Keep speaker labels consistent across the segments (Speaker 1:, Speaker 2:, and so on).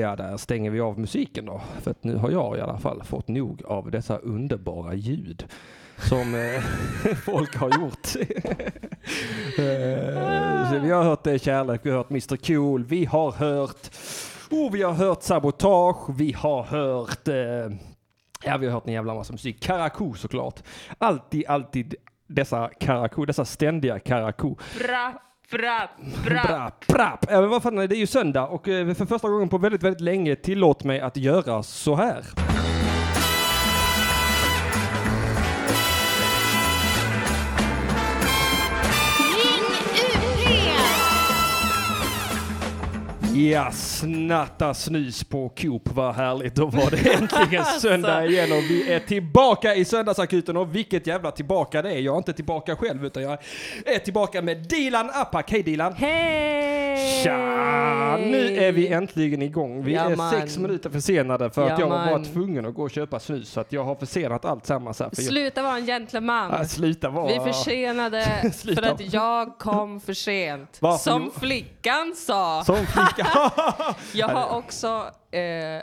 Speaker 1: ja, där stänger vi av musiken då. För att nu har jag i alla fall fått nog av dessa underbara ljud som eh, folk har gjort. Eh, så vi har hört eh, Kärlek, vi har hört Mr Cool, vi har hört oh, vi har hört Sabotage, vi har hört eh, Ja, vi har hört en jävla massa musik. Karakou såklart. Alltid, alltid dessa Karakou, dessa ständiga Karakou.
Speaker 2: Bra, bra, bra.
Speaker 1: Brapp, brapp. Ja, men vad fan, det är ju söndag och eh, för första gången på väldigt, väldigt länge tillåt mig att göra så här.
Speaker 3: Ring UP!
Speaker 1: Ja, snatta snus på Coop, vad härligt. Då var det äntligen
Speaker 2: Alltså.
Speaker 1: söndag igen och vi är tillbaka i söndagsakuten och vilket jävla tillbaka det är. Jag är inte tillbaka själv utan jag är tillbaka med Dilan Apak. Hej Dilan!
Speaker 2: Hej!
Speaker 1: Tja! Nu är vi äntligen igång. Vi
Speaker 2: Ja,
Speaker 1: är
Speaker 2: man.
Speaker 1: sex minuter försenade för att
Speaker 2: Ja,
Speaker 1: jag var bara
Speaker 2: man.
Speaker 1: tvungen att gå och köpa snus så att jag har försenat allt sammans här. För jag,
Speaker 2: Sluta vara en gentleman.
Speaker 1: Ah, sluta vara...
Speaker 2: Vi är försenade
Speaker 1: Sluta.
Speaker 2: för att jag kom för sent.
Speaker 1: Varför?
Speaker 2: Som flickan sa.
Speaker 1: Som flicka.
Speaker 2: Jag har också, eh,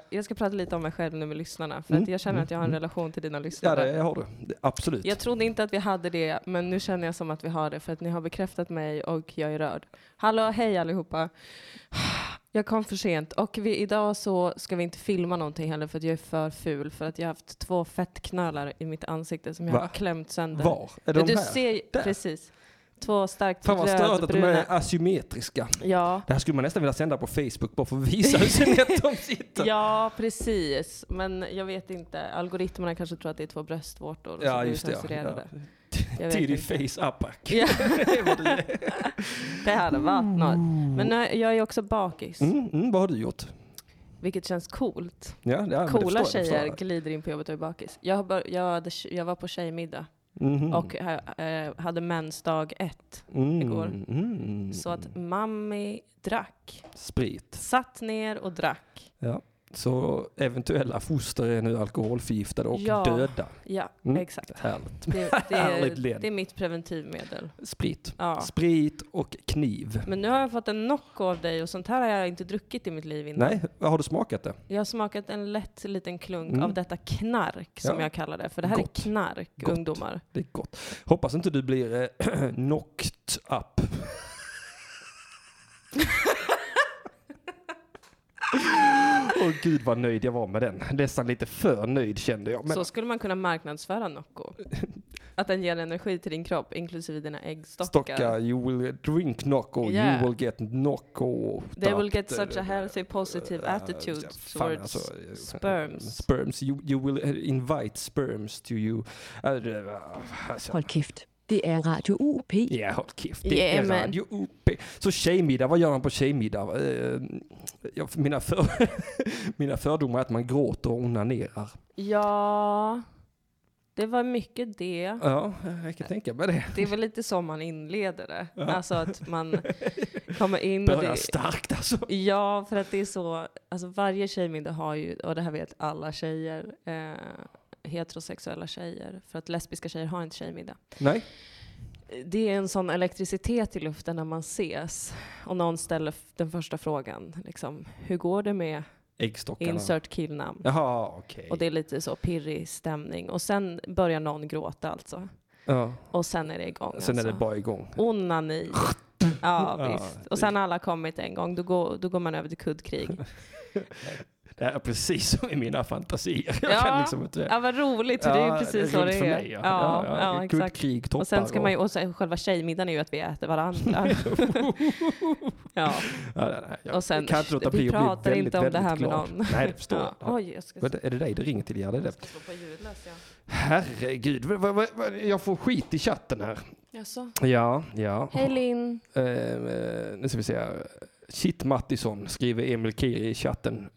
Speaker 2: jag ska prata lite om mig själv nu med lyssnarna. För att jag känner att jag har en relation till dina
Speaker 1: Mm. ja,
Speaker 2: lyssnare.
Speaker 1: det har du. Det- Absolut.
Speaker 2: Jag trodde inte att vi hade det, men nu känner jag som att vi har det för att ni har bekräftat mig och jag är rörd. Hallå, hej allihopa. Jag kom för sent och vi, idag så ska vi inte filma någonting heller för att jag är för ful för att jag har haft två fettknölar i mitt ansikte som jag
Speaker 1: Va?
Speaker 2: har klämt sönder.
Speaker 1: Var? Är de
Speaker 2: Men du
Speaker 1: här?
Speaker 2: ser,
Speaker 1: Där.
Speaker 2: precis. Två starkt
Speaker 1: Fan vad stört att de
Speaker 2: rödbruna.
Speaker 1: är asymmetriska.
Speaker 2: Ja.
Speaker 1: Det här skulle man nästan vilja sända på Facebook bara för att visa hur snett de sitter.
Speaker 2: ja, precis. Men jag vet inte. Algoritmerna kanske tror att det är två bröstvårtor.
Speaker 1: Ja,
Speaker 2: som blir
Speaker 1: just det, ja.
Speaker 2: censurerade.
Speaker 1: Ja.
Speaker 2: Jag vet
Speaker 1: Tidig
Speaker 2: inte.
Speaker 1: face apack.
Speaker 2: Ja.
Speaker 1: Det var det.
Speaker 2: Det hade varit något. Men nu, jag är också bakis,
Speaker 1: Mm, mm, vad har du gjort?
Speaker 2: vilket känns coolt.
Speaker 1: Ja, ja, men det förstår jag,
Speaker 2: Coola
Speaker 1: det förstår
Speaker 2: tjejer
Speaker 1: jag.
Speaker 2: glider in på jobbet och är bakis. Jag, har bör- jag, hade, jag var på tjejmiddag
Speaker 1: Mhm.
Speaker 2: och eh, hade mensdag ett.
Speaker 1: Mm,
Speaker 2: igår.
Speaker 1: mm.
Speaker 2: Så att mammi drack.
Speaker 1: Sprit.
Speaker 2: Satt ner och drack.
Speaker 1: Ja. Så eventuella foster är nu alkoholförgiftade och
Speaker 2: Ja.
Speaker 1: döda.
Speaker 2: Ja,
Speaker 1: Mm.
Speaker 2: exakt.
Speaker 1: Härligt.
Speaker 2: Det, det,
Speaker 1: Härligt
Speaker 2: är,
Speaker 1: led.
Speaker 2: det är mitt preventivmedel.
Speaker 1: Sprit.
Speaker 2: Ja.
Speaker 1: Sprit och kniv.
Speaker 2: Men nu har jag fått en Nocco av dig och sånt här har jag inte druckit i mitt liv innan.
Speaker 1: Nej, har du smakat det?
Speaker 2: Jag har smakat en lätt liten klunk
Speaker 1: Mm.
Speaker 2: av detta knark som
Speaker 1: Ja.
Speaker 2: jag kallar det. För det här
Speaker 1: Gott.
Speaker 2: är knark,
Speaker 1: Gott.
Speaker 2: ungdomar.
Speaker 1: Det är gott. Hoppas inte du blir eh, knocked up. Åh gud vad nöjd jag var med den. Nästan lite för nöjd kände jag. Men
Speaker 2: så skulle man kunna marknadsföra Nocco. Att den ger energi till din kropp, inklusive dina äggstockar.
Speaker 1: stocka, you will drink knocko,
Speaker 2: Yeah.
Speaker 1: you will get knocko.
Speaker 2: They will get such a
Speaker 1: eh,
Speaker 2: healthy positive attitude towards
Speaker 1: alltså.
Speaker 2: sperms.
Speaker 1: Sperms, you, you will eh, invite sperms to you. Eh, eh, alltså,
Speaker 4: Hold kæft. Det er Radio UP.
Speaker 1: Ja, håll käft. Det är
Speaker 2: Jajamän.
Speaker 1: Radio UP. Så tjejmiddag, vad gör man på tjejmiddag? Eh, ja, för mina, för, mina fördomar är att man gråter och onanerar.
Speaker 2: Ja, det var mycket det.
Speaker 1: Ja, jag kan tänka mig det.
Speaker 2: Det är väl lite så man inleder det.
Speaker 1: Ja.
Speaker 2: Alltså att man kommer in och
Speaker 1: Börjar
Speaker 2: det,
Speaker 1: starkt alltså.
Speaker 2: Ja, för att det är så, alltså varje tjejmiddag har ju, och det här vet alla tjejer, eh, heterosexuella tjejer, för att lesbiska tjejer har inte tjejmiddag.
Speaker 1: Nej,
Speaker 2: Det är en sån elektricitet i luften när man ses och någon ställer f- den första frågan. Liksom, hur går det med
Speaker 1: äggstockarna.
Speaker 2: insert killnamn?
Speaker 1: Jaha, okej.
Speaker 2: Och det är lite så pirrig stämning. Och sen börjar någon gråta alltså.
Speaker 1: Ja.
Speaker 2: Och sen är det igång.
Speaker 1: Sen är
Speaker 2: alltså.
Speaker 1: det bara igång.
Speaker 2: Onani.
Speaker 1: Ja,
Speaker 2: Ja, visst.
Speaker 1: det-
Speaker 2: Och sen har alla kommit en gång, då går, då går man över till kuddkrig.
Speaker 1: Det här är precis som i mina fantasier. Jag
Speaker 2: Ja.
Speaker 1: kan liksom inte...
Speaker 2: Ja, vad roligt. för det är ju precis så det
Speaker 1: roligt
Speaker 2: är.
Speaker 1: för mig. Ja,
Speaker 2: ja, ja, exakt.
Speaker 1: Kuddkrig, toppar
Speaker 2: Och sen ska man ju, och sen själva tjejmiddagen är ju att vi äter varandra. ja,
Speaker 1: Ja, nej, nej, jag
Speaker 2: och sen,
Speaker 1: kan inte låta bli
Speaker 2: vi
Speaker 1: att bli
Speaker 2: pratar
Speaker 1: väldigt,
Speaker 2: inte om det
Speaker 1: väldigt
Speaker 2: här med
Speaker 1: glad.
Speaker 2: någon.
Speaker 1: Nej, det förstår
Speaker 2: Ja.
Speaker 1: jag.
Speaker 2: Oj, jag ska,
Speaker 1: Vänta, Är det dig det ringer till, Gerd? Är det?
Speaker 2: jag ska slå på ljudlös. Ja.
Speaker 1: Herregud, vad- vad- vad- vad- jag får skit i chatten här.
Speaker 2: Jaså?
Speaker 1: Ja, ja.
Speaker 2: Hej Linn.
Speaker 1: Eh, eh, nu ska vi se här. Shit Mattisson skriver Emil Kiri i chatten.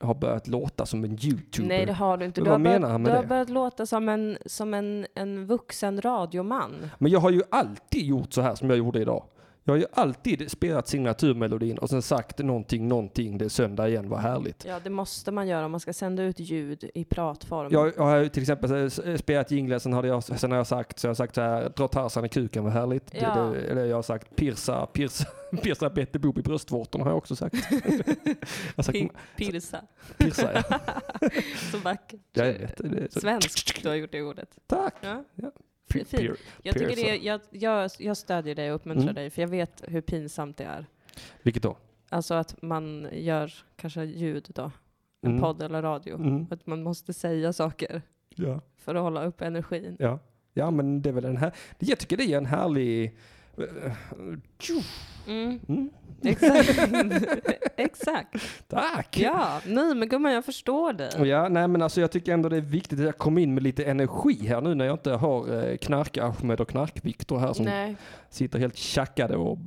Speaker 1: Har börjat låta som en youtuber.
Speaker 2: Nej det har du inte. Du
Speaker 1: Vad
Speaker 2: har,
Speaker 1: menar
Speaker 2: börjat,
Speaker 1: han med
Speaker 2: du har
Speaker 1: det?
Speaker 2: börjat låta som en, som en, en vuxen radioman.
Speaker 1: Men jag har ju alltid gjort så här som jag gjorde idag. Jag har ju alltid spelat signaturmelodin och sen sagt någonting, någonting, det är söndag igen, vad härligt.
Speaker 2: Ja, det måste man göra om man ska sända ut ljud i pratform.
Speaker 1: Jag, jag har ju till exempel eh, spelat jinglen, sen, hade jag, sen har jag sagt, så jag har sagt så här, dra Tarzan i kuken, vad härligt. Det-
Speaker 2: Ja.
Speaker 1: Det, eller jag har sagt, pirsa, pirsa, pirsa Betty Boop i bröstvårtorna har jag också sagt. jag har sagt,
Speaker 2: Pi- Pirsa.
Speaker 1: pirsa ja.
Speaker 2: Så vackert.
Speaker 1: Jag vet, det är så,
Speaker 2: Svenskt du har gjort det ordet.
Speaker 1: tack!
Speaker 2: Ja.
Speaker 1: Pir-
Speaker 2: fint.
Speaker 1: pir-
Speaker 2: Jag, tycker
Speaker 1: Pirsa.
Speaker 2: det är, jag, jag, jag stödjer dig och uppmuntrar
Speaker 1: Mm.
Speaker 2: dig, för jag vet hur pinsamt det är.
Speaker 1: Vilket då?
Speaker 2: Alltså att man gör kanske ljud då, en
Speaker 1: Mm.
Speaker 2: podd eller radio.
Speaker 1: Mm.
Speaker 2: Att man måste säga saker
Speaker 1: Ja.
Speaker 2: för att hålla upp energin.
Speaker 1: Ja. ja, men det är väl en här... Jag tycker det är en härlig...
Speaker 2: Mm.
Speaker 1: Mm.
Speaker 2: Exakt. Exakt.
Speaker 1: Tack!
Speaker 2: Ja, nej men gumman jag förstår dig.
Speaker 1: Ja, nej men alltså jag tycker ändå det är viktigt att jag kom in med lite energi här nu när jag inte har eh, knark-Ahmed och knark-Viktor här som
Speaker 2: Nej.
Speaker 1: sitter helt tjackade och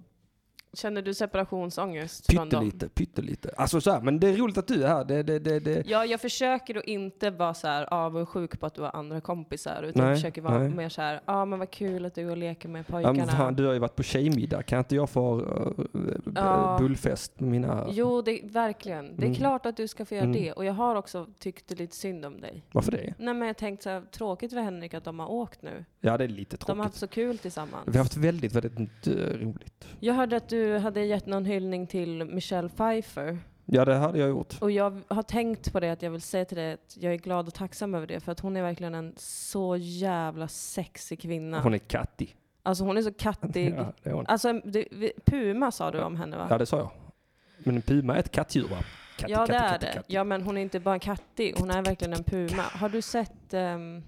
Speaker 2: Känner du separationsångest från dem?
Speaker 1: pyttelite, pyttelite. Alltså så här, men det är roligt att du är här. Det, det, det, det.
Speaker 2: Ja, jag försöker att inte vara så här avundsjuk på att du har andra kompisar. Utan
Speaker 1: Nej,
Speaker 2: jag försöker vara
Speaker 1: nej.
Speaker 2: mer så här, ja ah, men vad kul att du går och leker med
Speaker 1: Ja, men
Speaker 2: pojkarna.
Speaker 1: fan, du har ju varit på tjejmiddag, kan inte jag få eh, b-
Speaker 2: Ja.
Speaker 1: bullfest med mina...
Speaker 2: Jo, det, verkligen. Det är
Speaker 1: Mm.
Speaker 2: klart att du ska få göra
Speaker 1: Mm.
Speaker 2: det. Och jag har också tyckt det lite synd om dig.
Speaker 1: Varför det?
Speaker 2: Nej men jag tänkte så här, tråkigt för Henrik att de har åkt nu.
Speaker 1: Ja, det är lite
Speaker 2: De har
Speaker 1: tråkigt.
Speaker 2: haft så kul tillsammans.
Speaker 1: Vi har haft väldigt, väldigt eh, roligt.
Speaker 2: Jag hörde att du hade gett någon hyllning till Michelle Pfeiffer.
Speaker 1: Ja, det hade jag gjort.
Speaker 2: Och jag har tänkt på det, att jag vill säga till dig att jag är glad och tacksam över det. För att hon är verkligen en så jävla sexig kvinna.
Speaker 1: Hon är kattig.
Speaker 2: Alltså hon är så kattig.
Speaker 1: Ja, det är hon.
Speaker 2: Alltså en- det, vi- Puma sa du om henne va?
Speaker 1: Ja, det sa jag. Men en puma är ett kattdjur, va? Katt,
Speaker 2: ja
Speaker 1: katt,
Speaker 2: det är
Speaker 1: katt,
Speaker 2: det.
Speaker 1: katt.
Speaker 2: Ja men hon är inte bara en kattig, hon är verkligen en puma. Har du sett ehm,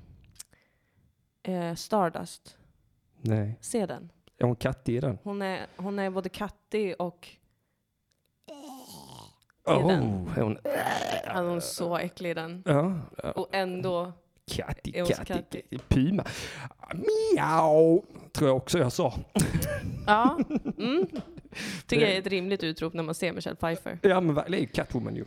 Speaker 2: eh, Stardust?
Speaker 1: Nej.
Speaker 2: Se den.
Speaker 1: Är hon kattig i den?
Speaker 2: Hon är, hon är både kattig och
Speaker 1: Oh,
Speaker 2: den.
Speaker 1: är hon...
Speaker 2: alltså, hon är så äcklig i den.
Speaker 1: Ja, ja.
Speaker 2: Och ändå,
Speaker 1: Katti,
Speaker 2: Är hon så
Speaker 1: Katti,
Speaker 2: kattig?
Speaker 1: Puma. Miau! Tror jag också jag sa.
Speaker 2: ja. Mm. Tycker jag är ett rimligt utrop när man ser Michelle Pfeiffer.
Speaker 1: Ja men va- det är ju Catwoman ju.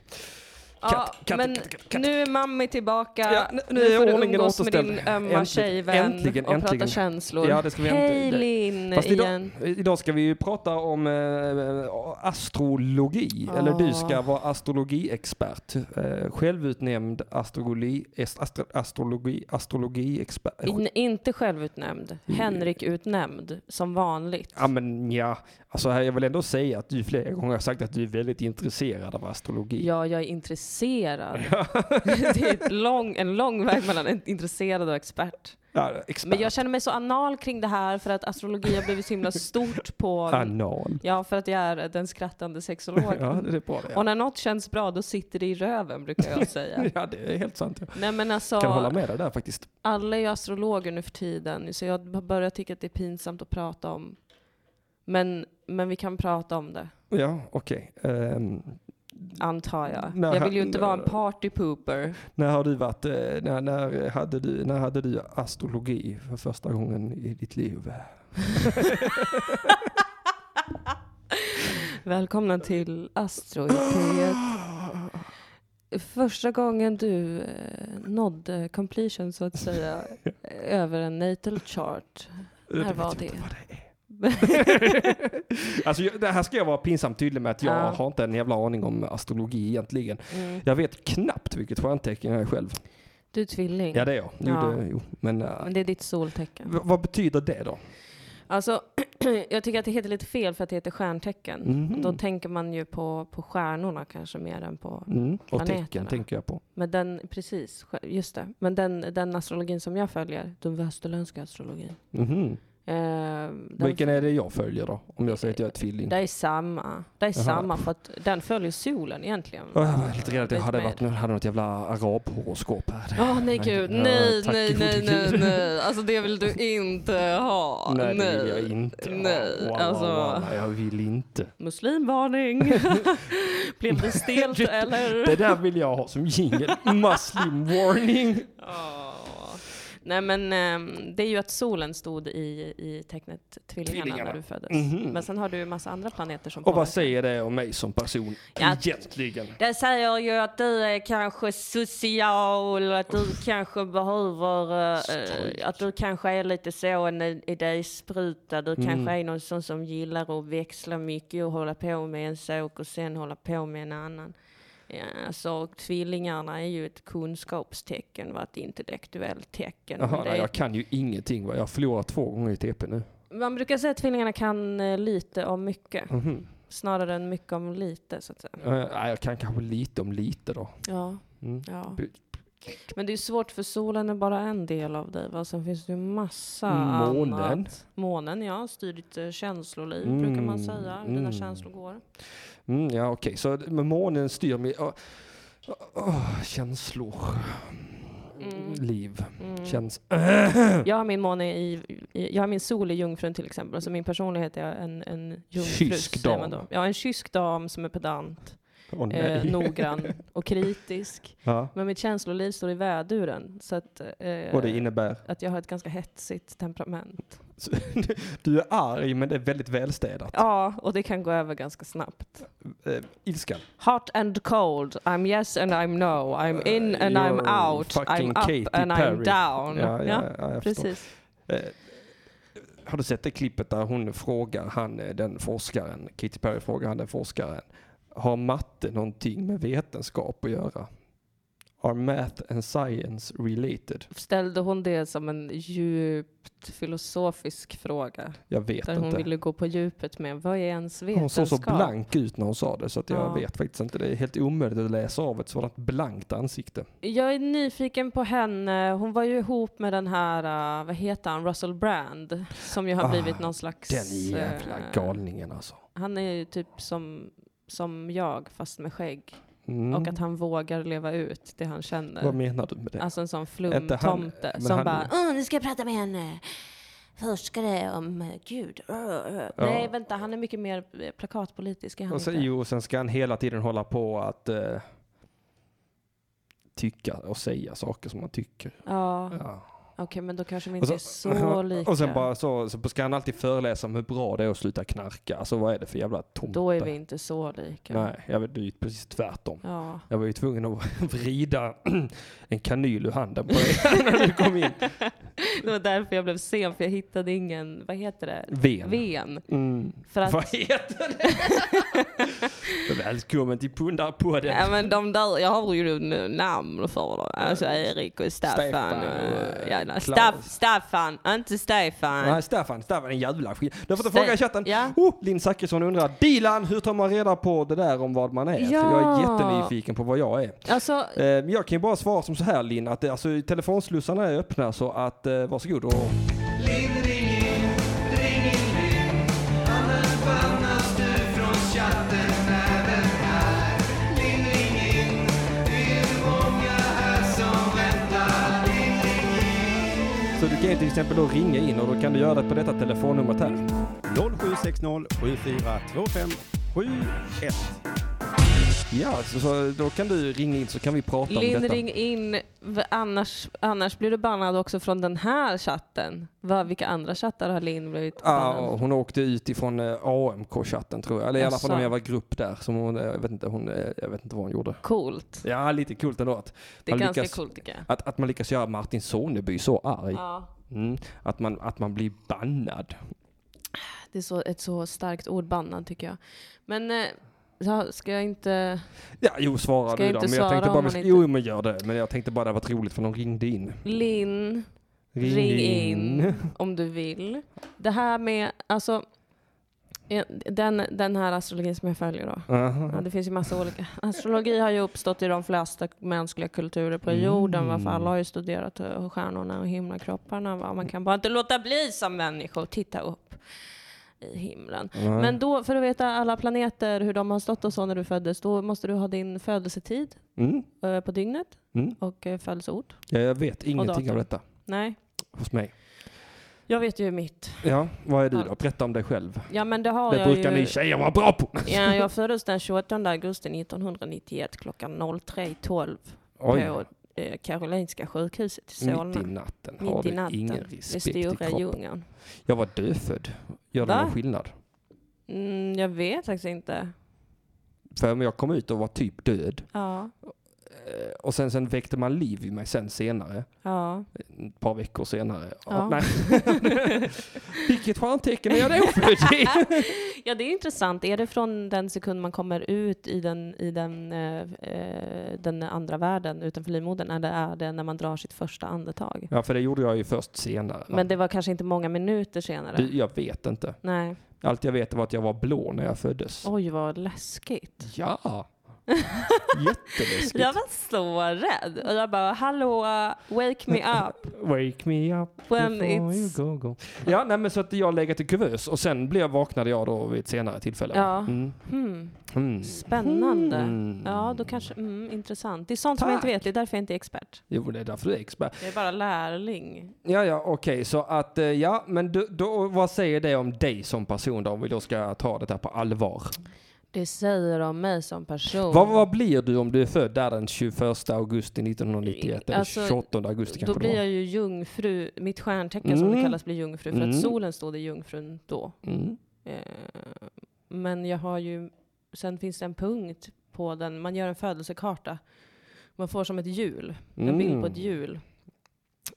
Speaker 2: Ja,
Speaker 1: katt,
Speaker 2: men
Speaker 1: katt, katt, katt.
Speaker 2: nu är mammi tillbaka.
Speaker 1: Ja, nu-
Speaker 2: nu,
Speaker 1: nu är
Speaker 2: får du
Speaker 1: ordningen
Speaker 2: umgås med
Speaker 1: återställd.
Speaker 2: din ömma
Speaker 1: Äntligen,
Speaker 2: tjejvän
Speaker 1: äntligen,
Speaker 2: och prata
Speaker 1: äntligen.
Speaker 2: känslor.
Speaker 1: Ja, det ska vi
Speaker 2: Hej
Speaker 1: inte- det-
Speaker 2: Linn
Speaker 1: Fast idag,
Speaker 2: igen.
Speaker 1: idag ska vi ju prata om eh, astrologi. Eller du ska vara astrologiexpert. Eh, självutnämnd astrologi, est- astro, astrologi, astrologiexpert.
Speaker 2: In, inte självutnämnd, Henrik-utnämnd, som vanligt.
Speaker 1: Ja men ja, alltså här, jag vill ändå säga att du flera gånger har sagt att du är väldigt intresserad av astrologi.
Speaker 2: Ja, jag är intresserad. det är ett lång, en lång väg mellan en intresserad och expert.
Speaker 1: Ja, expert.
Speaker 2: Men jag känner mig så anal kring det här för att astrologi har blivit så himla stort på...
Speaker 1: Anal.
Speaker 2: Ja, för att jag är den skrattande sexologen.
Speaker 1: Ja, det är bra det.
Speaker 2: Och
Speaker 1: Ja.
Speaker 2: när något känns bra, då sitter det i röven brukar jag säga.
Speaker 1: ja, det är helt sant. Jag
Speaker 2: Nej men alltså,
Speaker 1: kan hålla med dig där faktiskt.
Speaker 2: alla är ju astrologer nu för tiden, så jag har börjat tycka att det är pinsamt att prata om. Men, men vi kan prata om det,
Speaker 1: Ja, okej. Ehm,
Speaker 2: antar jag.
Speaker 1: Nej,
Speaker 2: jag vill ju inte
Speaker 1: nej.
Speaker 2: vara en party pooper.
Speaker 1: när har du varit, eh, när, när, hade du, när hade du astrologi för första gången i ditt liv?
Speaker 2: Välkomna till Astroidiet. Första gången du eh, nådde completion så att säga över en natal chart. När
Speaker 1: vet
Speaker 2: var
Speaker 1: jag
Speaker 2: det?
Speaker 1: Inte vad det är. alltså, jag- det här ska jag vara pinsamt tydlig med att jag
Speaker 2: Ja.
Speaker 1: har inte en jävla aning om astrologi egentligen.
Speaker 2: Mm.
Speaker 1: Jag vet knappt vilket stjärntecken jag är själv.
Speaker 2: Du är tvilling,
Speaker 1: Ja det är jag. Jo,
Speaker 2: Ja.
Speaker 1: det, jo. Men, eh,
Speaker 2: men det är ditt soltecken.
Speaker 1: v- vad betyder det då?
Speaker 2: Alltså, jag tycker att det heter lite fel för att det heter stjärntecken.
Speaker 1: Mhm.
Speaker 2: Då tänker man ju på, på stjärnorna kanske mer än på...
Speaker 1: Mm. Och
Speaker 2: Planeterna.
Speaker 1: tecken tänker jag på.
Speaker 2: Men den, precis, sj- just det. Men den, den astrologin som jag följer, den västerländska astrologin.
Speaker 1: Mhm.
Speaker 2: Eh, den,
Speaker 1: Vilken är det jag följer då? Om jag säger att jag är tvilling.
Speaker 2: Det är samma. Det är
Speaker 1: Jaha.
Speaker 2: samma för att den följer solen egentligen.
Speaker 1: Åh, Jag var lite rädd att jag
Speaker 2: Lite
Speaker 1: hade,
Speaker 2: mer.
Speaker 1: varit, nu hade något jävla arabhoroskop här.
Speaker 2: Åh nej gud,
Speaker 1: Ja,
Speaker 2: nej,
Speaker 1: tack
Speaker 2: nej,
Speaker 1: gode
Speaker 2: nej, nej,
Speaker 1: gud.
Speaker 2: nej. Alltså det vill du inte ha.
Speaker 1: Nej, det vill jag inte.
Speaker 2: Nej,
Speaker 1: Walla,
Speaker 2: alltså.
Speaker 1: walla, jag vill inte.
Speaker 2: Muslimvarning. Blev det stelt eller?
Speaker 1: Det där vill jag ha som jingel. Muslim warning.
Speaker 2: Ja. Nej men ehm, det är ju att solen stod i, i tecknet tvillingarna,
Speaker 1: Tvillingarna.
Speaker 2: när du föddes.
Speaker 1: Mhm.
Speaker 2: Men sen har du ju massa andra planeter som
Speaker 1: Och vad
Speaker 2: påverkar.
Speaker 1: säger det om mig som person
Speaker 2: Ja.
Speaker 1: egentligen?
Speaker 2: Det säger ju att du är kanske social, att du kanske behöver, eh,
Speaker 1: Stryk.
Speaker 2: att du kanske är lite så en idéspruta. Du
Speaker 1: Mm.
Speaker 2: kanske är någon sån som gillar att växla mycket och hålla på med en sak och sen hålla på med en annan. Ja, alltså, tvillingarna är ju ett kunskapstecken, va? ett intellektuellt tecken.
Speaker 1: Jaha,
Speaker 2: Men det
Speaker 1: nej,
Speaker 2: är-
Speaker 1: jag kan ju ingenting. Va? Jag har förlorat två gånger i TP nu.
Speaker 2: Man brukar säga att tvillingarna kan eh, lite om mycket,
Speaker 1: Mhm.
Speaker 2: snarare än mycket om lite. Så att säga.
Speaker 1: Eh, nej, jag kan kanske lite om lite då.
Speaker 2: Ja.
Speaker 1: Mm.
Speaker 2: Ja.
Speaker 1: Bu-
Speaker 2: Men det är ju svårt för solen är bara en del av dig va? Sen finns det ju massa
Speaker 1: Mm, Månen.
Speaker 2: annat. Månen ja, styr ditt eh, känsloliv
Speaker 1: Mm,
Speaker 2: brukar man säga. Hur dina
Speaker 1: mm.
Speaker 2: känslor går.
Speaker 1: Mm, ja, okej. Så men månen styr mig. Åh, åh, känslor.
Speaker 2: Mm.
Speaker 1: Liv.
Speaker 2: Mm.
Speaker 1: Känns...
Speaker 2: Jag har min måne i, i, jag har min sol i Jungfrun till exempel. Alltså min personlighet är en, en jungfru.
Speaker 1: Kysk
Speaker 2: säger man
Speaker 1: dam.
Speaker 2: då. Ja, en kysk dam som är pedant,
Speaker 1: Åh, nej.
Speaker 2: eh, noggrann och kritisk.
Speaker 1: ja.
Speaker 2: Men mitt känsloliv står i väduren. Så att, eh,
Speaker 1: Vad det innebär.
Speaker 2: att jag har ett ganska hetsigt temperament.
Speaker 1: Du är arg, men det är väldigt välstädat.
Speaker 2: Ja, och det kan gå över ganska snabbt.
Speaker 1: Eh, ilskan.
Speaker 2: Hot and cold, I'm yes and I'm no, I'm in and I'm
Speaker 1: Eh, You're
Speaker 2: out, I'm
Speaker 1: fucking
Speaker 2: up
Speaker 1: Katy
Speaker 2: and I'm
Speaker 1: Perry.
Speaker 2: down.
Speaker 1: Ja, ja, ja, jag förstår.
Speaker 2: precis.
Speaker 1: Eh, har du sett det klippet där hon frågar han, eh, den forskaren, Katy Perry frågar han den forskaren, har matte någonting med vetenskap att göra? Are math and science related?
Speaker 2: Ställde hon det som en djupt filosofisk fråga?
Speaker 1: Jag vet
Speaker 2: Där hon
Speaker 1: inte.
Speaker 2: ville gå på djupet med vad är ens vetenskap?
Speaker 1: Hon såg så blank ut när hon sa det så att jag
Speaker 2: Ja.
Speaker 1: vet faktiskt inte. Det är helt omöjligt att läsa av ett sådant blankt ansikte.
Speaker 2: Jag är nyfiken på henne. Hon var ju ihop med den här, eh, vad heter han, Russell Brand. Som ju har
Speaker 1: Ah,
Speaker 2: blivit någon slags...
Speaker 1: Den jävla
Speaker 2: eh,
Speaker 1: galningen alltså.
Speaker 2: Han är ju typ som, som jag, fast med skägg.
Speaker 1: Mm.
Speaker 2: Och att han vågar leva ut det han känner.
Speaker 1: Vad menar du med det?
Speaker 2: Alltså en sån
Speaker 1: Inte han,
Speaker 2: flumtomte
Speaker 1: men
Speaker 2: som
Speaker 1: han-
Speaker 2: bara
Speaker 5: Åh, nu ska jag prata med en eh, forskare om eh, Gud. Åh, eh. åh.
Speaker 2: Nej vänta, han är mycket mer eh, plakatpolitisk. Är han
Speaker 1: Och sen,
Speaker 2: inte?
Speaker 1: jo, och sen ska han hela tiden hålla på att eh, tycka och säga saker som han tycker.
Speaker 2: Ja,
Speaker 1: Ja.
Speaker 2: okej men då kanske vi
Speaker 1: Och
Speaker 2: inte är så lika.
Speaker 1: Och sen bara så, så ska han alltid föreläsa om hur bra det är att sluta knarka. Alltså vad är det för jävla tomte?
Speaker 2: Då är vi inte så lika.
Speaker 1: Nej, jag vet, det är ju precis tvärtom.
Speaker 2: Ja.
Speaker 1: Jag var ju tvungen att vrida en kanyl ur handen på dig när du kom in.
Speaker 2: Det var därför jag blev sen, för jag hittade ingen, vad heter det?
Speaker 1: Ven.
Speaker 2: Ven.
Speaker 1: Mm.
Speaker 2: För
Speaker 1: Vad
Speaker 2: att,
Speaker 1: heter det? Välkommen till Pundarpodden.
Speaker 2: ja, men de där, jag har ju n- namn för dem. Alltså Erik och Staffan.
Speaker 1: Stefan
Speaker 2: och,
Speaker 1: och
Speaker 2: ja, nej,
Speaker 1: Claes.
Speaker 2: Staff, Staffan, inte Stefan.
Speaker 1: Nej, Staffan, Staffan är en jävla skit. Du har fått en
Speaker 2: Ste-
Speaker 1: fråga i chatten.
Speaker 2: Ja.
Speaker 1: Oh, Linn Zachrisson undrar, Dilan, hur tar man reda på det där om vad man är? För jag
Speaker 2: Ja.
Speaker 1: är jättenyfiken på vad jag är.
Speaker 2: Alltså,
Speaker 1: Eh, men jag kan ju bara svara som så här Linn, att det, alltså, telefonslussarna är öppna så att eh, varsågod och... Så du kan ju till exempel då ringa in och då kan du göra det på detta telefonnumret här.
Speaker 6: 0760 7425 71.
Speaker 1: Ja, så, så då kan du ringa in så kan vi prata om
Speaker 2: Linn
Speaker 1: detta.
Speaker 2: ring in, v- annars, annars blir du bannad också från den här chatten. Va, vilka andra chattar har Linn blivit
Speaker 1: Ja,
Speaker 2: bannad?
Speaker 1: och hon åkte ut ifrån eh, AMK-chatten tror jag. Eller i alla fall
Speaker 2: Jaså.
Speaker 1: någon jävla grupp där. Som hon, eh, jag, vet inte, hon, eh, jag vet inte vad hon gjorde.
Speaker 2: Coolt.
Speaker 1: Ja, lite kul ändå att,
Speaker 2: Det är
Speaker 1: Man
Speaker 2: ganska
Speaker 1: lyckas-
Speaker 2: coolt tycker jag.
Speaker 1: att, att man lyckas göra Martin Soneby så arg.
Speaker 2: Ja,
Speaker 1: Mm. Att, man, att man blir bannad.
Speaker 2: det är så, ett så starkt ord, bannad tycker jag. Men eh, ja, ska jag inte...
Speaker 1: Ja, jo, svarar
Speaker 2: Ska
Speaker 1: du
Speaker 2: jag
Speaker 1: då.
Speaker 2: inte
Speaker 1: Men jag tänkte
Speaker 2: svara om
Speaker 1: bara,
Speaker 2: hon inte-
Speaker 1: jo men gör det. Men jag tänkte bara det var roligt för de ringde in.
Speaker 2: Linn, ring, in om du vill. Det här med, alltså, eh, den, den här astrologin som jag följer då. Ja,
Speaker 1: Aha.
Speaker 2: det finns ju massa olika. Astrologi har ju uppstått i de flesta mänskliga kulturer på
Speaker 1: Mm.
Speaker 2: jorden. Varför alla har ju studerat eh, stjärnorna och himlakropparna. Va? Man kan bara inte låta bli som människa och titta upp i himlen.
Speaker 1: Ja.
Speaker 2: Men då, för att veta alla planeter, hur de har stått och så när du föddes, då måste du ha din födelsetid
Speaker 1: Mm.
Speaker 2: eh, på dygnet
Speaker 1: Mm.
Speaker 2: och eh, födelseort.
Speaker 1: Ja, jag vet ingenting
Speaker 2: datum.
Speaker 1: av detta
Speaker 2: Nej,
Speaker 1: hos mig.
Speaker 2: jag vet ju mitt.
Speaker 1: Ja, vad är du
Speaker 2: Ja.
Speaker 1: då? Berätta om dig själv.
Speaker 2: Ja men det har
Speaker 1: det
Speaker 2: jag
Speaker 1: brukar
Speaker 2: ju.
Speaker 1: ni tjejer vara bra på.
Speaker 2: Ja, jag föddes den 28 augusti 1991 klockan 03.12
Speaker 1: Oj.
Speaker 2: på det Karolinska sjukhuset i
Speaker 1: Mitt i
Speaker 2: Solna.
Speaker 1: natten. Har
Speaker 2: Mitt
Speaker 1: du
Speaker 2: i
Speaker 1: ingen
Speaker 2: natten. Det
Speaker 1: respekt i
Speaker 2: stora
Speaker 1: kroppen?
Speaker 2: djungeln.
Speaker 1: Jag var dödfödd. Gör det
Speaker 2: Va?
Speaker 1: någon skillnad?
Speaker 2: Mm, jag vet faktiskt inte.
Speaker 1: För om jag kom ut och var typ död
Speaker 2: Ja,
Speaker 1: eh, och sen, sen väckte man liv i mig sen senare,
Speaker 2: ja.
Speaker 1: ett par veckor senare.
Speaker 2: Ja.
Speaker 1: Ja. Nej. Vilket stjärntecken är jag då född i?
Speaker 2: ja, det är intressant. Är det från den sekund man kommer ut i den, i den, eh, eh, den andra världen utanför livmodern, eller är det när man drar sitt första andetag?
Speaker 1: Ja, för det gjorde jag ju först senare.
Speaker 2: Men det var kanske inte många minuter senare?
Speaker 1: Du, jag vet inte.
Speaker 2: Nej.
Speaker 1: Allt jag vet var att jag var blå när jag föddes.
Speaker 2: Oj, vad läskigt.
Speaker 1: Ja, jätteläskigt.
Speaker 2: Jag var så rädd. Och jag bara, hallå, wake me up.
Speaker 1: Wake me up
Speaker 2: When
Speaker 1: before you
Speaker 2: it's...
Speaker 1: go, go. Ja, nej, men så att jag legat i kuvös och sen blev, vaknade jag då vid ett senare tillfälle.
Speaker 2: Ja.
Speaker 1: Mm.
Speaker 2: Hmm,
Speaker 1: Mm.
Speaker 2: spännande.
Speaker 1: Mm.
Speaker 2: Ja, då kanske, mm, intressant. Det är sånt som jag inte
Speaker 1: Tack.
Speaker 2: vet, det är därför jag inte är expert.
Speaker 1: Jo, det är därför du är expert.
Speaker 2: Jag är bara lärling.
Speaker 1: Ja, ja, okej, så att, eh, ja, men du, då, vad säger det om dig som person då, om vi då ska ta det här på allvar?
Speaker 2: Det säger om mig som person.
Speaker 1: Vad, vad blir du om du är född där den 21 augusti 1991, eller
Speaker 2: Alltså,
Speaker 1: 28 augusti kanske
Speaker 2: då blir
Speaker 1: det var?
Speaker 2: jag ju jungfru, mitt stjärntecken som det
Speaker 1: Mm.
Speaker 2: kallas blir jungfru, för
Speaker 1: Mm.
Speaker 2: att solen stod i jungfrun då.
Speaker 1: Mm.
Speaker 2: Eh, men jag har ju, sen finns det en punkt på den, man gör en födelsekarta. Man får som ett hjul, en
Speaker 1: Mm.
Speaker 2: bild på ett hjul.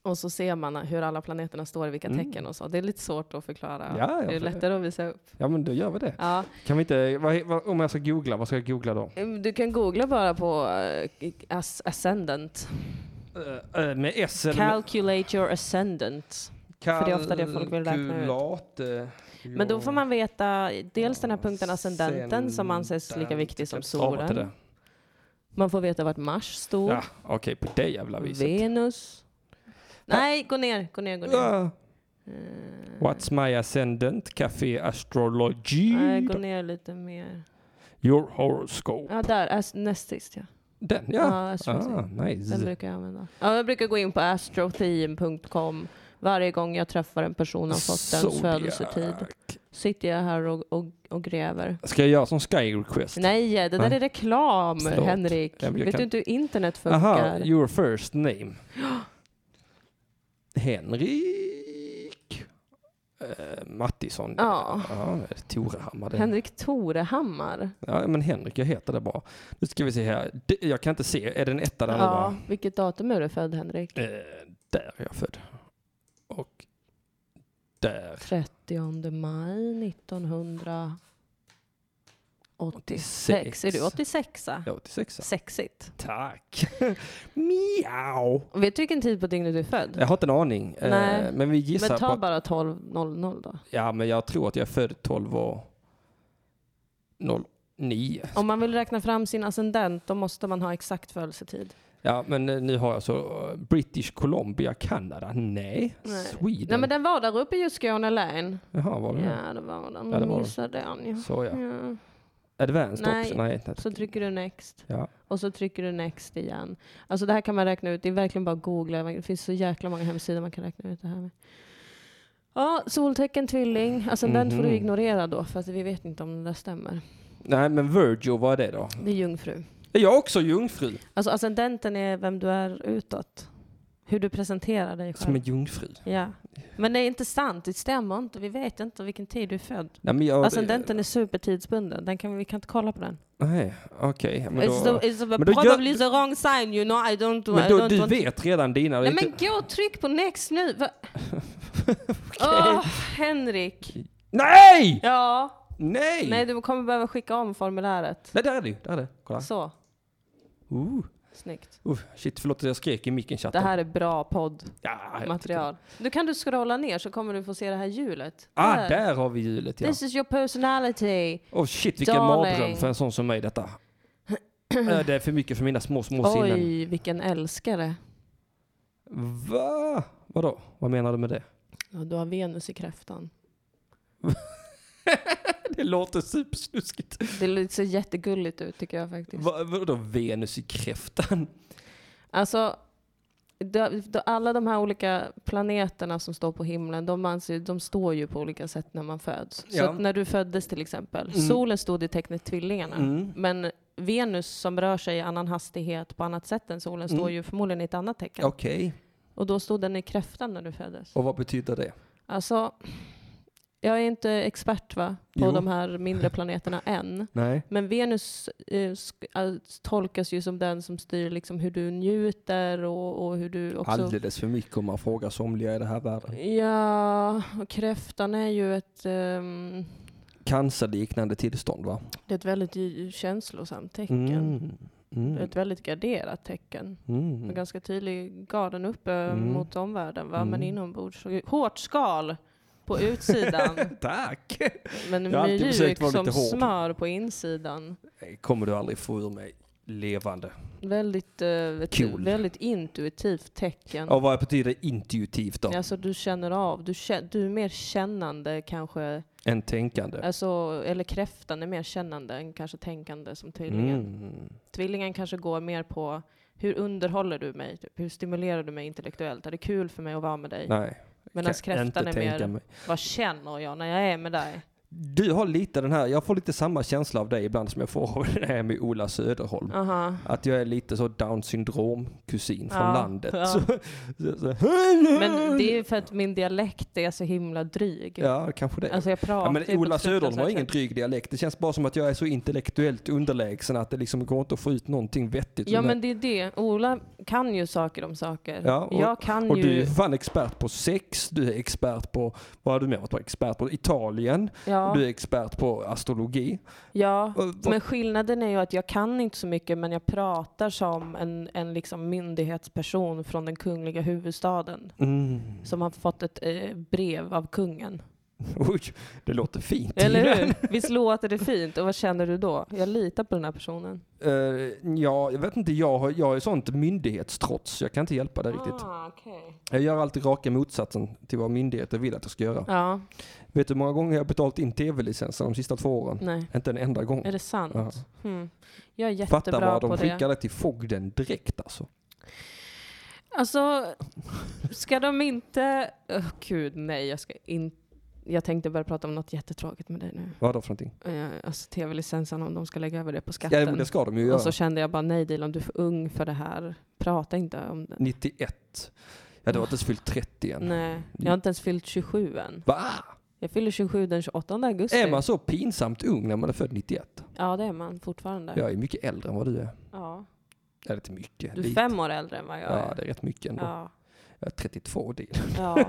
Speaker 2: Och så ser man hur alla planeterna står i vilka
Speaker 1: Mm.
Speaker 2: tecken och så. Det är lite svårt att förklara.
Speaker 1: Ja, jag
Speaker 2: det är
Speaker 1: förstår.
Speaker 2: lättare att visa upp.
Speaker 1: Ja, men då gör vi det.
Speaker 2: Ja.
Speaker 1: Kan vi inte, vad, vad, om jag ska googla, vad ska jag googla då?
Speaker 2: Mm, Du kan googla bara på eh, as- ascendant.
Speaker 1: Eh, eh, med S eller med-
Speaker 2: Calculate your ascendant. för det är ofta det folk vill räkna ut.
Speaker 1: Kalkylat, eh,
Speaker 2: Men då får man veta dels den här punkten ascendenten som anses lika
Speaker 1: ascendent.
Speaker 2: viktig som
Speaker 1: Ja, vad är det?
Speaker 2: solen. Man får veta vart Mars står.
Speaker 1: Ja, okej, på det jävla viset.
Speaker 2: Venus. Nej, gå ner, gå ner, Eh, gå ner.
Speaker 1: Ja. Ah, What's my ascendant? Café Astrology.
Speaker 2: Nej, gå ner lite mer.
Speaker 1: Your horoscope.
Speaker 2: Ja, där. As- näst sist ja.
Speaker 1: Den
Speaker 2: ja.
Speaker 1: ja.
Speaker 2: astrotheme.
Speaker 1: Ah,
Speaker 2: Den
Speaker 1: nice.
Speaker 2: brukar jag använda. Ja, jag brukar gå in på astrotheme.com varje gång jag träffar en person av fosterns
Speaker 1: Zodiac.
Speaker 2: födelsetid. Sitter jag här och, och, och gräver.
Speaker 1: Ska jag göra som Sky Request?
Speaker 2: Nej, det där
Speaker 1: Nej.
Speaker 2: är reklam,
Speaker 1: Ah. Förlåt.
Speaker 2: Henrik.
Speaker 1: Ja, men jag
Speaker 2: Vet
Speaker 1: kan-
Speaker 2: du inte hur internet funkar?
Speaker 1: Aha, your first name. Henrik eh, Mattisson.
Speaker 2: Ja.
Speaker 1: ja Torehammar. det-
Speaker 2: Henrik Torehammar.
Speaker 1: Ja, men Henrik, jag heter det bara. Nu ska vi se här. Det- Jag kan inte se. Är den etta där nu va?
Speaker 2: Ja, vilket datum är du född, Henrik?
Speaker 1: Eh, där är jag född. Och där.
Speaker 2: 30 maj 1986.
Speaker 1: 86.
Speaker 2: Är du 86?
Speaker 1: Jag är 86.
Speaker 2: Sexigt.
Speaker 1: Tack. Miau.
Speaker 2: Och Vet du vilken tid på dygnet du är född?
Speaker 1: Jag har inte en aning. eh,
Speaker 2: Nej.
Speaker 1: Men vi gissar
Speaker 2: Men
Speaker 1: på
Speaker 2: ta
Speaker 1: att,
Speaker 2: bara 12.00 då.
Speaker 1: Ja, men jag tror att jag är född 12 och 09.
Speaker 2: Om man vill räkna fram sin ascendent då måste man ha exakt födelsetid.
Speaker 1: Ja, men eh, nu har jag så eh, British Columbia, Kanada. Nej,
Speaker 2: Nej.
Speaker 1: Sweden.
Speaker 2: Nej men den var där uppe i just Skåne län.
Speaker 1: Jaha, var det
Speaker 2: Ja det var den.
Speaker 1: Ja, det var den.
Speaker 2: Missade den ju.
Speaker 1: det? Så ja.
Speaker 2: Ja.
Speaker 1: Advanced
Speaker 2: Nej.
Speaker 1: option. Nej, nej.
Speaker 2: Så trycker du next.
Speaker 1: Ja.
Speaker 2: Och så trycker du next igen. Alltså det här kan man räkna ut. Det är verkligen bara att googla. Det finns så jäkla många hemsidor man kan räkna ut det här med. Ja, soltecken, tvilling. Alltså den får du
Speaker 1: Mhm.
Speaker 2: ignorera då för att vi vet inte om det där stämmer.
Speaker 1: nej, men Virgil, vad är det då?
Speaker 2: Det är jungfru.
Speaker 1: Är jag också jungfru?
Speaker 2: Alltså ascendenten är vem du är utåt. Hur du presenterar dig
Speaker 1: Som
Speaker 2: själv.
Speaker 1: en jungfru?
Speaker 2: Ja. Men det är inte sant. Det stämmer inte. Vi vet inte vilken tid du är född.
Speaker 1: Nej, men jag...
Speaker 2: Ascendenten är supertidsbunden. Den kan, vi kan inte kolla på den.
Speaker 1: Nej, okej. men
Speaker 2: It's,
Speaker 1: då...
Speaker 2: the, it's the,
Speaker 1: Men då gör-
Speaker 2: probably the wrong sign you know. I don't, I
Speaker 1: Men då,
Speaker 2: don't
Speaker 1: du
Speaker 2: want
Speaker 1: vet redan dina. det är
Speaker 2: Nej men
Speaker 1: inte-
Speaker 2: gå och tryck på next nu. Va? Åh, Henrik.
Speaker 1: Nej!
Speaker 2: Ja.
Speaker 1: Nej!
Speaker 2: Nej, du kommer behöva skicka om formuläret.
Speaker 1: Nej, där är det ju. Där är det. Kolla.
Speaker 2: Så,
Speaker 1: Uh,
Speaker 2: snyggt.
Speaker 1: uh, shit, förlåt att jag skrek i micken
Speaker 2: Det
Speaker 1: chatten.
Speaker 2: här är bra poddmaterial.
Speaker 1: ja, jag tyckte-
Speaker 2: Nu kan du scrolla ner så kommer du få se det här hjulet.
Speaker 1: Ah, där har vi hjulet ja.
Speaker 2: This is your personality.
Speaker 1: Oh shit, vilken
Speaker 2: Darling.
Speaker 1: mardröm för en sån som mig detta. Eh, det är för mycket för mina små, små sinnen.
Speaker 2: Oj, vilken älskare.
Speaker 1: Va? Vadå? Vad menar du med det?
Speaker 2: Ja, du har Venus i kräftan.
Speaker 1: Det låter supersnuskigt.
Speaker 2: Det ser jättegulligt ut tycker jag faktiskt.
Speaker 1: Va, vadå Venus i kräftan?
Speaker 2: Alltså, de, de, alla de här olika planeterna som står på himlen, de, anser, de står ju på olika sätt när man föds. Så
Speaker 1: Ja.
Speaker 2: att när du föddes till exempel,
Speaker 1: Mm.
Speaker 2: solen stod i tecknet tvillingarna,
Speaker 1: Mm.
Speaker 2: men Venus som rör sig i annan hastighet på annat sätt än solen
Speaker 1: Mm.
Speaker 2: står ju förmodligen i ett annat tecken.
Speaker 1: Okej,
Speaker 2: Och då stod den i kräftan när du föddes.
Speaker 1: och vad betyder det?
Speaker 2: Alltså, jag är inte expert va, på
Speaker 1: Jo.
Speaker 2: de här mindre planeterna än.
Speaker 1: Nej.
Speaker 2: Men Venus eh, sk- eh, tolkas ju som den som styr liksom hur du njuter och, och hur du också...
Speaker 1: Alldeles för mycket om man frågar somliga i den här världen.
Speaker 2: Ja, och kräftan är ju ett, ehm,
Speaker 1: Cancerliknande tillstånd va?
Speaker 2: det är ett väldigt ju- känslosamt tecken.
Speaker 1: Mm.
Speaker 2: Det är
Speaker 1: Mm.
Speaker 2: ett väldigt garderat tecken.
Speaker 1: Mm.
Speaker 2: En ganska tydlig garden uppe mot omvärlden, va? men
Speaker 1: Mm.
Speaker 2: inombords. så- Hårt skal på utsidan,
Speaker 1: Tack!
Speaker 2: men
Speaker 1: Jag har alltid försökt
Speaker 2: mjuk
Speaker 1: vara
Speaker 2: som
Speaker 1: lite hård.
Speaker 2: smör på insidan.
Speaker 1: Det kommer du aldrig få ur mig levande.
Speaker 2: Väldigt, eh, ett
Speaker 1: Kul.
Speaker 2: väldigt intuitivt tecken.
Speaker 1: Och vad betyder intuitivt då?
Speaker 2: Alltså du känner av, du, kä- du är mer kännande kanske,
Speaker 1: Än tänkande?
Speaker 2: alltså, eller kräftan är mer kännande än kanske tänkande som tvillingen.
Speaker 1: Mm.
Speaker 2: Tvillingen kanske går mer på hur underhåller du mig? Typ, hur stimulerar du mig intellektuellt? Är det kul för mig att vara med dig?
Speaker 1: Nej.
Speaker 2: Medan
Speaker 1: kan
Speaker 2: kräftan
Speaker 1: inte
Speaker 2: är
Speaker 1: tänka
Speaker 2: mer,
Speaker 1: mig.
Speaker 2: vad känner jag när jag är med dig?
Speaker 1: Du har lite den här, jag får lite samma känsla av dig ibland som jag får av det här med Ola Söderholm.
Speaker 2: Aha.
Speaker 1: Att jag är lite så down syndrom kusin från
Speaker 2: Ja,
Speaker 1: landet.
Speaker 2: ja.
Speaker 1: Så, så, så.
Speaker 2: Men det är för att min dialekt är så himla dryg.
Speaker 1: Ja, kanske det.
Speaker 2: Alltså jag pratar
Speaker 1: ja,
Speaker 2: ju på
Speaker 1: men
Speaker 2: ett
Speaker 1: Ola Söderholm har
Speaker 2: fruktansvärt
Speaker 1: ingen
Speaker 2: sätt.
Speaker 1: dryg dialekt. Det känns bara som att jag är så intellektuellt underlägsen att det liksom går inte att få ut någonting vettigt.
Speaker 2: Ja
Speaker 1: ur mig.
Speaker 2: men det är det. Ola kan ju saker om saker.
Speaker 1: Ja, och-
Speaker 2: jag kan
Speaker 1: Och
Speaker 2: ju...
Speaker 1: du är fan expert på sex, du är expert på, vad har du mer varit expert på? Italien,
Speaker 2: ja.
Speaker 1: du är expert på astrologi.
Speaker 2: Ja,
Speaker 1: Och- och-
Speaker 2: men skillnaden är ju att jag kan inte så mycket men jag pratar som en, en liksom myndighetsperson från den kungliga huvudstaden
Speaker 1: Mm.
Speaker 2: som har fått ett eh, brev av kungen.
Speaker 1: Oj, det låter fint.
Speaker 2: Eller hur? Visst låter det fint? Och vad känner du då? Jag litar på den här personen.
Speaker 1: Eh, ja, jag vet inte, jag har, jag har ju sånt myndighetstrots. Jag kan inte hjälpa det riktigt.
Speaker 2: Ah, okay.
Speaker 1: Jag gör alltid raka motsatsen till vad myndigheter vill att jag ska göra.
Speaker 2: Ja,
Speaker 1: Vet du hur många gånger jag har betalat in tv-licensen de sista två åren?
Speaker 2: nej.
Speaker 1: Inte en enda gång.
Speaker 2: Är det sant?
Speaker 1: Ja.
Speaker 2: Hmm. Jag är
Speaker 1: Fatta
Speaker 2: jättebra
Speaker 1: vad
Speaker 2: på
Speaker 1: de
Speaker 2: det.
Speaker 1: skickade till fogden direkt alltså.
Speaker 2: Alltså, ska de inte... Åh, Gud, nej. Jag, ska in... jag tänkte börja prata om något jättetråkigt med dig nu.
Speaker 1: Vad då för någonting?
Speaker 2: Eh, alltså tv-licensen om de ska lägga över det på
Speaker 1: Ja, men
Speaker 2: skatten. Alltså,
Speaker 1: det ska de ju göra.
Speaker 2: och så kände jag bara nej Dilan, du är för ung för det här. Prata inte om det.
Speaker 1: 91. Jag hade varit ens fyllt 30 än.
Speaker 2: Nej, jag har inte ens fyllt 27 än.
Speaker 1: Va?
Speaker 2: Jag fyller 27 den 28 augusti.
Speaker 1: Är man så pinsamt ung när man är född 91?
Speaker 2: Ja, det är man fortfarande. Ja.
Speaker 1: Jag är mycket äldre än vad du är. Ja, det är inte mycket.
Speaker 2: Du är
Speaker 1: lite.
Speaker 2: fem år äldre än vad jag
Speaker 1: Ja,
Speaker 2: är.
Speaker 1: det är rätt mycket ändå.
Speaker 2: Ja,
Speaker 1: Jag är 32 och det.
Speaker 2: ja.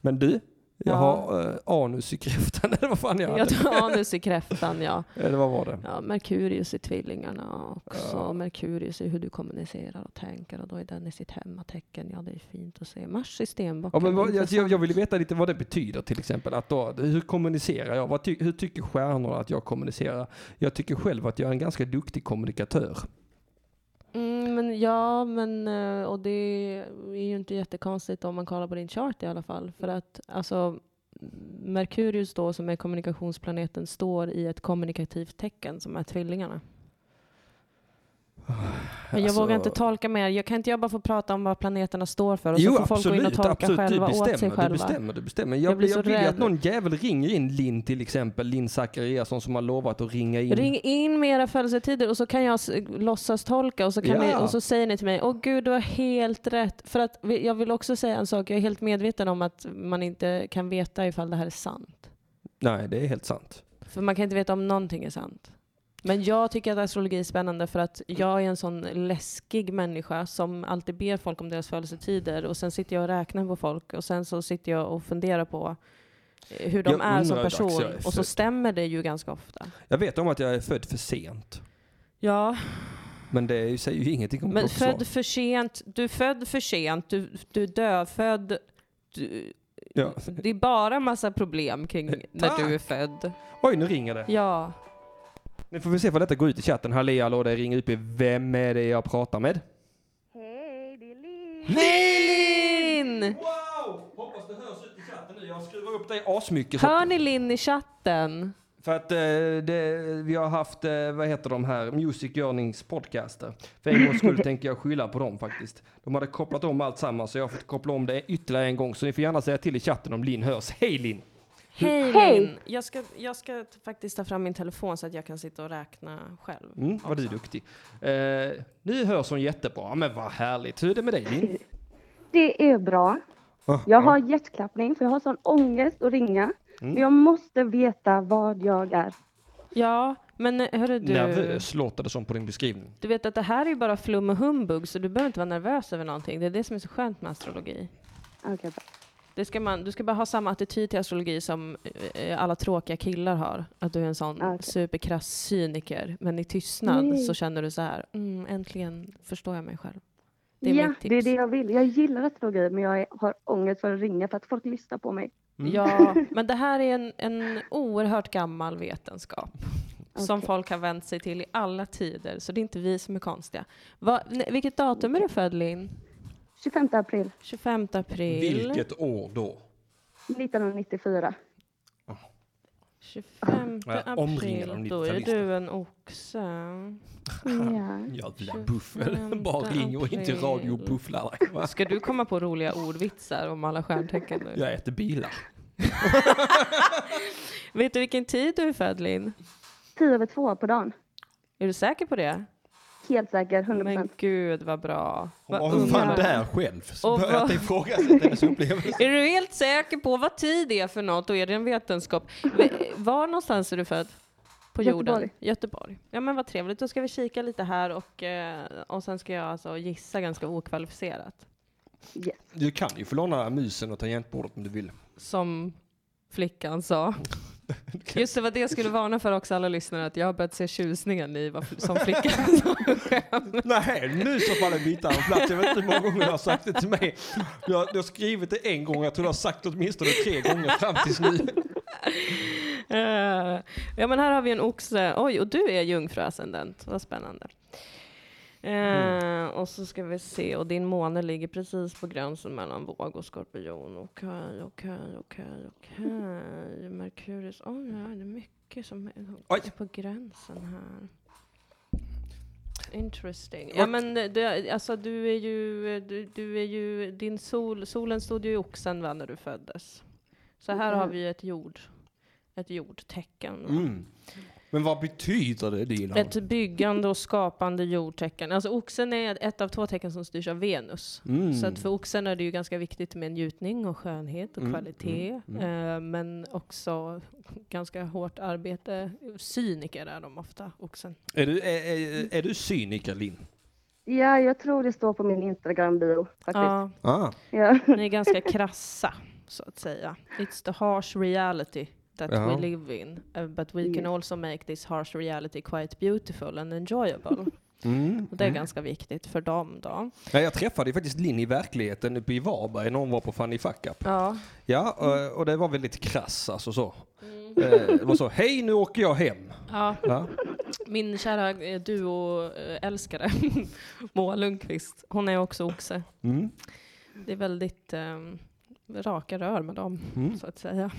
Speaker 1: Men du, jag
Speaker 2: Ja.
Speaker 1: har eh, anus i kräftan eller vad fan jag hade.
Speaker 2: Jag tar anus i kräftan, ja.
Speaker 1: Eller vad var det?
Speaker 2: ja. Merkurius i tvillingarna också.
Speaker 1: Ja.
Speaker 2: Merkurius i hur du kommunicerar och tänker. Och då är den i sitt hemmatecken. Ja, det är fint att se. Mars i
Speaker 1: Ja,
Speaker 2: stenbocken.
Speaker 1: men vad, jag,
Speaker 2: Intressant.
Speaker 1: jag jag vill veta lite vad det betyder till exempel. Att då, hur kommunicerar jag? Vad ty, hur tycker stjärnorna att jag kommunicerar? Jag tycker själv att jag är en ganska duktig kommunikatör.
Speaker 2: Mm, men ja, men eh, och det är ju inte jättekonstigt om man kollar på din chart i alla fall. För att alltså, Merkurius då som är kommunikationsplaneten står i ett kommunikativt tecken som är tvillingarna. Men jag
Speaker 1: Alltså-
Speaker 2: vågar inte tolka mer. Jag kan inte jag bara få prata om vad planeterna står för och
Speaker 1: jo
Speaker 2: så får folk gå in och
Speaker 1: absolut,
Speaker 2: tolka
Speaker 1: absolut.
Speaker 2: själva
Speaker 1: du bestämmer,
Speaker 2: åt sig
Speaker 1: du
Speaker 2: själva.
Speaker 1: bestämmer, du bestämmer. Jag,
Speaker 2: Jag blir
Speaker 1: jag,
Speaker 2: så
Speaker 1: vill ju
Speaker 2: rädd.
Speaker 1: att någon jävel ringer in Linn till exempel, Linn Zachariasson som har lovat att ringa in.
Speaker 2: Ring in med era födelsetider och så kan jag s- låtsas tolka och så, kan
Speaker 1: Ja.
Speaker 2: ni, och så säger ni till mig, åh gud du har helt rätt. För att vi- jag vill också säga en sak, jag är helt medveten om att man inte kan veta ifall det här är sant.
Speaker 1: Nej, det är helt sant.
Speaker 2: För man kan inte veta om någonting är sant. Men jag tycker att astrologi är spännande för att jag är en sån läskig människa som alltid ber folk om deras födelsetider och sen sitter jag och räknar på folk och sen så sitter jag och funderar på eh, hur de
Speaker 1: Jag
Speaker 2: är som
Speaker 1: undrar dags jag
Speaker 2: person.
Speaker 1: är
Speaker 2: Och så
Speaker 1: född.
Speaker 2: stämmer det ju ganska ofta.
Speaker 1: Jag vet om att jag är född för sent.
Speaker 2: Ja,
Speaker 1: Men det är ju- säger ju ingenting om
Speaker 2: Men
Speaker 1: vårt svar.
Speaker 2: född för sent, du är född för sent, du, du är dödfödd. Du,
Speaker 1: Ja.
Speaker 2: det är bara massa problem kring när du är född.
Speaker 1: Oj, nu ringer det.
Speaker 2: Ja.
Speaker 1: Nu får vi se vad detta går ut i chatten. Halli hallå, det ringer upp i Vem är det jag pratar med?
Speaker 2: Linn!
Speaker 1: Wow! Hoppas det hörs ut i chatten nu. Jag skruvar upp dig asmycket. Så
Speaker 2: Hör ni Linn i chatten?
Speaker 1: för att eh, det, vi har haft, eh, vad heter de här, Music Yearnings podcaster. För en gångs skull tänker jag skylla på dem faktiskt. De hade kopplat om allt samman så jag har fått koppla om det ytterligare en gång. Så ni får gärna säga till i chatten om Linn hörs. Hej Linn!
Speaker 2: Hej
Speaker 7: Hej.
Speaker 2: Linn! Jag ska, jag ska t- faktiskt ta fram min telefon så att jag kan sitta och räkna själv.
Speaker 1: Mm, vad du är duktig. Eh, nu hörs hon jättebra, men vad härligt. Hur är det med dig Linn?
Speaker 7: Det är bra. Jag har hjärtklappning för jag har sån ångest att ringa. Men jag måste veta vad jag är.
Speaker 2: Ja, men eh, hörru du.
Speaker 1: Nervös låter det som på din beskrivning.
Speaker 2: Du vet att det här är ju bara flum och humbug så du behöver inte vara nervös över någonting. Det är det som är så skönt med astrologi.
Speaker 7: Okej, bra.
Speaker 2: Det ska man, du ska bara ha samma attityd till astrologi som eh, alla tråkiga killar har. Att du är en sån
Speaker 7: Ah, Okej.
Speaker 2: superkrass cyniker. Men i tystnad
Speaker 7: Nej.
Speaker 2: så känner du så här, mm, äntligen förstår jag mig själv. Det är
Speaker 7: ja,
Speaker 2: mitt tips.
Speaker 7: det är det jag vill. Jag gillar astrologi men jag är, har ångest för att ringa för att folk lyssnar på mig.
Speaker 1: Mm.
Speaker 2: Ja, men det här är en, en oerhört gammal vetenskap. Som
Speaker 7: Okej.
Speaker 2: folk har vänt sig till i alla tider, så det är inte vi som är konstiga. Va, nej, vilket datum är du född Linn?
Speaker 7: 25 april
Speaker 2: 25 april.
Speaker 1: Vilket år då?
Speaker 7: 1994.
Speaker 2: 25
Speaker 1: Ja, omringad
Speaker 2: april,
Speaker 1: av
Speaker 2: då är
Speaker 1: 90-talister.
Speaker 2: du en oxe.
Speaker 7: Ja.
Speaker 1: Jävla
Speaker 2: buffel. Bara ring och inte radiobufflar. Ska du komma på roliga ordvitsar om alla stjärntecken nu?
Speaker 1: Jag äter bilar.
Speaker 2: Vet du vilken tid du är född Linn?
Speaker 7: 10 över 2 på dagen.
Speaker 2: Är du säker på det?
Speaker 7: Helt säker, 100
Speaker 2: Men gud vad bra.
Speaker 6: Hon
Speaker 2: Vad
Speaker 6: var väl fan
Speaker 2: underbart.
Speaker 6: där själv. Så
Speaker 2: Och
Speaker 6: började
Speaker 2: vad-
Speaker 6: jag ifrågasätta hennes upplevelse.
Speaker 2: Är du helt säker på vad tid det är för något och är det en vetenskap? V- Var någonstans är du född? På jorden?
Speaker 7: Göteborg.
Speaker 2: Göteborg. Ja men vad trevligt, då ska vi kika lite här och, eh, och sen ska jag alltså gissa ganska okvalificerat.
Speaker 7: Yes.
Speaker 1: Du kan ju få låna musen och tangentbordet om du vill.
Speaker 2: Som flickan sa. Just det, vad det jag skulle varna för också alla lyssnare, att jag har börjat se tjusningen i vad fl- som flickan sa.
Speaker 1: Nej, nu så faller bitar av plats. Jag vet inte hur många gånger du har sagt det till mig. Jag, du har skrivit det en gång, jag tror du har sagt det åtminstone tre gånger fram tills nu.
Speaker 2: Eh, ja men här har vi en oxe. Oj, och du är jungfruascendent. Vad spännande. Eh, Och så ska vi se, och din måne ligger precis på gränsen mellan våg och skorpion. Okej, okej, okej, okej. Merkurius, oj, ja, det är mycket som är
Speaker 1: Oj.
Speaker 2: på gränsen här. Interesting. Ja men det, alltså du är ju, du, du är ju, din sol, solen stod ju i oxen va, när du föddes. Så här har vi ju ett jord, ett jordtecken. va?
Speaker 1: Mm. Men vad betyder det, Dilan?
Speaker 2: Ett byggande och skapande jordtecken. Alltså oxen är ett av två tecken som styrs av Venus.
Speaker 1: Mm.
Speaker 2: Så att för oxen är det ju ganska viktigt med njutning och skönhet och
Speaker 1: Mm.
Speaker 2: kvalitet. Eh, men också ganska hårt arbete. Cyniker är de ofta, oxen.
Speaker 1: Är, du, är, är, är du cyniker, Linn?
Speaker 7: Ja, jag tror det står på min Instagram-bio faktiskt. Ja.
Speaker 2: Ja,
Speaker 1: Ah.
Speaker 2: ni är ganska krassa, så att säga. It's the harsh reality that
Speaker 1: Ja.
Speaker 2: we live in. eh, but we can also make this harsh reality quite beautiful and enjoyable.
Speaker 1: Mm.
Speaker 2: Och det är ganska viktigt för dem då.
Speaker 1: Ja, jag träffade ju faktiskt Linn i verkligheten uppe i Varberg när hon var på Fanny Fuck Up.
Speaker 2: Ja,
Speaker 1: Ja,
Speaker 2: Mm.
Speaker 1: eh, och, och det var väldigt krass alltså så. Eh, Det var så, hej nu åker jag hem.
Speaker 2: ja
Speaker 1: Ja.
Speaker 2: Min kära eh, duo-älskare, Moa Lundqvist, hon är också oxe.
Speaker 1: Mm.
Speaker 2: Det är väldigt eh, raka rör med dem, så att säga.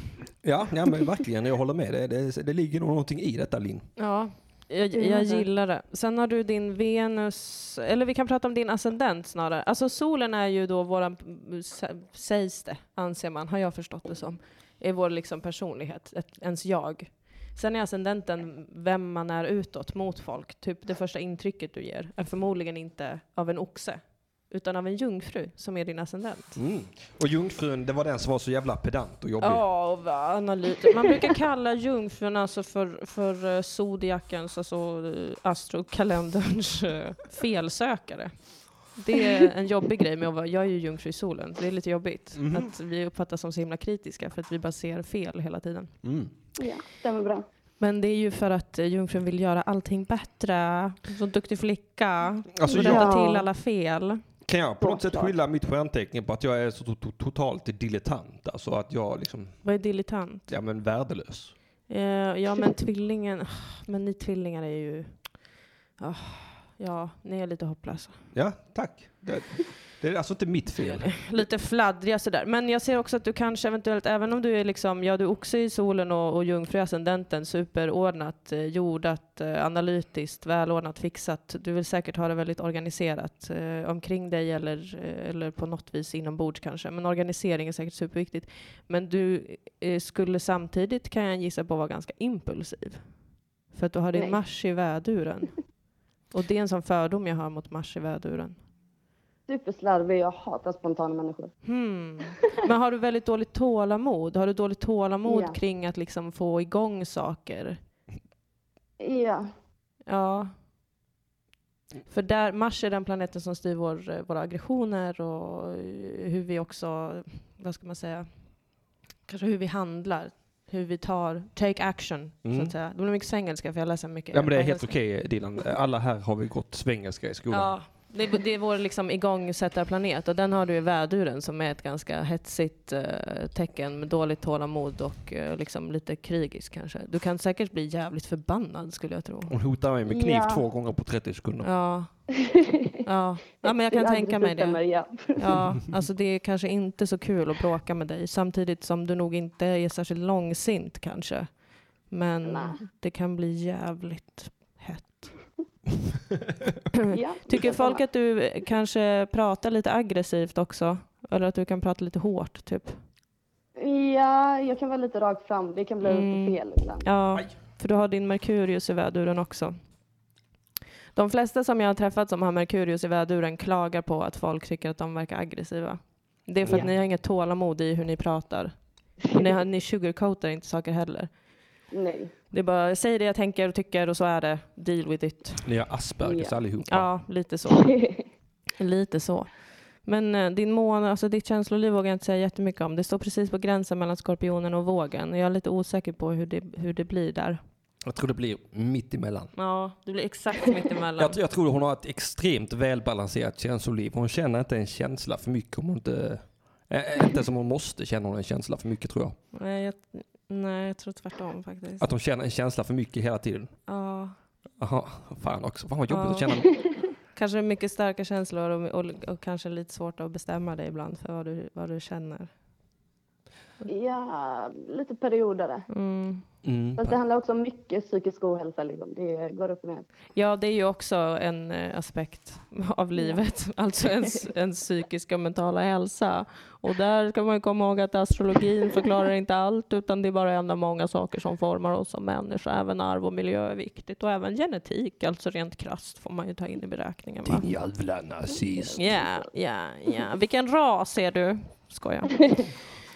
Speaker 1: Ja, ja, men verkligen, jag håller med. Det, det, det ligger nog någonting i detta Linn.
Speaker 2: Ja, jag, jag gillar det. Sen har du din Venus, eller vi kan prata om din ascendent snarare. Alltså solen är ju då våran, sä- sägs det, anser man, har jag förstått det som, är vår liksom personlighet, ett, ens jag. Sen är ascendenten vem man är utåt mot folk. Typ det första intrycket du ger är förmodligen inte av en oxe, utan av en jungfru som är din ascendent.
Speaker 1: Mm. Och jungfrun, det var den som var så jävla pedant och jobbig.
Speaker 2: Ja, och vad analytiskt. Man brukar kalla jungfrun alltså för, för eh, zodiakens, alltså eh, astrokalenderns eh, felsökare. Det är en jobbig grej med att vara, jag är ju jungfru i solen, det är lite jobbigt. Att vi uppfattas som så himla kritiska för att vi bara ser fel hela tiden.
Speaker 1: Mm.
Speaker 7: ja, stämmer bra.
Speaker 2: Men det är ju för att eh, jungfrun vill göra allting bättre. Som duktig flicka.
Speaker 1: Alltså,
Speaker 2: och rätta
Speaker 7: jag-
Speaker 2: till alla fel.
Speaker 1: Kan jag på något sätt skylla mitt stjärntecken på att jag är så to- to- totalt dilettant? Alltså att jag liksom,
Speaker 2: Vad är dilettant?
Speaker 1: ja men värdelös.
Speaker 2: Eh, ja men tvillingen, ah, men ni tvillingar är ju... ah, Ja, ni är lite hopplösa.
Speaker 1: Ja, tack. Det, det är alltså inte mitt fel.
Speaker 2: Lite fladdriga sådär. Men jag ser också att du kanske eventuellt, även om du är liksom, ja du är oxe i solen och, och jungfru i ascendenten, superordnat, eh, jordat, eh, analytiskt, välordnat, fixat. Du vill säkert ha det väldigt organiserat eh, omkring dig eller, eh, eller på något vis inombords kanske. Men organisering är säkert superviktigt. Men du eh, skulle samtidigt, kan jag gissa på, vara ganska impulsiv. För att du har din
Speaker 7: Nej.
Speaker 2: Mars i väduren. Och det är en sån fördom jag har mot Mars i väduren.
Speaker 7: Superslarvig, jag hatar spontana människor.
Speaker 2: Hmm. Men har du väldigt dåligt tålamod? Har du dåligt tålamod
Speaker 7: Ja.
Speaker 2: kring att liksom få igång saker?
Speaker 7: Ja.
Speaker 2: Ja. För där, Mars är den planeten som styr vår, eh, våra aggressioner och eh, hur vi också, vad ska man säga, kanske hur vi handlar. Hur vi tar, take action, så
Speaker 1: Mm.
Speaker 2: att säga. Det blir mycket svengelska för jag läser mycket.
Speaker 1: Ja, men det är helt
Speaker 2: engelska.
Speaker 1: okej Dilan. Alla här har vi gått svengelska i skolan.
Speaker 2: Ja, det, det är vår liksom igångsättarplanet och den har du i väduren som är ett ganska hetsigt eh, tecken med dåligt tålamod och eh, liksom lite krigisk kanske. Du kan säkert bli jävligt förbannad skulle jag tro.
Speaker 1: Hon hotar mig med kniv
Speaker 7: Ja.
Speaker 1: två gånger på 30 sekunder.
Speaker 2: Ja. Ja. ja, men jag kan tänka mig det.
Speaker 7: Ja.
Speaker 2: Ja, alltså det är kanske inte så kul att bråka med dig samtidigt som du nog inte är särskilt långsint kanske. Men
Speaker 7: Nej.
Speaker 2: det kan bli jävligt hett.
Speaker 7: Ja,
Speaker 2: Mm. Tycker
Speaker 7: detsamma.
Speaker 2: folk att du kanske pratar lite aggressivt också? Eller att du kan prata lite hårt, typ?
Speaker 7: Ja, jag kan vara lite rakt fram. Det kan bli
Speaker 2: Mm.
Speaker 7: lite fel ibland.
Speaker 2: Ja,
Speaker 1: Aj.
Speaker 2: för du har din Merkurius i väduren också. De flesta som jag har träffat som har Merkurius i väduren klagar på att folk tycker att de verkar aggressiva. Det är för att
Speaker 7: Ja.
Speaker 2: ni har inget tålamod i hur ni pratar. Och ni, har, ni sugarcoatar inte saker heller.
Speaker 7: Nej.
Speaker 2: Det är bara, säg det jag tänker och tycker och så är det. Deal with it.
Speaker 1: Ni har Aspergers
Speaker 7: Ja.
Speaker 1: allihopa.
Speaker 2: Ja, lite så. Lite så. Men eh, din måne, alltså ditt känsloliv vågar jag inte säga jättemycket om. Det står precis på gränsen mellan skorpionen och vågen. Jag är lite osäker på hur det, hur det blir där.
Speaker 1: Jag tror det blir mitt emellan.
Speaker 2: Ja, du blir exakt mittemellan.
Speaker 1: Jag, jag tror hon har ett extremt välbalanserat känsloliv. Hon känner inte en känsla för mycket om hon inte... eh, Inte som hon måste känner hon en känsla för mycket tror jag.
Speaker 2: nej, jag, nej, jag tror tvärtom faktiskt.
Speaker 1: Att hon känner en känsla för mycket hela tiden.
Speaker 2: Ja,
Speaker 1: Aha, fan också, fan vad jobbigt att
Speaker 2: Ja.
Speaker 1: känna.
Speaker 2: kanske mycket starka känslor och, och, och kanske lite svårt att bestämma dig ibland för vad du, vad du känner.
Speaker 7: Ja, lite perioder.
Speaker 2: Mm.
Speaker 1: Mm.
Speaker 7: Fast det handlar också om mycket psykisk ohälsa. Liksom. Det går upp och ner.
Speaker 2: Ja, det är ju också en eh, aspekt av livet, alltså ens, ens psykiska och mentala hälsa. Och där ska man ju komma ihåg att astrologin förklarar inte allt, utan det är bara en av många saker som formar oss som människor. Även arv och miljö är viktigt, och även genetik, alltså rent krasst får man ju ta in i beräkningen. Va?
Speaker 1: Din jävla nazist.
Speaker 2: Ja, ja, ja. Vilken ras är du? Skojar.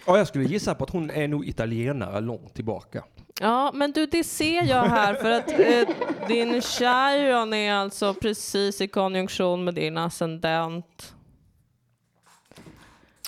Speaker 1: Ja, jag skulle gissa på att hon är nog italienare långt tillbaka.
Speaker 2: Ja, men du, det ser jag här för att eh, din Chiron är alltså precis i konjunktion med din ascendent.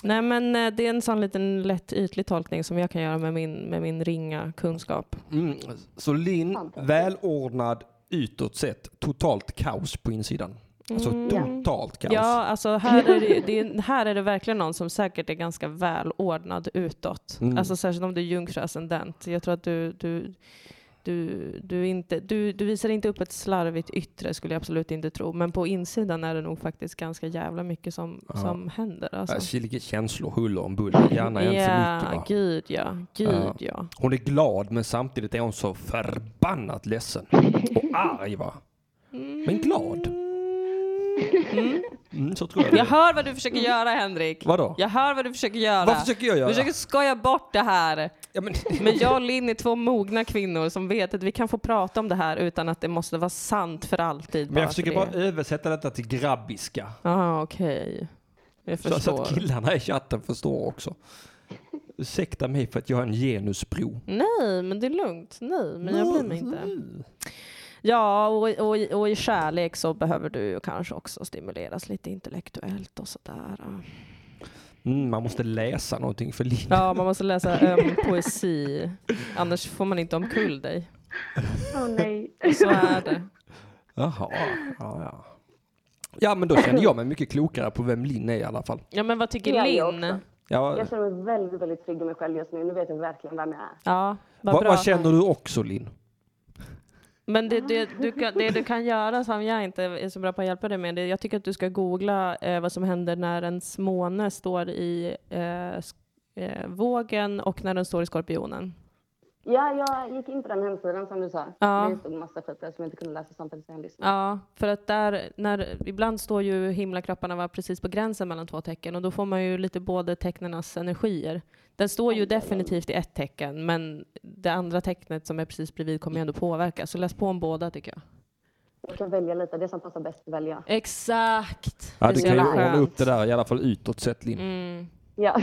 Speaker 2: Nej, men eh, det är en sån liten lätt ytlig tolkning som jag kan göra med min, med min ringa kunskap.
Speaker 1: Mm. Så Linn, välordnad utåt sett, totalt kaos på insidan. Alltså totalt kaos.
Speaker 2: Ja, alltså här är det, det, är- här är det verkligen någon som säkert är ganska välordnad utåt.
Speaker 1: Mm.
Speaker 2: Alltså särskilt om du är jungfru ascendent. Jag tror att du, du, du, du, inte, du, du visar inte upp ett slarvigt yttre skulle jag absolut inte tro. Men på insidan är det nog faktiskt ganska jävla mycket som,
Speaker 1: Ja.
Speaker 2: som händer.
Speaker 1: Äh,
Speaker 2: Alltså.
Speaker 1: Kilike känslor, huller om buller, gärna en för mycket.
Speaker 2: Ja,
Speaker 1: Va?
Speaker 2: gud ja. Gud
Speaker 1: Ja.
Speaker 2: ja.
Speaker 1: Hon är glad men samtidigt är hon så förbannat ledsen och arg va. Men glad.
Speaker 2: Mm.
Speaker 1: Mm, så tror jag. det
Speaker 2: Jag
Speaker 1: är.
Speaker 2: hör vad du försöker göra Henrik.
Speaker 1: Vadå?
Speaker 2: Jag hör vad du försöker göra.
Speaker 1: Vad försöker jag göra?
Speaker 2: Du försöker skoja bort det här.
Speaker 1: Ja, men,
Speaker 2: Men jag och Linn är två mogna kvinnor som vet att vi kan få prata om det här utan att det måste vara sant för alltid.
Speaker 1: men jag
Speaker 2: för
Speaker 1: försöker
Speaker 2: det.
Speaker 1: bara översätta detta till grabbiska.
Speaker 2: Ah, okej. Jag
Speaker 1: Så,
Speaker 2: förstår.
Speaker 1: så att killarna i chatten förstår också. Ursäkta mig för att jag har en genusbro.
Speaker 2: Nej, men det är lugnt. Nej, men jag bryr mig inte. Ja, och, och, och i kärlek så behöver du ju kanske också stimuleras lite intellektuellt och sådär.
Speaker 1: Mm, man måste läsa någonting för Linn.
Speaker 2: Ja, man måste läsa öm poesi. Annars får man inte omkull dig.
Speaker 7: Åh nej.
Speaker 2: Så är det.
Speaker 1: Jaha. Ja, ja. ja, men då känner jag mig mycket klokare på vem Linn är i alla fall.
Speaker 2: Ja, men vad tycker
Speaker 7: Ja, jag
Speaker 2: Linn?
Speaker 7: också.
Speaker 1: Ja,
Speaker 7: Jag känner mig väldigt, väldigt trygg i mig själv just nu. Nu vet jag verkligen vem jag är.
Speaker 2: Ja, vad
Speaker 1: vad,
Speaker 2: bra.
Speaker 1: vad känner du också Linn?
Speaker 2: Men det, det, du, kan- det du kan göra som jag inte är så bra på att hjälpa dig med, det, jag tycker att du ska googla eh, vad som händer när en måne står i eh, sk- eh, vågen och när den står i skorpionen.
Speaker 8: Ja, jag gick in på den hemsidan som du sa.
Speaker 2: Ja.
Speaker 8: Det stod massa skit där som jag inte kunde läsa samtidigt som jag lyssnade.
Speaker 2: Ja, för att där, när, ibland står ju himlakropparna var precis på gränsen mellan två tecken och då får man ju lite både tecknenas energier. Den står ju definitivt i ett tecken, men det andra tecknet som är precis bredvid kommer ju ändå påverka. Så läs på om båda tycker jag.
Speaker 8: Jag kan välja lite, det som passar bäst välja.
Speaker 2: Exakt!
Speaker 1: Ja,
Speaker 2: Det är
Speaker 1: du
Speaker 2: så
Speaker 1: kan ju
Speaker 2: jävla
Speaker 1: ordna
Speaker 2: skönt.
Speaker 1: upp det där i alla fall utåt sett, Linn.
Speaker 2: Mm,
Speaker 8: Ja.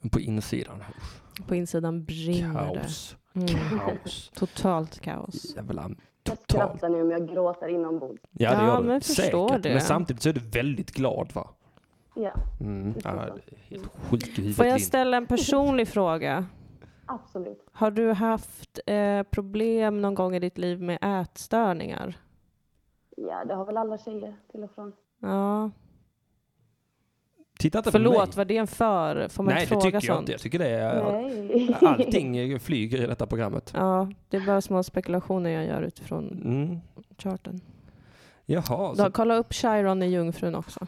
Speaker 1: Men på insidan, usch,
Speaker 2: på insidan brinner det.
Speaker 1: kaos.
Speaker 2: Mm,
Speaker 1: Kaos.
Speaker 2: totalt kaos.
Speaker 1: Jävla
Speaker 8: jag
Speaker 1: total.
Speaker 8: skrattar nu men jag gråter inombords.
Speaker 1: Ja, det
Speaker 2: Ja,
Speaker 1: gör du.
Speaker 2: men jag förstår
Speaker 1: Säkert.
Speaker 2: det.
Speaker 1: Men samtidigt så är du väldigt glad, va?
Speaker 8: Ja,
Speaker 1: Mm. Ja, det är helt sjuk i
Speaker 2: Får
Speaker 1: huvudet,
Speaker 2: jag
Speaker 1: Linn.
Speaker 2: ställa en personlig fråga?
Speaker 8: absolut.
Speaker 2: Har du haft eh, problem någon gång i ditt liv med ätstörningar?
Speaker 8: Ja, det har väl alla tjejer till och från.
Speaker 2: Ja.
Speaker 1: Titta inte på mig.
Speaker 2: Förlåt, var det en för? Får man
Speaker 1: Nej,
Speaker 2: inte
Speaker 1: det
Speaker 2: fråga
Speaker 1: tycker jag
Speaker 2: sånt?
Speaker 1: inte. Jag tycker det är...
Speaker 8: Nej.
Speaker 1: Allting flyger i detta programmet.
Speaker 2: Ja, det är bara små spekulationer jag gör utifrån
Speaker 1: Mm.
Speaker 2: charten.
Speaker 1: Jaha,
Speaker 2: Då,
Speaker 1: så,
Speaker 2: kolla upp Chiron i Jungfrun också.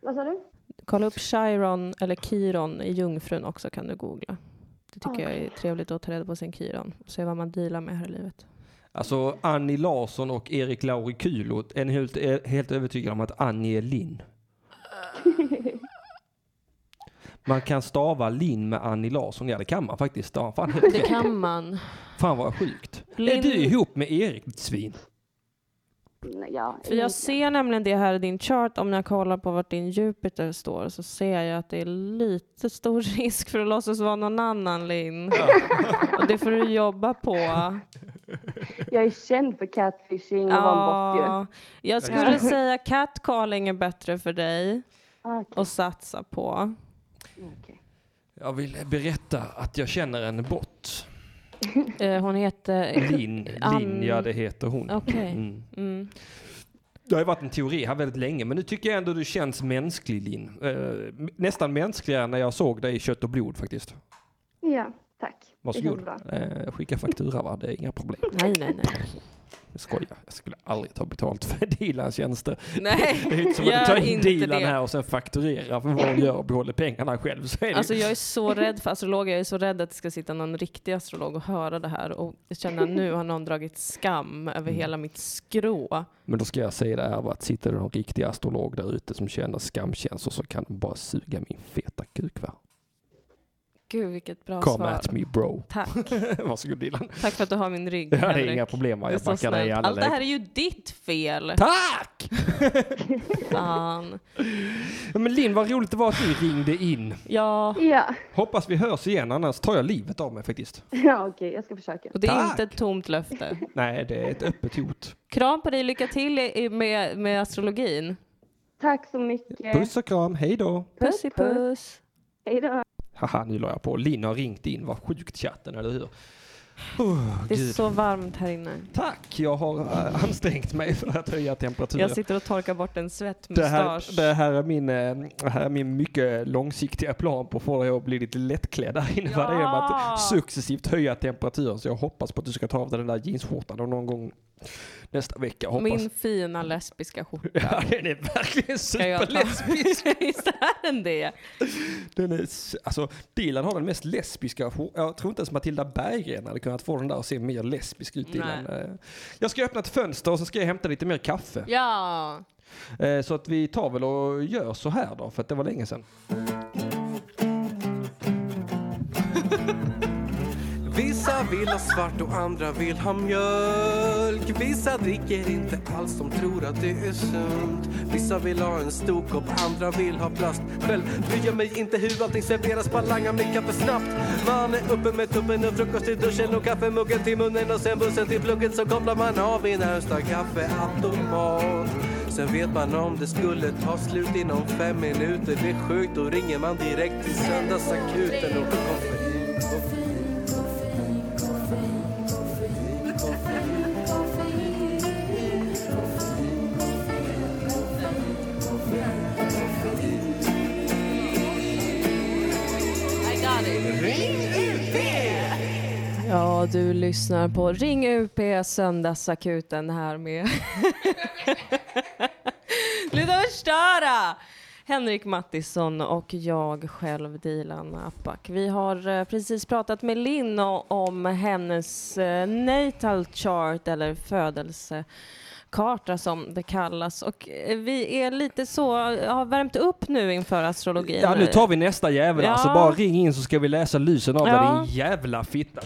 Speaker 8: Vad sa du?
Speaker 2: Kolla upp Chiron eller Kiron i Jungfrun också kan du googla. Det tycker jag är trevligt att ta reda på sin Kiron och se vad man dealar med här i livet.
Speaker 1: alltså Annie Larsson och Erik Laurikulo är ni helt, är helt övertygad om att Annie är Linn. Man kan stava Linn med Annie Larsson. Ja, det kan man faktiskt. Ja, Fan, helt
Speaker 2: Det
Speaker 1: rätt.
Speaker 2: kan man.
Speaker 1: Fan vad sjukt. Är
Speaker 2: Linn-
Speaker 1: du ihop med Erik, ditt svin?
Speaker 8: Nej, ja.
Speaker 2: För jag ser nämligen det här i din chart, om jag kollar på vart din Jupiter står så ser jag att det är lite stor risk för att låtsas vara någon annan Linn. Och det får du jobba på.
Speaker 8: jag är känd för catfishing och vara en bot ju.
Speaker 2: Ja, jag skulle säga catcalling är bättre för dig
Speaker 8: Ah,
Speaker 2: att satsa på.
Speaker 1: Jag vill berätta att jag känner en bot.
Speaker 2: Eh, Hon heter...
Speaker 1: Linn, Linn, ja det heter hon.
Speaker 2: Okej.
Speaker 1: Mm.
Speaker 2: Mm.
Speaker 1: Det har ju varit en teori här väldigt länge, men nu tycker jag ändå du känns mänsklig Linn. Eh, nästan mänskligare än när jag såg dig i kött och blod faktiskt.
Speaker 8: Ja, tack.
Speaker 1: Varsågod.
Speaker 8: Det känns
Speaker 1: Eh, skicka faktura va, det är inga problem.
Speaker 2: Nej, nej, nej.
Speaker 1: Jag skojar, jag skulle aldrig ta betalt för Dilans tjänster. Det är ju
Speaker 2: Nej,
Speaker 1: inte som att du tar in Dilan här och sen fakturerar för vad hon gör och behåller pengarna själv. Så är det ju-
Speaker 2: Alltså jag är så rädd för astrologer, jag är så rädd att det ska sitta någon riktig astrolog och höra det här och känna nu har någon dragit skam över hela mitt skrå.
Speaker 1: Men då ska jag säga det här va, att sitter det någon riktig astrolog där ute som känner skamkänslor så kan de bara suga min feta kuk va.
Speaker 2: Gud vilket bra
Speaker 1: Come
Speaker 2: svar.
Speaker 1: at me bro.
Speaker 2: Tack.
Speaker 1: Varsågod Dilan.
Speaker 2: Tack för att du har min rygg
Speaker 1: Ja, det
Speaker 2: Henrik.
Speaker 1: är inga problem va,
Speaker 2: Det är
Speaker 1: jag
Speaker 2: så
Speaker 1: backar dig i
Speaker 2: snällt.
Speaker 1: alla
Speaker 2: Allt det här
Speaker 1: lägen.
Speaker 2: är ju ditt fel.
Speaker 1: Tack!
Speaker 2: Fan.
Speaker 1: Ja, men Linn, vad roligt det var att du ringde in.
Speaker 2: Ja,
Speaker 8: kul. Ja,
Speaker 1: Hoppas vi hörs igen, annars tar jag livet av mig faktiskt.
Speaker 8: ja okej, jag ska försöka.
Speaker 2: och det är
Speaker 1: Tack.
Speaker 2: inte ett tomt löfte.
Speaker 1: Nej, det är ett öppet hot.
Speaker 2: Kram på dig, lycka till i- i- med, med astrologin.
Speaker 8: Tack så mycket.
Speaker 1: Puss och kram, hej då!
Speaker 2: Puss i puss.
Speaker 8: Hej då.
Speaker 1: Haha, nu la jag på. Linn har ringt in, vad sjukt chatten, eller hur?
Speaker 2: Det är
Speaker 1: Gud.
Speaker 2: så varmt här inne.
Speaker 1: Tack, jag har äh, ansträngt mig för att höja temperaturen.
Speaker 2: Jag sitter och torkar bort
Speaker 1: Det
Speaker 2: en
Speaker 1: här,
Speaker 2: svettmustasch.
Speaker 1: det, här är min, eh, det här är min mycket långsiktiga plan på att få dig att bli lite lättklädd här inne. Ja. Det är med att successivt höja temperaturen. Så jag hoppas på att du ska ta av dig den där jeansskjortan och någon gång nästa vecka. Hoppas.
Speaker 2: Min fina lesbiska skjorta.
Speaker 1: Ja, den är verkligen
Speaker 2: Ska jag ta?
Speaker 1: superlätt.
Speaker 2: Visst är den det?
Speaker 1: Den är, s- alltså, Dilan har den mest lesbiska. hår- Jag tror inte ens Matilda Berggren hade kunnat få den där att se mer lesbisk ut. Dilan. Eh, Jag ska öppna ett fönster och så ska jag hämta lite mer kaffe.
Speaker 2: Ja.
Speaker 1: Eh, Så att vi tar väl och gör så här då, för att det var länge sedan.
Speaker 9: Vissa vill ha svart och andra vill ha mjölk Vissa dricker inte alls, de tror att det är sunt Vissa vill ha en stor kopp, andra vill ha plast Själv bryr jag mig inte hur allting serveras, bara langar mitt kaffe snabbt Man är uppe med tuppen och frukost i duschen och kaffemuggen till munnen och sen bussen till plugget så kopplar man av i närmsta kaffeautomat Sen vet man om det skulle ta slut inom fem minuter Det är sjukt, då ringer man direkt till söndagsakuten och koffein
Speaker 2: Ja, och du lyssnar på Ring UP Söndagsakuten här med Sluta förstöra! Henrik Mattisson och jag själv, Dilan Apak. Vi har eh, precis pratat med Linn o- om hennes eh, natal chart, eller födelsekarta som det kallas. Och eh, vi är lite så, har värmt upp nu inför astrologin.
Speaker 1: Ja, nu tar vi nästa jävel
Speaker 2: Ja.
Speaker 1: alltså. Bara ring in så ska vi läsa lysen av
Speaker 2: Ja.
Speaker 1: dig, din jävla fitta.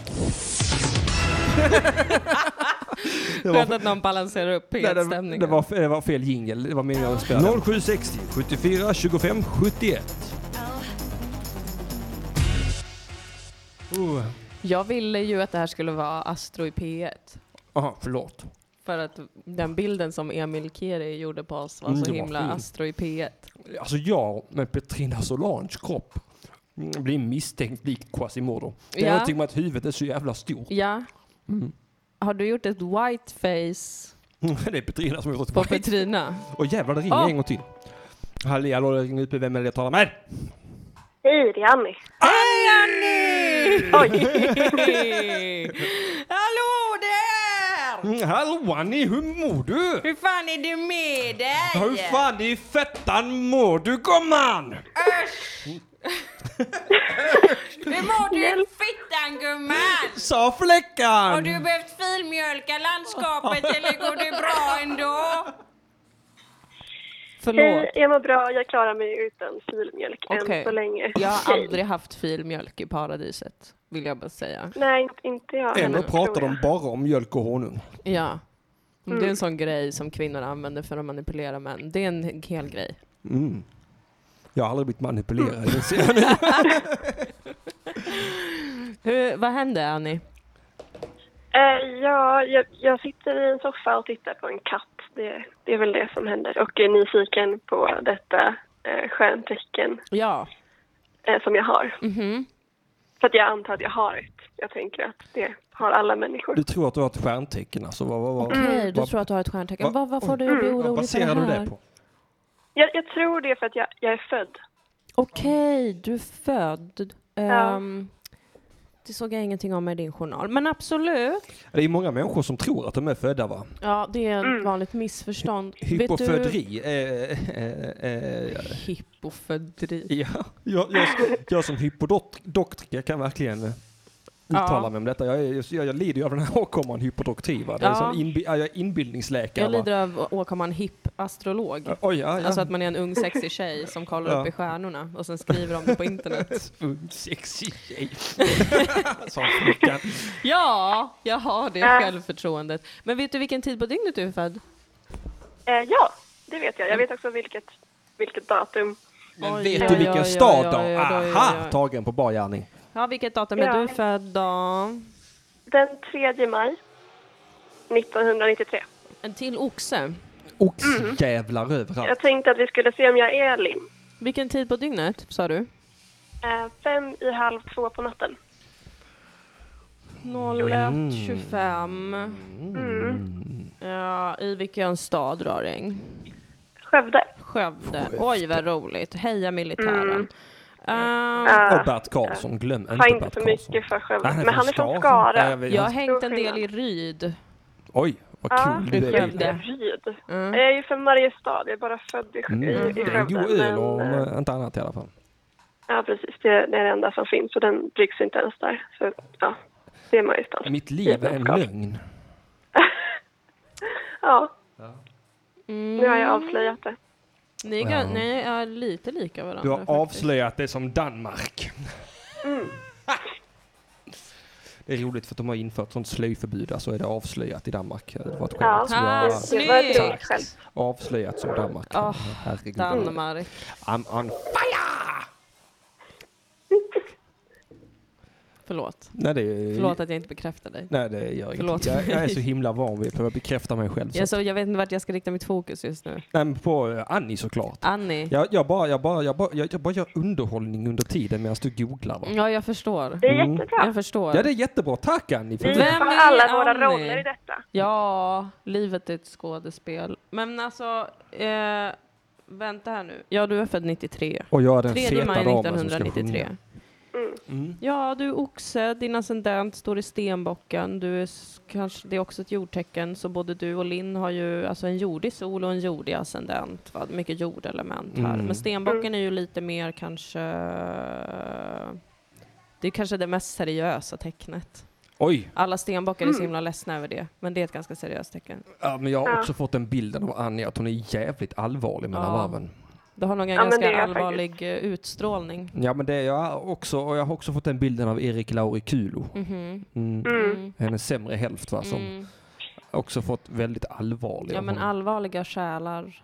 Speaker 1: det, var,
Speaker 2: Skönt att någon balanserar upp
Speaker 1: nej, det,
Speaker 2: hetstämningen.
Speaker 1: det, var, det var fel jingel. Det var meningen att spela. den.
Speaker 6: 0760 74 25 71.
Speaker 1: Oh,
Speaker 2: Jag ville ju att det här skulle vara Astro i P1.
Speaker 1: Aha, förlåt.
Speaker 2: För att den bilden som Emil Keri gjorde på oss var
Speaker 1: Mm,
Speaker 2: så
Speaker 1: det var
Speaker 2: himla
Speaker 1: fin.
Speaker 2: Astro i P1.
Speaker 1: Alltså jag med Petrina Solanges kropp mm, blir misstänkt likt Quasimodo. Det är
Speaker 2: Ja.
Speaker 1: någonting med att huvudet är så jävla stort.
Speaker 2: Ja. Mm. Har du gjort ett whiteface
Speaker 1: det är Petrina som har gått
Speaker 2: på
Speaker 1: tillbaka.
Speaker 2: Petrina?
Speaker 1: Och jävlar, det ringer
Speaker 2: Ah.
Speaker 1: en gång till. Halli hallå, det ringer upp. Vem är det jag talar med?
Speaker 8: Hej, det är Annie.
Speaker 2: Hallå där!
Speaker 1: Mm, hallå Annie, hur mår du?
Speaker 2: Hur fan är det med
Speaker 1: Hur
Speaker 2: dig?
Speaker 1: fan i fettan mår du gumman?
Speaker 2: Hur mår du fittan gumman?
Speaker 1: Sa fläckan!
Speaker 2: Har du behövt filmjölka landskapet eller går det bra ändå? Förlåt.
Speaker 8: Hej, jag mår bra. Jag klarar mig utan filmjölk
Speaker 2: Okej.
Speaker 8: än så länge.
Speaker 2: Jag har
Speaker 8: Hej.
Speaker 2: aldrig haft filmjölk i paradiset, vill jag bara säga.
Speaker 8: Nej, inte- inte jag.
Speaker 1: Ändå
Speaker 8: heller,
Speaker 1: pratar
Speaker 8: tror jag.
Speaker 1: de bara om mjölk och honung.
Speaker 2: Ja. Det är
Speaker 1: Mm.
Speaker 2: en sån grej som kvinnor använder för att manipulera män. Det är en hel grej.
Speaker 1: Jag har aldrig blivit manipulerad. det ser jag.
Speaker 2: Hur, vad hände Annie?
Speaker 8: Eh, ja, jag, jag sitter i en soffa och tittar på en katt. Det, det är väl det som händer. Och är nyfiken på detta eh, stjärntecken
Speaker 2: Ja.
Speaker 8: eh, som jag har.
Speaker 2: Mm. Mhm.
Speaker 8: För att jag antar att jag har ett. Jag tänker att det har alla människor.
Speaker 1: Du tror att du har ett stjärntecken alltså? Vad, vad, vad,
Speaker 2: Okej, du
Speaker 1: vad-
Speaker 2: tror att du har ett stjärntecken.
Speaker 1: Vad-
Speaker 2: Vad, vad får dig att bli
Speaker 1: vad
Speaker 2: orolig för det
Speaker 1: Mm. baserar du
Speaker 2: här?
Speaker 1: det på?
Speaker 8: Jag, jag tror det för att jag, jag är född.
Speaker 2: Okej, du är född.
Speaker 8: Ja.
Speaker 2: Ehm, det såg jag ingenting om i din journal. Men absolut.
Speaker 1: Det är många människor som tror att de är födda va?
Speaker 2: Ja, det är ett
Speaker 1: Mm.
Speaker 2: vanligt missförstånd. Vet du-
Speaker 1: Hypoföderi. Eh, eh, eh,
Speaker 2: Hypoföderi.
Speaker 1: ja. jag, jag, jag som hypodoktriker kan verkligen eh, uttala
Speaker 2: Ja.
Speaker 1: mig om detta. Jag, är- jag, jag lider ju av den här åkomman hypodoktri va? Det är
Speaker 2: Ja.
Speaker 1: som inbi, ja, jag är inbildningsläkare
Speaker 2: Jag
Speaker 1: va?
Speaker 2: lider av åkomman hipp-astrolog.
Speaker 1: Oj, ja, ja.
Speaker 2: Alltså att man är en ung sexig tjej som kollar
Speaker 1: Ja.
Speaker 2: upp i stjärnorna och sen skriver om det på internet.
Speaker 1: Ung sexig Mm, tjej. Sa flickan.
Speaker 2: Ja, jag har det
Speaker 8: Ja.
Speaker 2: självförtroendet. Men vet du vilken tid på dygnet du är född?
Speaker 8: Eh, ja, det vet jag. Jag vet också vilket, vilket datum.
Speaker 1: Men
Speaker 2: Oj,
Speaker 1: vet
Speaker 2: oj,
Speaker 1: du
Speaker 2: oj,
Speaker 1: vilken
Speaker 2: oj,
Speaker 1: stad då?
Speaker 2: oj, oj, oj, oj,
Speaker 1: Aha!
Speaker 2: oj.
Speaker 1: Tagen på bar gärning.
Speaker 2: Ja, vilket datum
Speaker 8: Ja.
Speaker 2: är du född då?
Speaker 8: Den 3 maj 1993.
Speaker 2: En till oxe.
Speaker 1: Oxjävlar överallt.
Speaker 8: Jag tänkte att vi skulle se om jag är lim.
Speaker 2: Vilken tid på dygnet sa du?
Speaker 8: Eh, fem i halv två på natten.
Speaker 2: 01.25.
Speaker 1: Mm.
Speaker 2: Ja, I vilken stad rör det?
Speaker 8: Skövde.
Speaker 2: Skövde. Oj, vad roligt. Heja militären. Ehm,
Speaker 1: Och Bert Karlsson, glöm inte
Speaker 8: Äh, Har inte
Speaker 1: Bert
Speaker 8: så
Speaker 1: Karlsson. Äh,
Speaker 8: mycket för Skövde.
Speaker 1: Nej,
Speaker 8: men han är från
Speaker 1: Ja, jag
Speaker 8: Skara.
Speaker 1: vet.
Speaker 2: jag har hängt en del i Ryd.
Speaker 1: Oj, vad
Speaker 8: Ja,
Speaker 1: kul du
Speaker 8: jag
Speaker 1: är.
Speaker 2: Skövde.
Speaker 8: är Ryd.
Speaker 2: Mm.
Speaker 8: Jag är ju från Mariestad. Jag är bara född i, i-
Speaker 1: Mm,
Speaker 8: i
Speaker 1: det är en
Speaker 8: Skövde.
Speaker 1: god öl om
Speaker 8: men, eh,
Speaker 1: eh, inte annat i alla fall.
Speaker 8: ja, precis. Det, det är det enda som finns. Och den bryggs inte ens där. Så ja, det är Mariestad.
Speaker 1: Mitt liv är en
Speaker 8: Jättebra.
Speaker 1: lögn.
Speaker 8: Ja.
Speaker 2: Mm.
Speaker 8: Nu har jag avslöjat det.
Speaker 2: Ni är, gan- ni är lite lika varandra.
Speaker 1: Du har
Speaker 2: faktiskt.
Speaker 1: avslöjat det som Danmark.
Speaker 8: Mm.
Speaker 1: Det är roligt för att de har infört sånt slöjförbud, alltså är det avslöjat i Danmark. Det var ett
Speaker 8: Ja.
Speaker 1: skämt. som
Speaker 2: Ah,
Speaker 1: jag-
Speaker 8: Det var ett
Speaker 2: snyggt!
Speaker 8: roligt skämt.
Speaker 1: Avslöjat som Danmark.
Speaker 2: Åh,
Speaker 1: Herregud.
Speaker 2: Danmark.
Speaker 1: I'm on fire!
Speaker 2: Förlåt.
Speaker 1: Nej, det är...
Speaker 2: Förlåt att jag inte bekräftar dig.
Speaker 1: Nej, det gör
Speaker 2: Förlåt.
Speaker 1: ingenting. Jag, jag är så himla van vid att bekräfta mig själv. Så.
Speaker 2: Jag, så, jag vet inte vart jag ska rikta mitt fokus just nu.
Speaker 1: Nej, men på eh, Annie såklart.
Speaker 2: Annie. Ja,
Speaker 1: Jag, jag, bara, jag, bara, jag, bara, jag, jag bara gör underhållning under tiden medan du googlar. Va?
Speaker 2: jag förstår.
Speaker 8: Det är
Speaker 1: Mm.
Speaker 8: jättebra.
Speaker 2: Jag förstår.
Speaker 1: Ja, det är jättebra. Tack Annie! För
Speaker 8: Vi
Speaker 1: det.
Speaker 2: Vem
Speaker 8: har
Speaker 2: är
Speaker 8: alla våra
Speaker 2: Annie?
Speaker 8: roller i detta.
Speaker 2: Ja, livet är ett skådespel. Men alltså, eh, vänta här nu. Ja, du är född 93.
Speaker 1: Och jag är den
Speaker 2: 3
Speaker 1: feta
Speaker 2: maj
Speaker 1: damen som ska Mm.
Speaker 2: 1993.
Speaker 1: sjunga.
Speaker 2: Ja, du är oxe, din ascendent står i stenbocken. Du är s- kanske, det är också ett jordtecken, så både du och Linn har ju alltså en jordig sol och en jordig ascendent. Va? Mycket jordelement här.
Speaker 1: Mm.
Speaker 2: Men stenbocken är ju lite mer kanske... Det är kanske det mest seriösa tecknet.
Speaker 1: Oj,
Speaker 2: Alla stenbockar
Speaker 8: Mm.
Speaker 2: är så himla ledsna över det, men det är ett ganska seriöst tecken.
Speaker 1: ja, men jag har också fått den bilden av Anja att hon är jävligt allvarlig mellan
Speaker 2: Ja.
Speaker 1: varven.
Speaker 2: Du har nog en
Speaker 8: Ja, men det är
Speaker 2: ganska
Speaker 8: jag
Speaker 2: allvarlig eh, utstrålning.
Speaker 1: Ja men det är jag också och jag har också fått den bilden av Erik Lauri Kulo.
Speaker 2: Mhm.
Speaker 1: Mm.
Speaker 2: Mm.
Speaker 1: Hennes sämre hälft va, som
Speaker 2: Mm.
Speaker 1: också fått väldigt allvarlig.
Speaker 2: Ja, men
Speaker 1: hon-
Speaker 2: allvarliga själar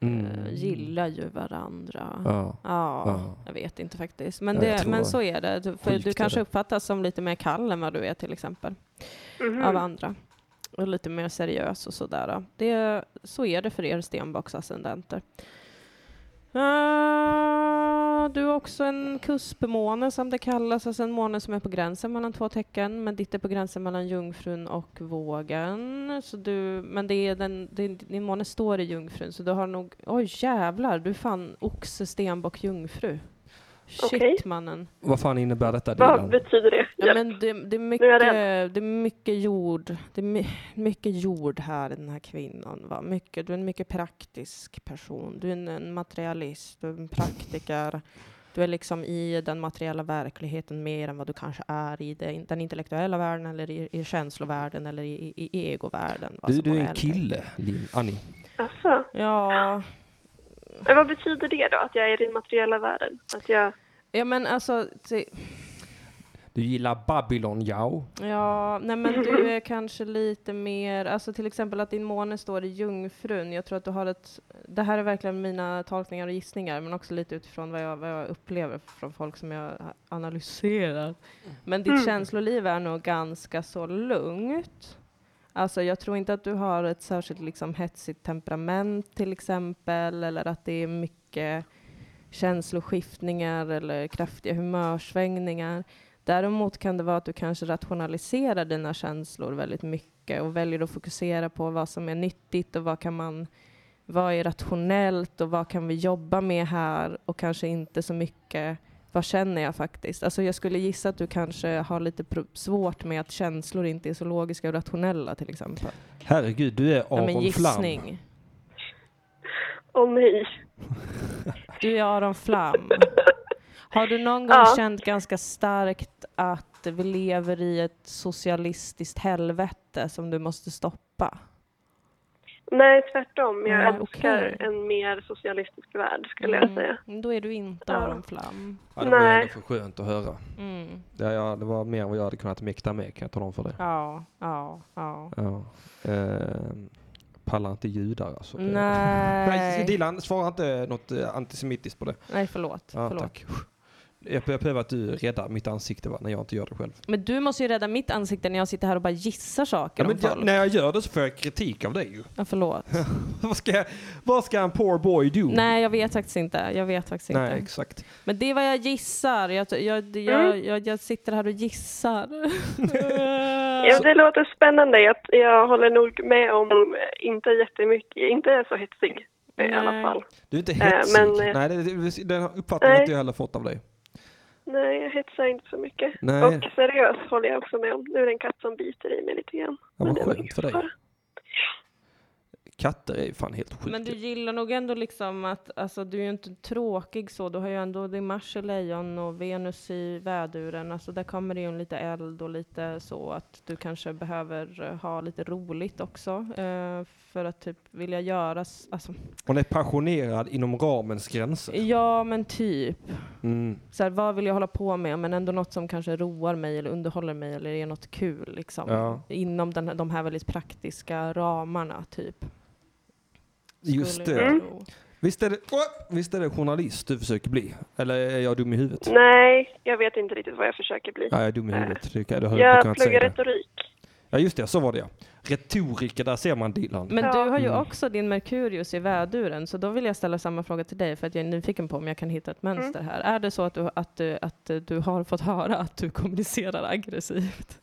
Speaker 2: eh,
Speaker 1: Mm.
Speaker 2: gillar ju varandra.
Speaker 1: Ja.
Speaker 2: Ja,
Speaker 1: Ja.
Speaker 2: jag vet inte faktiskt. Men,
Speaker 1: Ja, jag
Speaker 2: det,
Speaker 1: tror
Speaker 2: men
Speaker 1: det.
Speaker 2: så är det. Du- För
Speaker 1: Sjukt
Speaker 2: du
Speaker 1: är
Speaker 2: kanske
Speaker 1: det.
Speaker 2: uppfattas som lite mer kall än vad du är till exempel,
Speaker 8: Mhm.
Speaker 2: av andra. Och lite mer seriös och sådär. Det, så är det för er stenbocksascendenter. Ah, du har också en kuspmåne som det kallas, alltså en måne som är på gränsen mellan två tecken, men ditt är på gränsen mellan jungfrun och vågen. Så du, men det är den, din, din måne står i jungfrun, så du har nog, oj jävlar, du är fan oxe, stenbock, jungfru. Shit
Speaker 8: Okej.
Speaker 2: mannen.
Speaker 1: Vad fan innebär detta
Speaker 8: Vad
Speaker 1: Dilan?
Speaker 8: betyder det?
Speaker 2: Ja, men det, det, är mycket,
Speaker 8: jag
Speaker 2: det är mycket jord. Det är my, mycket jord här, den här kvinnan. Va? Mycket, du är en mycket praktisk person. Du är en, en materialist, du är en praktiker. Du är liksom i den materiella verkligheten mer än vad du kanske är i det, den intellektuella världen eller i, i känslovärlden eller i, i, i egovärlden. va,
Speaker 1: Du,
Speaker 2: som
Speaker 1: du
Speaker 2: våra
Speaker 1: är en
Speaker 2: äldre.
Speaker 1: kille, Lin, Annie.
Speaker 8: Alltså,
Speaker 2: Ja,
Speaker 8: men vad betyder det då? Att jag är i den materiella världen? Att jag...
Speaker 2: ja men alltså, det,
Speaker 1: Du gillar Babylon Yao.
Speaker 2: Ja, nej men du är kanske lite mer, alltså till exempel att din måne står i jungfrun. Jag tror att du har ett, det här är verkligen mina tolkningar och gissningar, men också lite utifrån vad jag, vad jag upplever från folk som jag analyserar. Men ditt känsloliv är nog ganska så lugnt. Alltså jag tror inte att du har ett särskilt liksom hetsigt temperament till exempel, eller att det är mycket känsloskiftningar eller kraftiga humörsvängningar. Däremot kan det vara att du kanske rationaliserar dina känslor väldigt mycket och väljer att fokusera på vad som är nyttigt och vad kan man vad är rationellt och vad kan vi jobba med här och kanske inte så mycket vad känner jag faktiskt? Alltså jag skulle gissa att du kanske har lite pro- svårt med att känslor inte är så logiska och rationella till exempel.
Speaker 1: Herregud, du är
Speaker 2: Ja,
Speaker 1: Aron
Speaker 2: men
Speaker 1: Flam.
Speaker 2: gissning.
Speaker 8: Åh nej.
Speaker 2: Du är Aron Flam. Har du någon gång
Speaker 8: Ja.
Speaker 2: känt ganska starkt att vi lever i ett socialistiskt helvete som du måste stoppa?
Speaker 8: Nej, tvärtom. Jag
Speaker 2: Nej,
Speaker 8: älskar
Speaker 2: okej.
Speaker 8: en mer socialistisk värld, skulle jag säga.
Speaker 2: Mm, Då är du inte
Speaker 8: Ja.
Speaker 2: Aron Flam.
Speaker 1: Ja, det var
Speaker 8: Nej.
Speaker 1: ändå för skönt att höra.
Speaker 2: Mm.
Speaker 1: Ja, ja, det var mer än vad jag hade kunnat mäkta med, kan jag tala om för dig.
Speaker 2: Ja, ja, ja.
Speaker 1: Ja. Ehm, pallar inte judar alltså. Det- Nej,
Speaker 2: Nej,
Speaker 1: Dilan, svara inte något eh, antisemitiskt på det.
Speaker 2: Nej förlåt.
Speaker 1: Ja,
Speaker 2: förlåt.
Speaker 1: tack. Jag, jag behöver att du räddar mitt ansikte va, när jag inte gör det själv.
Speaker 2: Men du måste ju rädda mitt ansikte när jag sitter här och bara gissar saker
Speaker 1: Ja, men
Speaker 2: om
Speaker 1: jag,
Speaker 2: folk.
Speaker 1: när jag gör det så får jag kritik av dig ju.
Speaker 2: Ja, förlåt.
Speaker 1: vad, ska jag, vad ska en poor boy do?
Speaker 2: Nej, jag vet faktiskt inte. Jag vet faktiskt
Speaker 1: Nej,
Speaker 2: inte.
Speaker 1: exakt.
Speaker 2: Men det är vad jag gissar. Jag, jag, jag, jag, jag sitter här och gissar.
Speaker 8: Ja, det låter spännande. Jag, jag håller nog med om eh, inte jättemycket, inte så hetsig eh, i alla
Speaker 2: Nej.
Speaker 8: fall.
Speaker 1: Du är inte
Speaker 8: Eh,
Speaker 1: hetsig.
Speaker 8: men, eh,
Speaker 1: Nej, det, det, den uppfattningen har
Speaker 8: nej.
Speaker 1: inte jag heller fått av dig.
Speaker 8: Nej, jag hetsar inte så mycket.
Speaker 1: Nej.
Speaker 8: Och seriös håller jag också med om. Nu är det en katt som biter i mig lite grann.
Speaker 1: Ja,
Speaker 8: Men
Speaker 1: vad
Speaker 8: det var
Speaker 1: skönt
Speaker 8: ingen
Speaker 1: för dig.
Speaker 8: fara.
Speaker 1: Katter är ju fan helt sjuka.
Speaker 2: Men du gillar nog ändå liksom att, alltså du är ju inte tråkig så, du har ju ändå din Mars i lejon och Venus i väduren, alltså där kommer det ju en lite eld och lite så att du kanske behöver eh, ha lite roligt också eh, för att typ vilja göra, s- alltså,
Speaker 1: Hon är passionerad inom ramens gränser.
Speaker 2: ja men typ,
Speaker 1: Mm.
Speaker 2: så här, vad vill jag hålla på med men ändå något som kanske roar mig eller underhåller mig eller är något kul liksom.
Speaker 1: Ja.
Speaker 2: Inom den, här- de här väldigt praktiska ramarna typ.
Speaker 1: Just
Speaker 2: Skulle
Speaker 1: det.
Speaker 2: jag tro.
Speaker 1: Visst, är det åh, visst är det journalist du försöker bli? Eller är jag dum i huvudet?
Speaker 8: Nej, jag vet inte riktigt vad jag försöker bli.
Speaker 1: Ja, jag är dum i huvudet. Det kan- det har jag
Speaker 8: jag
Speaker 1: kunnat säga.
Speaker 8: pluggar
Speaker 1: Det.
Speaker 8: retorik.
Speaker 1: Ja, just det. Så var det ja. Retoriker, där ser man Dilan.
Speaker 2: Men
Speaker 8: Ja.
Speaker 2: du har ju
Speaker 1: Mm.
Speaker 2: också din Merkurius i väduren, så då vill jag ställa samma fråga till dig, för att jag är nyfiken på om jag kan hitta ett
Speaker 8: Mm.
Speaker 2: mönster här. Är det så att du, att du, att du har fått höra att du kommunicerar aggressivt?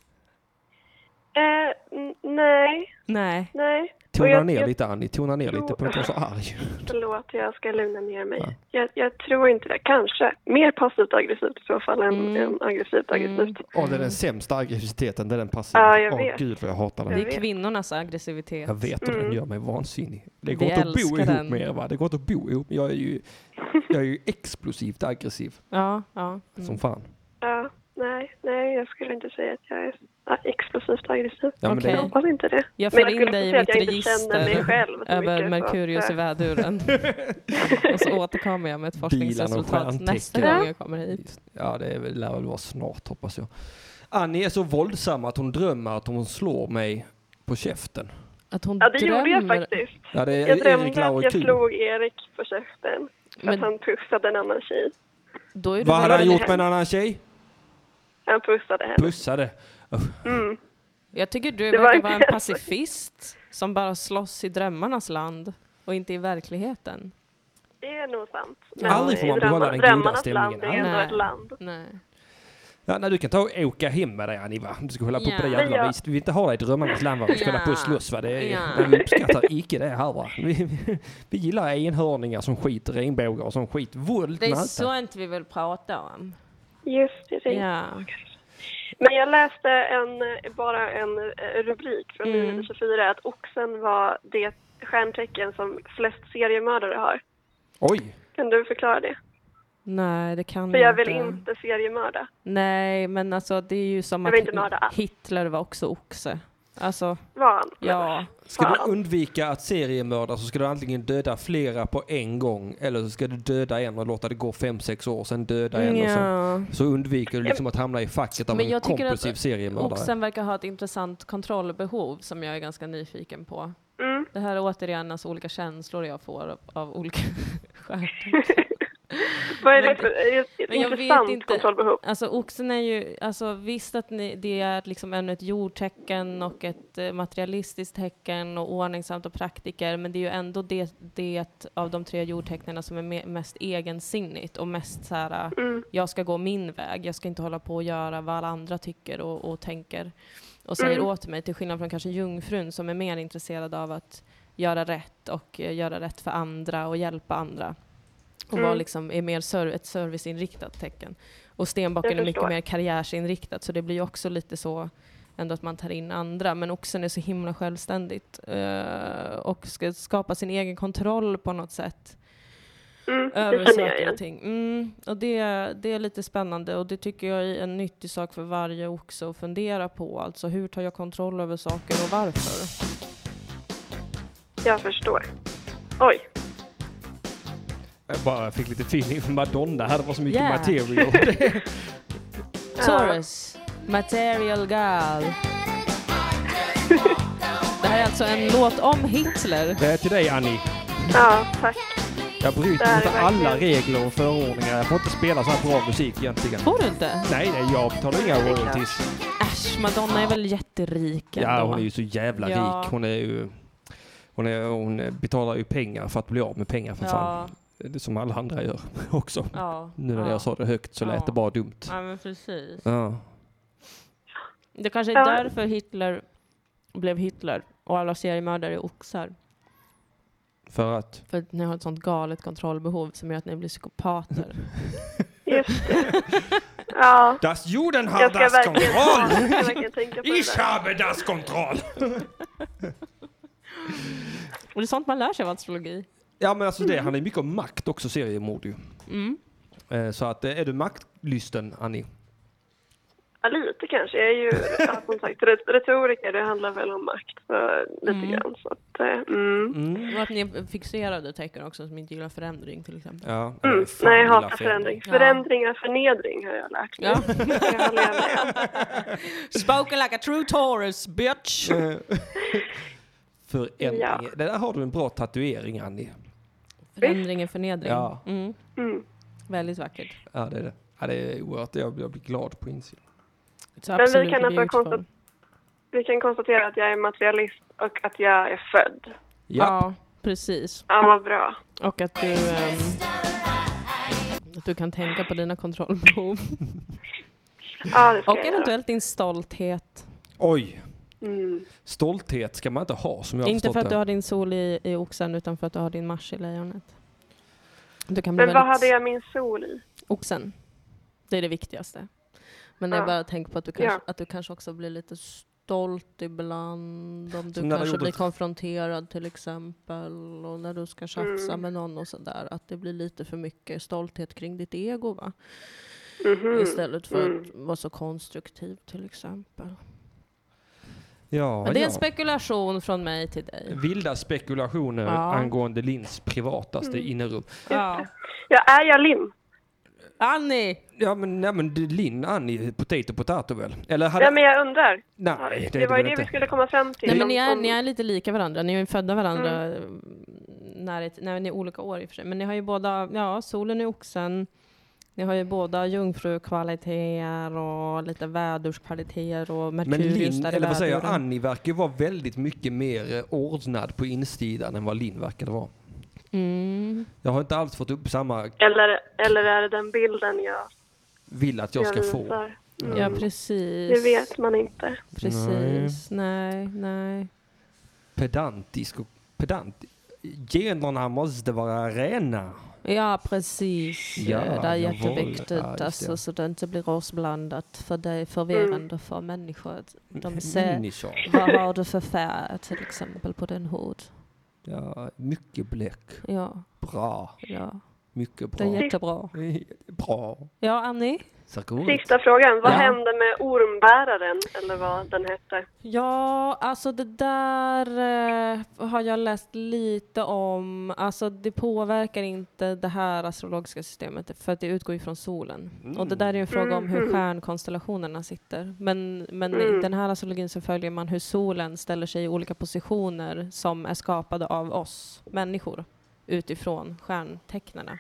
Speaker 8: Eh, n- nej,
Speaker 2: Nej,
Speaker 8: nej. Och
Speaker 1: Tona
Speaker 8: jag-
Speaker 1: ner
Speaker 8: jag-
Speaker 1: lite Annie, tona ner lite.
Speaker 8: Jo.
Speaker 1: På att vara så arg.
Speaker 8: Förlåt, jag ska lugna ner mig.
Speaker 1: Ja.
Speaker 8: Jag, jag tror inte det. Kanske. Mer passivt aggressivt i så fall än,
Speaker 2: Mm.
Speaker 8: än aggressivt aggressivt.
Speaker 1: Åh, det är den sämsta aggressiviteten, det är den passiva.
Speaker 8: Ja, jag
Speaker 1: Åh,
Speaker 8: vet.
Speaker 1: gud vad jag hatar
Speaker 2: Det
Speaker 1: den.
Speaker 8: Jag
Speaker 2: är
Speaker 8: vet.
Speaker 2: kvinnornas aggressivitet.
Speaker 1: Jag vet att den
Speaker 8: Mm.
Speaker 1: gör mig vansinnig. Det
Speaker 2: Vi
Speaker 1: går inte att bo
Speaker 2: älskar
Speaker 1: ihop
Speaker 2: den.
Speaker 1: med er va? Det går inte att bo ihop. Jag är ju, jag är ju explosivt aggressiv
Speaker 2: Ja, ja.
Speaker 1: som
Speaker 2: Mm.
Speaker 1: fan.
Speaker 8: Ja, nej, nej, jag skulle inte säga att jag är ja, explosivt aggressiv.
Speaker 1: Ja, men
Speaker 8: Jag
Speaker 2: Okej.
Speaker 1: det,
Speaker 8: hoppas inte det.
Speaker 2: Jag
Speaker 8: Men
Speaker 2: för
Speaker 8: jag
Speaker 2: in
Speaker 8: skulle
Speaker 2: dig i
Speaker 8: också säga att
Speaker 2: mitt
Speaker 8: jag inte känner mig
Speaker 2: register
Speaker 8: själv så
Speaker 2: över
Speaker 8: mycket,
Speaker 2: Merkurius i
Speaker 8: så att,
Speaker 2: väduren. Och så återkommer jag med ett forskningsresultat
Speaker 1: stjärntecken.
Speaker 2: nästa
Speaker 1: Ja.
Speaker 2: gång jag kommer hit.
Speaker 1: ja, det är väl- lär väl vara snart hoppas jag. Annie är så våldsam att hon drömmer att hon slår mig på käften.
Speaker 2: Att hon
Speaker 8: Ja, det gjorde jag
Speaker 2: drömmer-
Speaker 8: faktiskt.
Speaker 1: Ja, det är
Speaker 8: Jag
Speaker 1: Erik
Speaker 8: drömde att
Speaker 1: Lauri
Speaker 8: jag
Speaker 1: Kuhn.
Speaker 8: slog Erik på käften för
Speaker 2: Men-
Speaker 8: att han pussade en annan tjej.
Speaker 2: Då är det
Speaker 1: Vad
Speaker 2: väl
Speaker 1: hade han
Speaker 8: det
Speaker 1: gjort
Speaker 8: här?
Speaker 1: med en annan tjej?
Speaker 8: Han pussade henne.
Speaker 1: Pussade.
Speaker 8: Mm.
Speaker 2: Jag tycker du
Speaker 8: Det var
Speaker 2: verkar
Speaker 8: inte
Speaker 2: vara en
Speaker 8: ens-
Speaker 2: pacifist som bara slåss i drömmarnas land och inte i verkligheten.
Speaker 8: Det är nog sant.
Speaker 1: Aldrig får man
Speaker 8: i
Speaker 1: behålla
Speaker 8: drömmar-
Speaker 1: den goda
Speaker 8: drömmarnas
Speaker 1: stämningen.
Speaker 8: land är ändå
Speaker 2: Nej.
Speaker 8: ett land.
Speaker 2: Nej.
Speaker 1: Ja, nej, du kan ta och åka hem med dig Annie va? Du ska hålla på
Speaker 2: Ja.
Speaker 1: på det
Speaker 8: Men
Speaker 1: jävla
Speaker 8: jag-
Speaker 1: viset. Vi vill inte ha dig i drömmarnas land va? Vi ska
Speaker 2: Ja.
Speaker 1: hålla på och slåss va? Det är,
Speaker 2: Ja.
Speaker 1: men Vi uppskattar icke det här va? Vi, vi, vi gillar enhörningar som skit, regnbågar och som skit. Våld
Speaker 2: Det är
Speaker 1: med allt det.
Speaker 2: sånt vi vill prata om.
Speaker 8: Just det.
Speaker 2: Ja.
Speaker 8: Men jag läste en, bara en eh, rubrik från
Speaker 2: Mm.
Speaker 8: 924 att oxen var det stjärntecken som flest seriemördare har.
Speaker 1: Oj!
Speaker 8: Kan du förklara det?
Speaker 2: Nej, Mm, det kan
Speaker 8: För jag vill
Speaker 2: inte.
Speaker 8: inte seriemörda.
Speaker 2: Nej, men alltså det är ju som
Speaker 8: Jag vill inte mörda
Speaker 2: att
Speaker 8: allt.
Speaker 2: Hitler var också oxe. Alltså,
Speaker 8: Var han?
Speaker 2: ja.
Speaker 1: Ska du
Speaker 8: Fan.
Speaker 1: undvika att seriemörda så ska du antingen döda flera på en gång eller så ska du döda en och låta det gå fem sex år sen döda en och så.
Speaker 2: ja.
Speaker 1: Så undviker du liksom att hamna i facket av
Speaker 2: Men
Speaker 1: en
Speaker 2: jag tycker att
Speaker 1: kompulsiv seriemördare.
Speaker 2: Oxen verkar ha ett intressant kontrollbehov som jag är ganska nyfiken på.
Speaker 8: Mm.
Speaker 2: Det här är återigen alltså olika känslor jag får av, av olika stjärnor.
Speaker 8: Vad är det
Speaker 2: Men-
Speaker 8: för är det ett
Speaker 2: men jag vet
Speaker 8: intressant
Speaker 2: inte.
Speaker 8: kontrollbehov?
Speaker 2: Alltså oxen är ju, alltså visst att ni, det är liksom ännu ett jordtecken och ett eh, materialistiskt tecken och ordningsamt och praktiker, men det är ju ändå det, det av de tre jordtecknen som är me- mest egensinnigt och mest så här,
Speaker 8: Mm.
Speaker 2: jag ska gå min väg, jag ska inte hålla på och göra vad alla andra tycker och, och tänker och säger
Speaker 8: Mm.
Speaker 2: åt mig, till skillnad från kanske jungfrun som är mer intresserad av att göra rätt och eh, göra rätt för andra och hjälpa andra. Och
Speaker 8: Mm.
Speaker 2: vara liksom, är mer serv- ett serviceinriktat tecken. Och stenbocken
Speaker 8: Jag
Speaker 2: är mycket
Speaker 8: förstår.
Speaker 2: mer karriärsinriktat så det blir ju också lite så ändå att man tar in andra. Men oxen är så himla självständigt eh, och ska skapa sin egen kontroll på något sätt
Speaker 8: Mm.
Speaker 2: över
Speaker 8: det känner jag
Speaker 2: saker och
Speaker 8: igen.
Speaker 2: ting. Mm, och det, det är lite spännande och det tycker jag är en nyttig sak för varje också att fundera på. Alltså hur tar jag kontroll över saker och varför?
Speaker 8: Jag förstår. Oj,
Speaker 1: Jag bara fick lite feeling för Madonna här. Det var så mycket
Speaker 2: Yeah.
Speaker 1: material.
Speaker 2: Taurus, Material Girl. Det här är alltså en låt om Hitler.
Speaker 1: Det är till dig Annie.
Speaker 8: ja tack.
Speaker 1: Jag
Speaker 8: Det
Speaker 1: bryter
Speaker 8: här
Speaker 1: mot
Speaker 8: är verkligen-
Speaker 1: alla regler och förordningar. Jag får inte spela så här bra musik egentligen.
Speaker 2: Får du inte?
Speaker 1: Nej, nej, jag betalar inga royalties.
Speaker 2: Äsch, Madonna är väl jätterik ändå?
Speaker 1: Ja, hon är ju så jävla
Speaker 2: Ja.
Speaker 1: rik. Hon är ju... Hon, är, hon betalar ju pengar för att bli av med pengar för fan.
Speaker 2: ja,
Speaker 1: Det är som alla andra gör också.
Speaker 2: ja,
Speaker 1: Nu när
Speaker 2: ja.
Speaker 1: jag sa det högt så lät
Speaker 2: Ja.
Speaker 1: det bara dumt.
Speaker 2: Ja, men precis.
Speaker 1: Ja.
Speaker 2: Det kanske är
Speaker 8: Ja.
Speaker 2: därför Hitler blev Hitler och alla seriemördare är oxar.
Speaker 1: För att...
Speaker 2: För att ni har ett sånt galet kontrollbehov som gör att ni blir psykopater.
Speaker 8: Just det. Ja,
Speaker 1: Das Juden
Speaker 8: jag ska verkligen, jag ska verkligen tänka på det där.
Speaker 1: habe das Kontroll!
Speaker 2: Och det är sånt man lär sig av astrologi.
Speaker 1: Ja men alltså det handlar ju mycket om makt också, seriemord ju.
Speaker 2: Mm.
Speaker 1: Eh, Så att eh, är du maktlysten, Annie?
Speaker 8: Ja, lite kanske. Jag är ju ja, som sagt re- retoriker. Det handlar väl om makt så, lite
Speaker 2: Mm.
Speaker 8: grann. Så att, eh, mm.
Speaker 2: Och att ni är fixerade tecken också som inte gillar förändring till exempel.
Speaker 1: Ja.
Speaker 8: Mm.
Speaker 1: fan,
Speaker 8: Nej, jag
Speaker 1: lilla
Speaker 8: hatar
Speaker 1: fan.
Speaker 8: förändring.
Speaker 2: Ja.
Speaker 8: Förändring är förnedring har jag lärt mig.
Speaker 2: Ja.
Speaker 8: Jag håller med.
Speaker 2: Spoken like a true Taurus bitch!
Speaker 1: Förändring.
Speaker 8: Ja.
Speaker 1: Det där har du en bra tatuering, Annie.
Speaker 2: Förändring är förnedring.
Speaker 1: Ja.
Speaker 2: Mm.
Speaker 8: Mm.
Speaker 2: Väldigt vackert.
Speaker 1: Ja, det är det. Ja, det är oerhört. Jag blir, jag blir glad på insidan.
Speaker 2: It's
Speaker 8: vi
Speaker 2: absolutely
Speaker 8: kan alltså
Speaker 2: beautiful.
Speaker 8: konstatera- Vi kan konstatera att jag är materialist och att jag är född.
Speaker 1: Ja.
Speaker 2: Ja, precis.
Speaker 8: Ja, vad bra.
Speaker 2: Och att du, ehm, att du kan tänka på dina kontrollbehov.
Speaker 8: Ja, det ska
Speaker 2: Och
Speaker 8: jag göra.
Speaker 2: eventuellt din stolthet.
Speaker 1: Oj!
Speaker 8: Mm.
Speaker 1: Stolthet ska man inte ha som jag har
Speaker 2: Inte för
Speaker 1: förstått
Speaker 2: att du
Speaker 1: det.
Speaker 2: har din sol i, i oxen utan för att du har din mars i lejonet. Du kan bli
Speaker 8: Men vad
Speaker 2: väldigt...
Speaker 8: hade jag min sol i?
Speaker 2: Oxen. Det är det viktigaste. Men det är
Speaker 8: Ja.
Speaker 2: bara att tänka på att du, kanske,
Speaker 8: Ja.
Speaker 2: att du kanske också blir lite stolt ibland. Om du
Speaker 1: Som när jag
Speaker 2: kanske
Speaker 1: gjorde
Speaker 2: blir
Speaker 1: ett-
Speaker 2: konfronterad till exempel. Och när du ska tjafsa
Speaker 8: Mm.
Speaker 2: med någon och sådär. Att det blir lite för mycket stolthet kring ditt ego va?
Speaker 8: Mhm.
Speaker 2: Istället för
Speaker 8: Mm.
Speaker 2: att vara så konstruktiv till exempel.
Speaker 1: Ja,
Speaker 2: Men det är
Speaker 1: ja.
Speaker 2: en spekulation från mig till dig.
Speaker 1: Vilda spekulationer
Speaker 2: Ja.
Speaker 1: angående Lins privataste
Speaker 8: Mm.
Speaker 1: innerum.
Speaker 2: Ja.
Speaker 8: Ja, är jag lim?
Speaker 2: Annie!
Speaker 1: Ja men, nej, men det- Linn, Annie, potato potato väl? Eller hade...
Speaker 8: Nej, men jag undrar. Ja,
Speaker 1: nej, det,
Speaker 8: det var ju
Speaker 1: väl
Speaker 8: det
Speaker 1: inte.
Speaker 8: vi skulle komma fram till.
Speaker 2: Nej, men
Speaker 8: Om-
Speaker 2: ni, är,
Speaker 8: om-
Speaker 2: ni är lite lika varandra. Ni är ju födda varandra mm. när, ett, när ni är olika år i och för sig. Men ni har ju båda, ja, solen i oxen. Ni har ju båda jungfrukvaliteter och lite vädurskvaliteter och
Speaker 1: Men
Speaker 2: Merkurius
Speaker 1: Linn,
Speaker 2: där i
Speaker 1: eller vad säger jag,
Speaker 2: väduren.
Speaker 1: Annie verkar ju vara väldigt mycket mer eh, ordnad på insidan än vad Linn verkade vara.
Speaker 2: Mm.
Speaker 1: Jag har inte alls fått upp samma
Speaker 8: Eller, eller är det den bilden jag,
Speaker 1: vill att jag
Speaker 8: jag
Speaker 1: ska få.
Speaker 8: visar?
Speaker 2: Ja,
Speaker 8: Det
Speaker 2: precis.
Speaker 8: vet man inte.
Speaker 2: Precis. Nej, nej.
Speaker 1: Pedantisk och pedant. Generna måste vara rena.
Speaker 2: Ja, precis.
Speaker 1: Ja,
Speaker 2: det är
Speaker 1: jawohl.
Speaker 2: jätteviktigt.
Speaker 1: Ja, just det.
Speaker 2: alltså, så det inte blir årsblandat. För det är förvirrande för människor.
Speaker 1: Mm.
Speaker 2: De ser,
Speaker 1: Människor.
Speaker 2: Vad har du för färg till exempel på din hud?
Speaker 1: Ja, mycket bläck.
Speaker 2: Ja,
Speaker 1: Bra.
Speaker 2: ja.
Speaker 1: Mycket
Speaker 2: Det är
Speaker 1: bra.
Speaker 2: jättebra.
Speaker 1: Bra.
Speaker 2: Ja, Annie?
Speaker 1: Så god.
Speaker 8: Sista frågan. Vad
Speaker 2: Ja.
Speaker 8: hände med ormbäraren, eller vad den hette?
Speaker 2: Ja, alltså det där eh, har jag läst lite om. Alltså det påverkar inte det här astrologiska systemet för att det utgår ju från solen. Och det där är ju en fråga om hur stjärnkonstellationerna sitter. Men, men i den här astrologin så följer man hur solen ställer sig i olika positioner som är skapade av oss människor utifrån stjärntecknarna.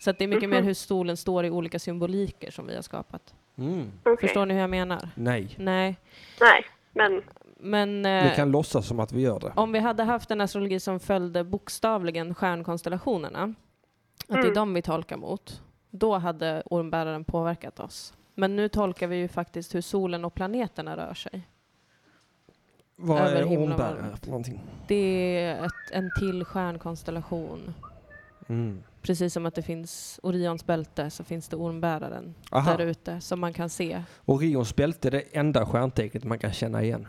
Speaker 2: Så att det är mycket mer hur solen står i olika symboliker som vi har skapat.
Speaker 1: Mm.
Speaker 8: Okej.
Speaker 2: Förstår ni hur jag menar?
Speaker 1: Nej.
Speaker 2: Nej,
Speaker 8: Nej, men
Speaker 2: men... eh,
Speaker 1: Vi kan låtsas som att vi gör det.
Speaker 2: om vi hade haft en astrologi som följde bokstavligen stjärnkonstellationerna, att
Speaker 8: Mm.
Speaker 2: det är dem vi tolkar mot, då hade ormbäraren påverkat oss. Men nu tolkar vi ju faktiskt hur solen och planeterna rör sig.
Speaker 1: Vad
Speaker 2: över
Speaker 1: är
Speaker 2: himlen och
Speaker 1: ormbärare
Speaker 2: vattnet.
Speaker 1: för någonting?
Speaker 2: Det är ett, en till stjärnkonstellation.
Speaker 1: Mm.
Speaker 2: Precis som att det finns Orions bälte så finns det ormbäraren
Speaker 1: Aha.
Speaker 2: där ute som man kan se.
Speaker 1: Orions bälte är det enda stjärntecknet man kan känna igen.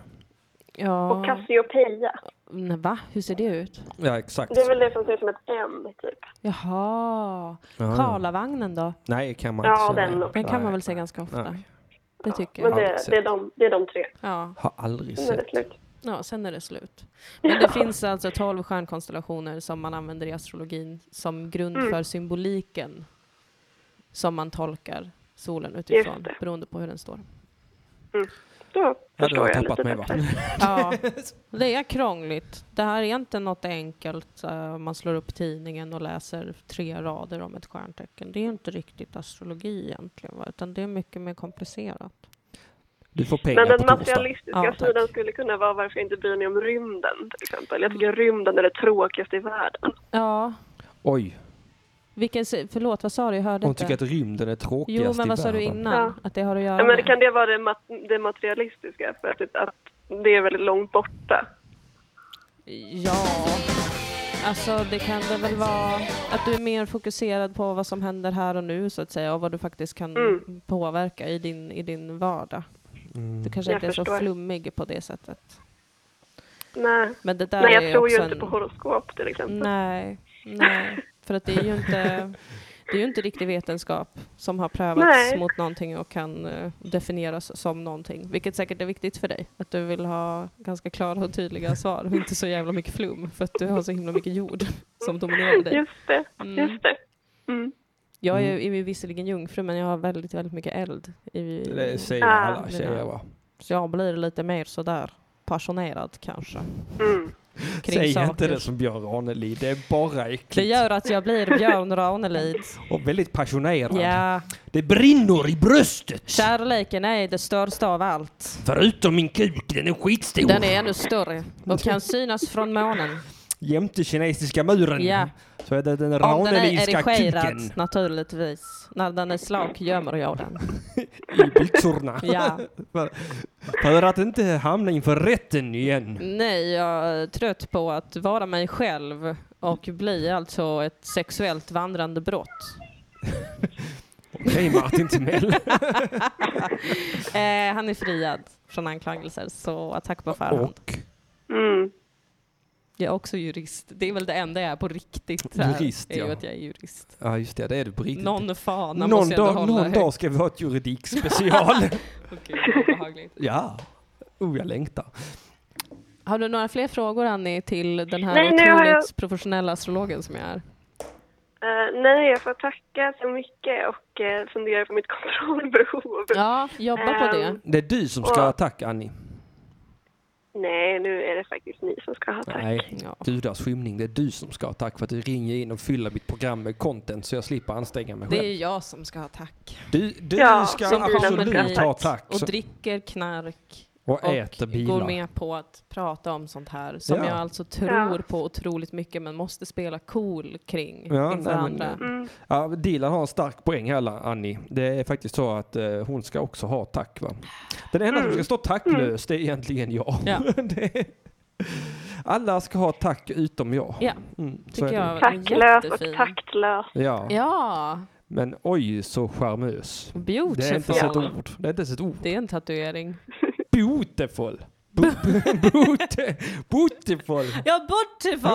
Speaker 2: Ja,
Speaker 8: och Cassiopeia.
Speaker 2: nej, va? Hur ser det ut?
Speaker 1: Ja, exakt.
Speaker 8: Det är väl det som ser ut som ett M, typ.
Speaker 2: Jaha,
Speaker 1: Ja, ja.
Speaker 2: Karlavagnen då?
Speaker 1: Nej, kan man
Speaker 8: Ja,
Speaker 1: inte känna
Speaker 8: den
Speaker 1: igen.
Speaker 8: nog.
Speaker 2: Den kan
Speaker 1: Nej.
Speaker 2: man väl se ganska ofta?
Speaker 1: Nej.
Speaker 2: Det tycker
Speaker 8: Men
Speaker 2: jag.
Speaker 8: det, det, är de, det är de tre.
Speaker 2: Ja.
Speaker 1: Har aldrig
Speaker 8: Sen är
Speaker 1: sett.
Speaker 8: det slut.
Speaker 2: Ja, sen är det slut. Men det finns alltså 12 stjärnkonstellationer som man använder i astrologin som grund
Speaker 8: Mm.
Speaker 2: för symboliken som man tolkar solen utifrån,
Speaker 8: det.
Speaker 2: beroende på hur den står.
Speaker 8: Då
Speaker 1: Ja, du
Speaker 8: förstår
Speaker 1: har
Speaker 8: jag
Speaker 1: tappat
Speaker 8: lite
Speaker 1: mig va?
Speaker 8: bättre.
Speaker 2: Ja, det är krångligt. Det här är inte något enkelt. eh, om man slår upp tidningen och läser tre rader om ett stjärntecken. Det är inte riktigt astrologi egentligen, va? utan det är mycket mer komplicerat.
Speaker 1: Du får pengar
Speaker 8: Men den
Speaker 1: på torsdag.
Speaker 8: materialistiska
Speaker 2: Ja, tack.
Speaker 8: sidan skulle kunna vara varför jag inte bryr mig om rymden, till exempel. Jag
Speaker 2: Mm.
Speaker 8: tycker rymden är det tråkigaste i världen.
Speaker 2: Ja,
Speaker 1: Oj,
Speaker 2: vilken, si- förlåt, vad sa du? Jag hörde
Speaker 1: hon
Speaker 2: inte.
Speaker 1: tycker att rymden är tråkigast
Speaker 2: jo, men
Speaker 1: i
Speaker 2: vad sa du
Speaker 1: världen.
Speaker 2: innan?
Speaker 8: Ja.
Speaker 2: Att det har att göra
Speaker 8: Ja, men
Speaker 2: med-
Speaker 8: kan det vara det, mat- det materialistiska? För att, typ att det är väldigt långt borta.
Speaker 2: Ja, alltså det kan det väl vara att du är mer fokuserad på vad som händer här och nu så att säga och vad du faktiskt kan
Speaker 8: Mm.
Speaker 2: påverka i din, i din vardag. Du kanske
Speaker 8: Jag
Speaker 2: inte är så
Speaker 8: förstår.
Speaker 2: flummig på det sättet.
Speaker 8: Nej,
Speaker 2: Men det där
Speaker 8: Nej
Speaker 2: är
Speaker 8: jag tror
Speaker 2: också
Speaker 8: ju inte
Speaker 2: en...
Speaker 8: på horoskop till exempel.
Speaker 2: Nej, nej. För att det är ju inte, det är ju inte riktig vetenskap som har prövats
Speaker 8: Nej.
Speaker 2: mot någonting och kan eh, definieras som någonting. Vilket säkert är viktigt för dig. Att du vill ha ganska klara och tydliga svar och inte så jävla mycket flum. För att du har så himla mycket jord som dominerar dig.
Speaker 8: Just det, just det. Mm.
Speaker 2: Jag är ju är ju visserligen jungfru men jag har väldigt, väldigt mycket eld. I,
Speaker 1: Det säger
Speaker 8: Ah.
Speaker 1: alla tjejer va?
Speaker 2: så jag blir lite mer sådär passionerad kanske.
Speaker 8: Mm.
Speaker 2: Kring
Speaker 1: Säg
Speaker 2: saker.
Speaker 1: inte det som Björn Ranelid, det är bara
Speaker 2: Det
Speaker 1: äckligt.
Speaker 2: gör att jag blir Björn Ranelid.
Speaker 1: Och väldigt passionerad.
Speaker 2: Ja,
Speaker 1: Det brinner i bröstet!
Speaker 2: kärleken är det största av allt.
Speaker 1: Förutom min kuk, den är skitstor.
Speaker 2: Den är ännu större och kan synas från månen.
Speaker 1: jämte kinesiska muren
Speaker 2: Ja.
Speaker 1: så är det den
Speaker 2: Om den är
Speaker 1: ranelidska kuken
Speaker 2: erigerad naturligtvis. När den är slak gömmer jag den.
Speaker 1: i byxorna.
Speaker 2: Ja.
Speaker 1: För- För att inte hamna inför rätten igen.
Speaker 2: Nej, jag är trött på att vara mig själv och bli alltså ett sexuellt vandrande brott.
Speaker 1: Okej Martin Timell.
Speaker 2: Eh, han är friad från anklagelser, så attack på förhand.
Speaker 1: Och
Speaker 8: Mm.
Speaker 2: Jag är också jurist. Det är väl det enda jag är på riktigt.
Speaker 1: Jurist,
Speaker 2: är ju
Speaker 1: ja.
Speaker 2: att jag är jurist.
Speaker 1: Ja just det, det är du på riktigt.
Speaker 2: Någon fana
Speaker 1: någon,
Speaker 2: måste jag
Speaker 1: dag,
Speaker 2: ändå hålla
Speaker 1: någon dag ska vi ha ett juridikspecial.
Speaker 2: högt. Gud, vad obehagligt.
Speaker 1: ja. Oh, jag längtar.
Speaker 2: Har du några fler frågor Annie till den här
Speaker 8: Nej, nu har
Speaker 2: otroligt
Speaker 8: jag-
Speaker 2: professionella astrologen som jag är?
Speaker 8: Eh, nej, jag får tacka så mycket och eh, fundera på mitt kontrollbehov.
Speaker 2: Ja, jobba på det.
Speaker 8: Ehm,
Speaker 1: Det är du som ska
Speaker 8: Och-
Speaker 1: ha tack Annie.
Speaker 8: Nej, nu är det faktiskt ni som ska ha tack.
Speaker 1: Nej,
Speaker 2: Ja.
Speaker 1: Gudas skymning. Det är du som ska ha tack för att du ringer in och fyller mitt program med content så jag slipper anstränga mig
Speaker 2: Det
Speaker 1: själv.
Speaker 2: är jag som ska ha tack.
Speaker 1: Du, du
Speaker 8: Ja,
Speaker 1: ska
Speaker 8: som bilar med
Speaker 1: absolut
Speaker 2: bilar.
Speaker 1: ha tack.
Speaker 2: Och
Speaker 1: så-
Speaker 2: dricker knark
Speaker 1: och
Speaker 2: och
Speaker 1: äter
Speaker 2: går
Speaker 1: bilar.
Speaker 2: med på att prata om sånt här som
Speaker 1: Ja.
Speaker 2: jag alltså tror på otroligt mycket men måste spela cool kring
Speaker 1: Ja,
Speaker 2: inför
Speaker 1: nej, men-
Speaker 2: andra.
Speaker 8: Mm.
Speaker 1: Ja, Dilan har en stark poäng här, La- Annie. Det är faktiskt så att eh, hon ska också ha tack. Va? Den enda som ska stå tacklös, det är egentligen jag.
Speaker 2: Mm. Ja.
Speaker 1: det är... Alla ska ha tack utom jag.
Speaker 2: Ja,
Speaker 1: Mm, så
Speaker 2: tycker
Speaker 1: är det.
Speaker 2: jag var
Speaker 8: Tacklös och
Speaker 2: jättefin.
Speaker 8: taktlös.
Speaker 1: Ja.
Speaker 2: Ja,
Speaker 1: men oj så charmös.
Speaker 2: beautiful.
Speaker 1: Det är inte ens ett ord. Det är inte ens ett ord.
Speaker 2: Det är en tatuering.
Speaker 1: Beautiful. Beautiful.
Speaker 2: Jag är beautiful!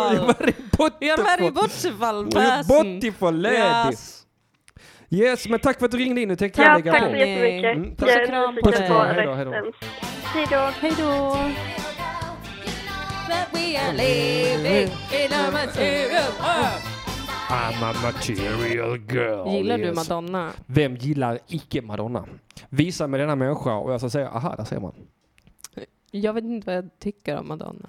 Speaker 2: Jag är very beautiful person!
Speaker 1: Beautiful lady.
Speaker 2: Yes.
Speaker 1: Yes, men tack för att du ringde in. Nu tänkte jag
Speaker 8: Ja,
Speaker 1: lägga
Speaker 8: tack så
Speaker 1: på.
Speaker 8: jättemycket.
Speaker 1: Mm,
Speaker 8: Jag
Speaker 2: puss och
Speaker 8: är
Speaker 2: kram på
Speaker 8: nyfiken
Speaker 2: dig.
Speaker 1: Hej då,
Speaker 8: på
Speaker 1: hej då.
Speaker 8: resten. Hej då.
Speaker 2: Hej då!
Speaker 1: I'm a material girl.
Speaker 2: Gillar du
Speaker 1: yes.
Speaker 2: Madonna?
Speaker 1: Vem gillar icke Madonna? Visa mig denna människa och jag ska säga, aha, där ser man.
Speaker 2: Jag vet inte vad jag tycker om Madonna.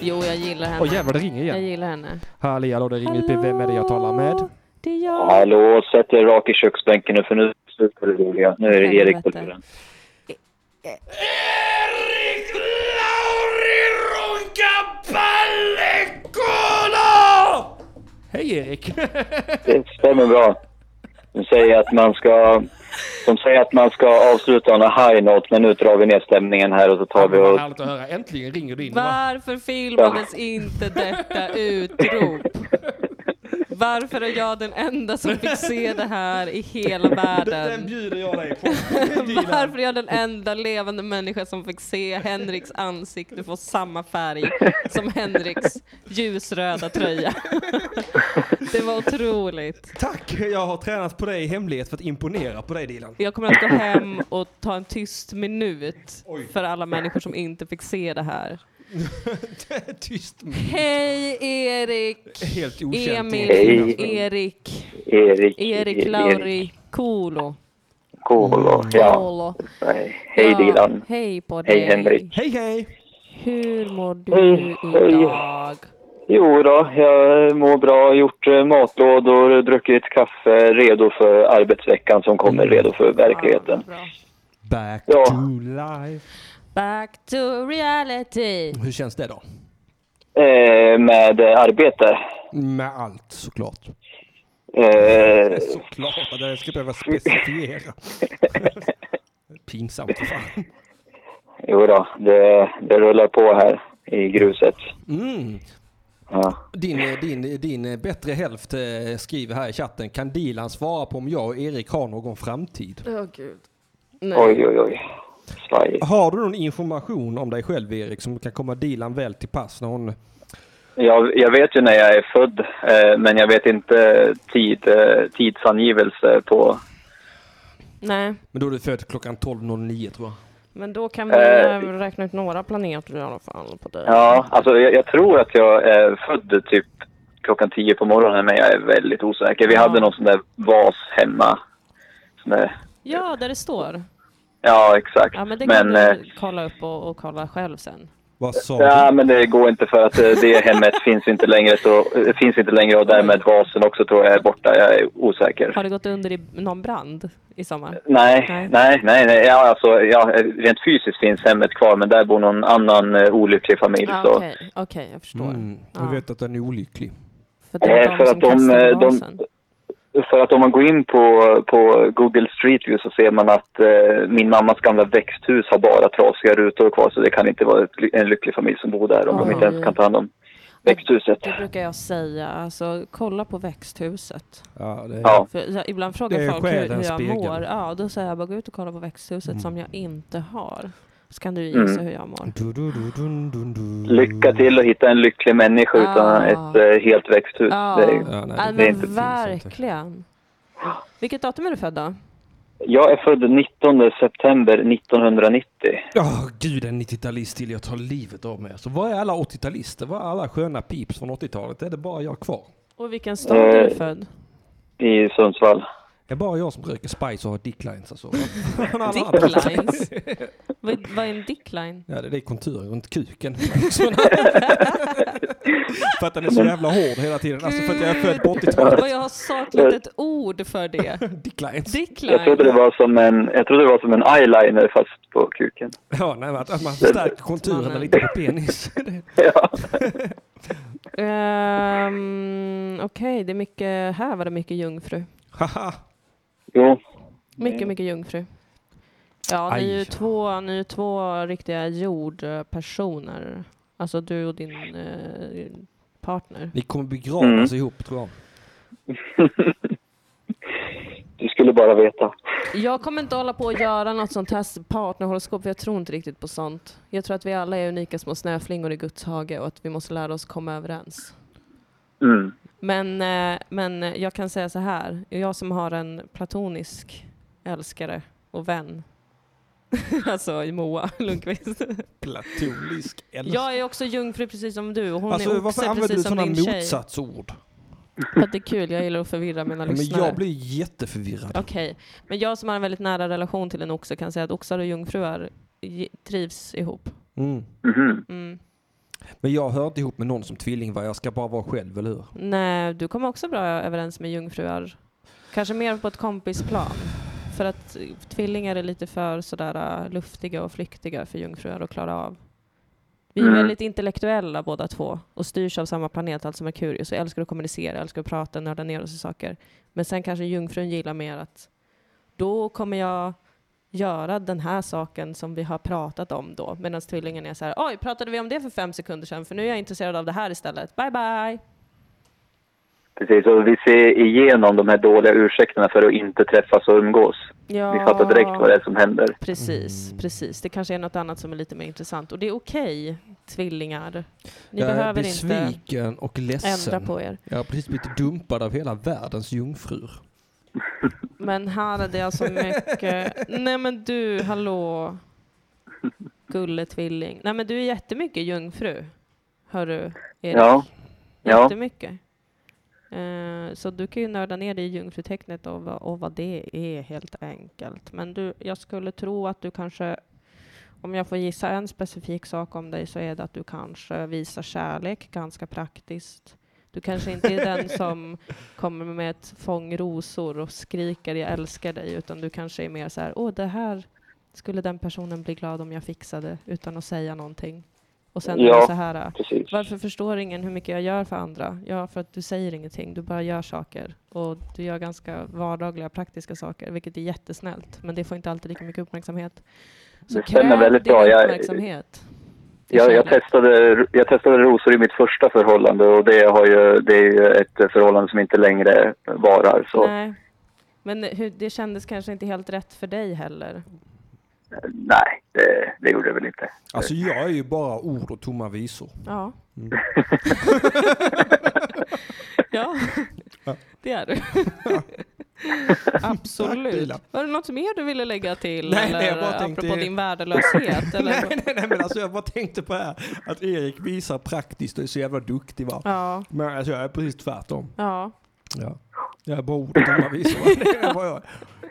Speaker 2: Jo, jag gillar henne.
Speaker 1: Åh jävlar, det ringer
Speaker 2: jag
Speaker 1: igen.
Speaker 2: gillar henne.
Speaker 1: Halli hallå, det ringer upp i Vem är det jag talar med?
Speaker 2: Det är jag.
Speaker 10: Hallå, sätt dig rak i köksbänken nu för nu slutar det roliga. Nu är det Erik på
Speaker 2: Helvete.
Speaker 10: turen.
Speaker 1: Hej Erik!
Speaker 10: Det stämmer bra. De säger att man ska, de säger att man ska avsluta on a high note, men nu drar vi ner stämningen här och så tar vi och...
Speaker 1: Vad härligt att höra. Äntligen ringer du in. Va?
Speaker 2: Varför filmades inte detta utrop? Varför är jag den enda som fick se det här i hela
Speaker 1: Den
Speaker 2: världen?
Speaker 1: bjuder jag dig på.
Speaker 2: Varför är jag den enda levande människa som fick se Henriks ansikte få samma färg som Henriks ljusröda tröja? Det var otroligt.
Speaker 1: Tack! Jag har tränat på dig i hemlighet för att imponera på dig Dilan.
Speaker 2: Jag kommer att gå hem och ta en tyst minut för alla människor som inte fick se det här.
Speaker 1: Tyst.
Speaker 2: Hej Erik!
Speaker 1: Helt okänt.
Speaker 2: Emil,
Speaker 10: Hej.
Speaker 2: Erik,
Speaker 10: Erik...
Speaker 2: Erik Lauri, Kolo.
Speaker 10: Kolo. Ja.
Speaker 2: Kolo.
Speaker 10: Nej. Hej
Speaker 2: Ja,
Speaker 10: Dilan.
Speaker 2: Ah, Hej på dig.
Speaker 10: Hej Henrik.
Speaker 1: Hej hej!
Speaker 2: Hur mår du
Speaker 10: Hej, hej.
Speaker 2: idag?
Speaker 10: Jo då, jag mår bra. Gjort eh, matlådor, druckit kaffe, redo för arbetsveckan som kommer, redo för verkligheten.
Speaker 2: Mm. Bra.
Speaker 1: Back
Speaker 10: Ja.
Speaker 1: to life.
Speaker 2: Back to reality.
Speaker 1: Hur känns det då?
Speaker 10: Eh, med eh, arbete.
Speaker 1: Med allt såklart.
Speaker 10: Eh,
Speaker 1: Såklart att jag ska behöva specifiera. Pinsamt för fan.
Speaker 10: jo då, det, det rullar på här i gruset.
Speaker 1: Mm.
Speaker 10: Ja.
Speaker 1: Din, eh, din, din bättre hälft eh, skriver här i chatten, kan Dilan svara på om jag och Erik har någon framtid?
Speaker 10: Mm.
Speaker 2: Åh gud. Nej.
Speaker 10: Oj, oj, oj. Svajigt.
Speaker 1: Har du någon information om dig själv Erik som kan komma Dilan väl till pass när hon...
Speaker 10: Jag, jag vet ju när jag är född, eh, men jag vet inte tid, eh, tidsangivelse på...
Speaker 2: Nej,
Speaker 1: Men då är du född klockan 12.09 tror jag.
Speaker 2: men då kan vi
Speaker 10: Eh.
Speaker 2: eh, räkna ut några planeter i alla fall på dig.
Speaker 10: Ja, alltså jag, jag tror att jag är född typ klockan tio på morgonen, men jag är väldigt osäker. Vi
Speaker 2: Ja.
Speaker 10: hade någon sån där vas hemma. Sån där,
Speaker 2: Ja, där det står.
Speaker 10: ja, exakt.
Speaker 2: Ja, men det kan
Speaker 10: men eh,
Speaker 2: du kolla upp och, och kolla själv sen.
Speaker 6: Vad sa
Speaker 10: Ja,
Speaker 6: du?
Speaker 10: men det går inte för att eh, det hemmet finns inte längre så, eh, finns inte längre och därmed vasen också tror jag är borta. Jag är osäker.
Speaker 2: Har det gått under i någon brand i sommar?
Speaker 10: Nej, nej, nej, nej. Ja, alltså, ja, eh, rent fysiskt finns hemmet kvar men där bor någon annan eh, olycklig familj.
Speaker 2: Ah,
Speaker 10: så.
Speaker 2: Okej, okej, jag förstår.
Speaker 6: Mm, jag vet att den är olycklig.
Speaker 2: För det var
Speaker 10: Eh,
Speaker 2: de
Speaker 10: för
Speaker 2: som
Speaker 10: att de,
Speaker 2: kastade
Speaker 10: eh, de,
Speaker 2: vasen.
Speaker 10: för att om man går in på, på Google Street View så ser man att eh, min mammas gamla växthus har bara trasiga rutor kvar så det kan inte vara ett, ly- en lycklig familj som bor där om de
Speaker 2: Oj.
Speaker 10: inte ens kan ta hand om växthuset.
Speaker 2: Det brukar jag säga, alltså kolla på växthuset.
Speaker 6: Ja, det är,
Speaker 10: Ja.
Speaker 2: För jag, ibland
Speaker 6: Det
Speaker 2: frågar
Speaker 6: är
Speaker 2: folk hur, hur
Speaker 6: själens
Speaker 2: jag
Speaker 6: spegel.
Speaker 2: mår. Ja, då säger jag bara gå ut och kolla på växthuset som jag inte har. Så kan du
Speaker 10: Mm.
Speaker 2: gissa hur jag mår.
Speaker 6: Du, du, du, dun, dun, dun.
Speaker 10: Lycka till att hitta en lycklig människa utan
Speaker 2: Ah.
Speaker 10: ett eh, helt växthus.
Speaker 2: Ja.
Speaker 10: Det är,
Speaker 6: Ja,
Speaker 2: Nej,
Speaker 6: nej,
Speaker 10: det är
Speaker 2: men
Speaker 10: inte-
Speaker 2: verkligen. Vilket datum är du född då?
Speaker 10: jag är född 19 september 1990.
Speaker 1: Ja, gud en 90-talist till jag tar livet av mig. Så var är alla 80-talister? Var är alla sköna pips från 80-talet? Är det bara jag kvar?
Speaker 2: Och vilken stad är du
Speaker 10: Eh,
Speaker 2: född?
Speaker 10: I Sundsvall.
Speaker 1: Det är bara jag som röker Spice och har dicklines alltså.
Speaker 2: Dicklines? vad, vad är en dickline?
Speaker 1: Ja, det är det konturen runt kuken. för att den är så jävla hård hela tiden. Alltså för att jag är född på 80-talet.
Speaker 2: Vad jag har saknat ett ord för det.
Speaker 1: Dicklines.
Speaker 2: Dickline?
Speaker 10: Jag trodde det var som en, jag trodde det var som en eyeliner fast på kuken.
Speaker 1: Ja, nej, men att att man förstärker konturerna lite på penis.
Speaker 10: Ja.
Speaker 2: Ehm, Okej, det är mycket, här var det mycket jungfru.
Speaker 1: Haha.
Speaker 10: Jo,
Speaker 2: Mycket, mycket jungfru. Ja, ni är ju
Speaker 1: Aj.
Speaker 2: två, ni är ju två riktiga jordpersoner. Alltså du och din eh, partner.
Speaker 1: Ni kommer begravas
Speaker 2: Mm.
Speaker 1: ihop tror jag.
Speaker 10: du skulle bara veta.
Speaker 2: Jag kommer inte hålla på att göra något sånt här partnerhoroskop, för jag tror inte riktigt på sånt. Jag tror att vi alla är unika små snöflingor i Guds hage och att vi måste lära oss komma överens.
Speaker 10: Mm.
Speaker 2: Men, eh, men jag kan säga så här, jag som har en platonisk älskare och vän, alltså i Moa Lundqvist.
Speaker 1: Platonisk älskare.
Speaker 2: Jag är också jungfru precis som du och hon
Speaker 1: Alltså
Speaker 2: är
Speaker 1: varför
Speaker 2: oxe
Speaker 1: använder du
Speaker 2: precis som
Speaker 1: sådana
Speaker 2: din tjej.
Speaker 1: motsatsord?
Speaker 2: För att det är kul, jag gillar att förvirra mina
Speaker 1: Ja, men
Speaker 2: lyssnare.
Speaker 1: jag blir jätteförvirrad.
Speaker 2: Okej, men jag som har en väldigt nära relation till en oxe kan säga att oxar och jungfrur ge- trivs ihop.
Speaker 1: Mm.
Speaker 10: Mhm.
Speaker 2: Mm.
Speaker 1: Men jag hör inte ihop med någon som tvilling va? Jag ska bara vara själv, eller hur?
Speaker 2: Nej, du kommer också bra överens med jungfrur. Kanske mer på ett kompisplan. För att eh, tvillingar är lite för sådär eh, luftiga och flyktiga för jungfrur att klara av. Vi är
Speaker 10: Mm.
Speaker 2: väldigt intellektuella båda två och styrs av samma planet, alltså Merkurius. Och älskar att kommunicera, älskar att prata, nörda ner oss i saker. Men sen kanske jungfrun gillar mer att då kommer jag göra den här saken som vi har pratat om då. Medan tvillingen är så här, oj, pratade vi om det för fem sekunder sedan? För nu är jag intresserad av det här istället. Bye, bye!
Speaker 10: Precis, och vi ser igenom de här dåliga ursäkterna för att inte träffas och umgås.
Speaker 2: Ja.
Speaker 10: Vi fattar direkt vad det är som händer.
Speaker 2: Precis,
Speaker 1: Mm.
Speaker 2: precis. Det kanske är något annat som är lite mer intressant. Och det är okej, tvillingar. Ni
Speaker 1: jag är
Speaker 2: behöver inte
Speaker 1: besviken och ledsen.
Speaker 2: ändra på er.
Speaker 1: Jag har precis blivit dumpad av hela världens jungfrur.
Speaker 2: Men här är det alltså mycket... Nej men du, hallå. Gulletvilling. Nej men du är jättemycket jungfru. Hör du, Erik?
Speaker 10: Ja. ja.
Speaker 2: Jättemycket. Eh, Så du kan ju nörda ner dig i jungfrutecknet och, vad- och vad det är helt enkelt. Men du, jag skulle tro att du kanske, om jag får gissa en specifik sak om dig så är det att du kanske visar kärlek ganska praktiskt. Du kanske inte är den som kommer med ett fång rosor och skriker jag älskar dig, utan du kanske är mer så här, åh det här skulle den personen bli glad om jag fixade utan att säga någonting. Och sen är
Speaker 10: Ja.
Speaker 2: det så här,
Speaker 10: Precis.
Speaker 2: varför förstår ingen hur mycket jag gör för andra? Ja, för att du säger ingenting, du bara gör saker. Och du gör ganska vardagliga, praktiska saker, vilket är jättesnällt. Men det får inte alltid lika mycket uppmärksamhet. Så
Speaker 10: Det stämmer
Speaker 2: kräv
Speaker 10: väldigt
Speaker 2: din
Speaker 10: bra. Jag-
Speaker 2: Uppmärksamhet. Det är
Speaker 10: Jag, jag,
Speaker 2: kärlek.
Speaker 10: testade, jag testade rosor i mitt första förhållande och det, har ju, det är ju ett förhållande som inte längre varar. Så nej,
Speaker 2: Nej. Men hur, det kändes kanske inte helt rätt för dig heller.
Speaker 10: det, det gjorde det väl inte.
Speaker 1: Alltså jag är ju bara ord och tomma visor.
Speaker 2: Ja.
Speaker 1: Mm.
Speaker 2: ja, det är du. Absolut.
Speaker 1: Lilla.
Speaker 2: Var det något mer du ville lägga till?
Speaker 1: Nej,
Speaker 2: eller
Speaker 1: nej, jag bara tänkte-
Speaker 2: apropå din värdelöshet? Eller?
Speaker 1: nej, nej, nej, men alltså jag bara tänkte på det här att Erik visar praktiskt och är så jävla duktig va.
Speaker 2: Ja,
Speaker 1: Men alltså jag är precis tvärtom.
Speaker 2: ja.
Speaker 1: Ja. Jag bara otalar vis. va? Det är vad jag-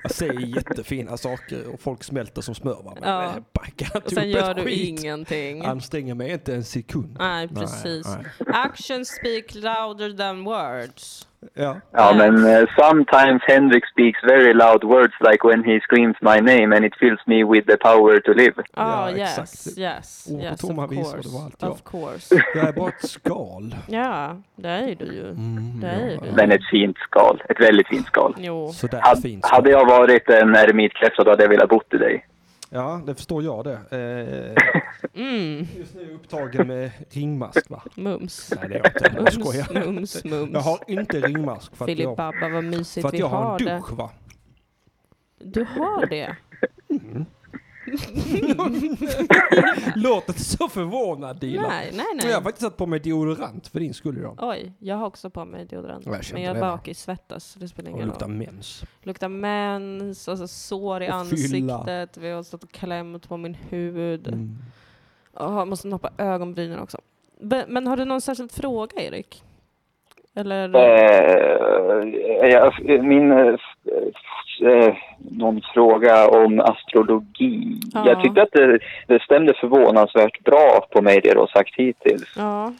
Speaker 1: Jag säger jättefina saker och folk smälter som smör. Va? Men
Speaker 2: Ja.
Speaker 1: jag backar inte
Speaker 2: Och sen
Speaker 1: upp
Speaker 2: gör
Speaker 1: Typ ett
Speaker 2: du
Speaker 1: skit.
Speaker 2: ingenting.
Speaker 1: Anstränger mig inte en sekund.
Speaker 2: Nej, precis.
Speaker 1: Nej,
Speaker 2: Actions speak louder than words.
Speaker 1: Ja.
Speaker 10: Ja, men eh, sometimes Henrik speaks very loud words like when he screams my name and it fills me with the power to live.
Speaker 2: Ah,
Speaker 1: Ja,
Speaker 2: yes,
Speaker 1: exakt.
Speaker 2: yes,
Speaker 1: Ord på
Speaker 2: yes,
Speaker 1: tomma
Speaker 2: of
Speaker 1: visor,
Speaker 2: course.
Speaker 1: det var allt jag.
Speaker 2: Of course.
Speaker 1: Jag är bara ett skal.
Speaker 2: Ja, det är du ju.
Speaker 1: Mm,
Speaker 2: det är du.
Speaker 10: Men ett fint skal, ett väldigt fint skal.
Speaker 2: Jo.
Speaker 1: Sådär fint. skal.
Speaker 10: Hade jag varit en eremitkräfta då hade jag velat bott i dig.
Speaker 1: Ja, det förstår jag det. Eh,
Speaker 2: Mm.
Speaker 1: Just nu är jag upptagen med ringmask va?
Speaker 2: Mums.
Speaker 1: Nej det är jag inte, jag
Speaker 2: Mums,
Speaker 1: skojar.
Speaker 2: mums, mums.
Speaker 1: Jag har inte ringmask för att
Speaker 2: Filip
Speaker 1: jag,
Speaker 2: Abba, vad mysigt
Speaker 1: för att
Speaker 2: vi
Speaker 1: jag har
Speaker 2: har
Speaker 1: en
Speaker 2: det.
Speaker 1: dusch va?
Speaker 2: Du har det?
Speaker 1: Låt inte så förvånad Dila.
Speaker 2: Nej, nej, nej.
Speaker 1: Jag har faktiskt satt på mig deodorant för din skull idag.
Speaker 2: Oj, jag har också på mig deodorant.
Speaker 1: Ja, jag kände
Speaker 2: men jag
Speaker 1: det.
Speaker 2: bakissvettas, så det spelar
Speaker 1: Och
Speaker 2: ingen
Speaker 1: luktar
Speaker 2: roll.
Speaker 1: mens.
Speaker 2: Luktar mens, alltså sår i
Speaker 1: Och fylla.
Speaker 2: ansiktet. Vi har stått och klämt på min hud.
Speaker 1: Mm.
Speaker 2: Åh, jag måste noppa ögonbrynen också. Be- Men har du någon särskild fråga, Erik? Eller?
Speaker 10: Eh, jag, min eh, f- eh, någon fråga om astrologi.
Speaker 2: Ja.
Speaker 10: Jag tyckte att det, det stämde förvånansvärt bra på mig det du har sagt hittills.
Speaker 2: Ja.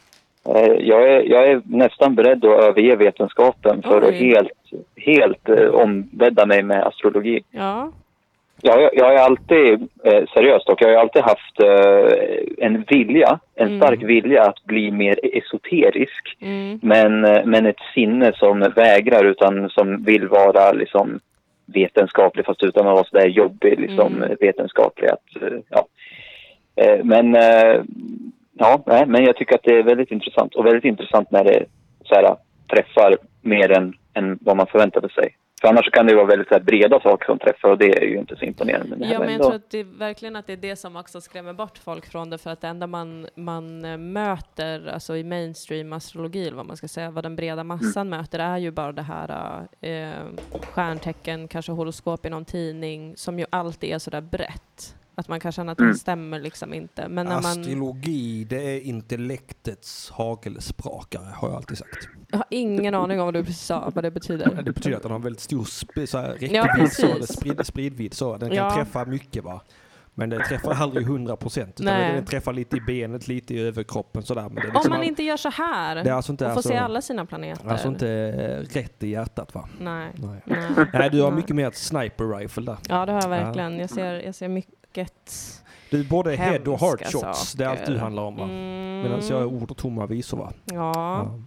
Speaker 10: Eh, Jag är, jag är nästan beredd att överge vetenskapen för att
Speaker 2: Oj.
Speaker 10: helt, helt eh, ombädda mig med astrologi.
Speaker 2: Ja.
Speaker 10: Jag, jag, jag har alltid, eh, seriöst och jag har alltid haft eh, en vilja, en
Speaker 2: Mm.
Speaker 10: stark vilja att bli mer esoterisk.
Speaker 2: Mm.
Speaker 10: Men, eh, men ett sinne som vägrar utan som vill vara liksom vetenskaplig fast utan att vara sådär jobbig liksom
Speaker 2: Mm.
Speaker 10: eh, vetenskaplig. Att, eh, ja. Eh, Men, eh, ja, nej, men jag tycker att det är väldigt intressant och väldigt intressant när det så här, träffar mer än, än vad man förväntade sig. För annars kan det vara väldigt så här, breda saker som träffar och det är ju inte så imponerande. Men det här
Speaker 2: ja,
Speaker 10: var
Speaker 2: men jag
Speaker 10: ändå-
Speaker 2: tror att det är verkligen att det är det som också skrämmer bort folk från det, för att det enda man, man eh, möter, alltså i mainstream astrologi, eller vad man ska säga, vad den
Speaker 10: Mm.
Speaker 2: breda massan möter, är ju bara det här eh, stjärntecken, kanske horoskop i någon tidning, som ju alltid är sådär brett. Att man kan känna att
Speaker 10: Mm.
Speaker 2: det stämmer liksom inte. Men när man
Speaker 1: Astrologi, det är intellektets hagelsprakare har jag alltid sagt.
Speaker 2: jag har ingen aning om vad du precis sa, vad det betyder.
Speaker 1: Det betyder att den har en väldigt stor sp- så här, räckvidd,
Speaker 2: Ja,
Speaker 1: så,
Speaker 2: precis.
Speaker 1: eller sprid, spridvidd så. Den kan
Speaker 2: Ja.
Speaker 1: träffa mycket va. Men den träffar aldrig 100 procent.
Speaker 2: Nej.
Speaker 1: Den träffar lite i benet, lite i överkroppen sådär. Men det är
Speaker 2: Om
Speaker 1: liksom
Speaker 2: man
Speaker 1: all-
Speaker 2: inte gör så här,
Speaker 1: Det är alltså inte-
Speaker 2: och får
Speaker 1: alltså-
Speaker 2: se alla sina planeter.
Speaker 1: Alltså inte eh, rätt i hjärtat va?
Speaker 2: Nej.
Speaker 1: Nej.
Speaker 2: Nej.
Speaker 1: Nej, du har
Speaker 2: Nej.
Speaker 1: mycket mer ett sniper rifle där.
Speaker 2: Ja, det har jag verkligen. Jag ser, jag ser mycket
Speaker 1: Du är både head och heart
Speaker 2: Hemska
Speaker 1: shots, det är allt du
Speaker 2: saker.
Speaker 1: handlar om va?
Speaker 2: Mm.
Speaker 1: Medan jag är ord och tomma visor va?
Speaker 2: Ja.
Speaker 1: Ja.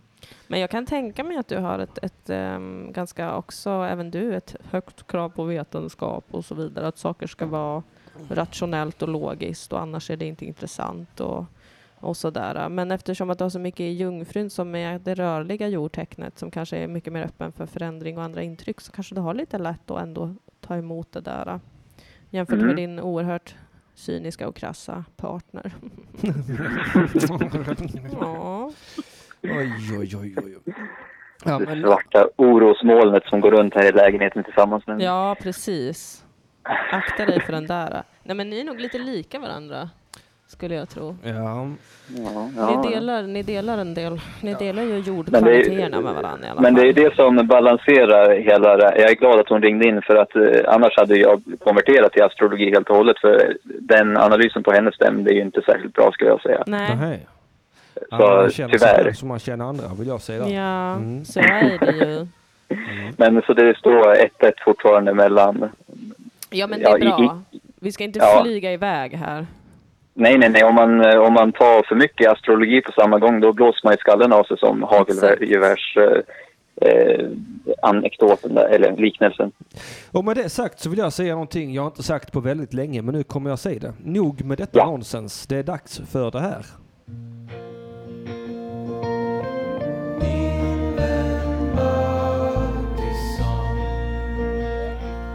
Speaker 2: men jag kan tänka mig att du har ett, ett ehm, ganska också, även du, ett högt krav på vetenskap och så vidare. Att saker ska vara rationellt och logiskt och annars är det inte intressant och, och sådär. Men eftersom att du har så mycket i jungfrun som är det rörliga jordtecknet som kanske är mycket mer öppen för förändring och andra intryck så kanske du har lite lätt att ändå ta emot det där eh, jämfört med
Speaker 10: Mm.
Speaker 2: din oerhört cyniska och krassa partner. ja.
Speaker 1: Oj, oj, oj, oj. oj. Ja,
Speaker 10: det
Speaker 1: men,
Speaker 10: svarta orosmolnet som går runt här i lägenheten tillsammans med
Speaker 2: Ja, precis. Akta dig för den där. Nej, men ni är nog lite lika varandra, skulle jag tro.
Speaker 1: ja.
Speaker 10: Ja, ja.
Speaker 2: Ni, delar, ni delar en del. Ni delar ju
Speaker 10: Men det är-
Speaker 2: jordkvaliteterna med varandra i alla
Speaker 10: Men det är ju
Speaker 2: fall.
Speaker 10: det som balanserar hela det här. Jag är glad att hon ringde in för att eh, annars hade jag konverterat till astrologi helt och hållet för den analysen på henne stämde ju inte särskilt bra skulle jag säga.
Speaker 2: Nej.
Speaker 1: Nej.
Speaker 10: Så,
Speaker 1: man känner sig
Speaker 10: tyvärr.
Speaker 1: själv som man känner andra, vill jag säga. Ja.
Speaker 2: Ja, så är det ju.
Speaker 10: Men så det står 1-1 fortfarande mellan...
Speaker 2: Ja, men det
Speaker 10: Ja,
Speaker 2: är
Speaker 10: i-
Speaker 2: bra. Vi ska inte
Speaker 10: Ja.
Speaker 2: flyga iväg här.
Speaker 10: Nej, nej, nej. Om man, eh, om man tar för mycket astrologi på samma gång då blåser man i skallen av sig som hagelgevärs... Eh, eh, anekdoten där, eller liknelsen.
Speaker 1: Och med det sagt så vill jag säga någonting jag har inte sagt på väldigt länge, men nu kommer jag säga det. Nog med detta
Speaker 10: Ja.
Speaker 1: nonsens. Det är dags för det här.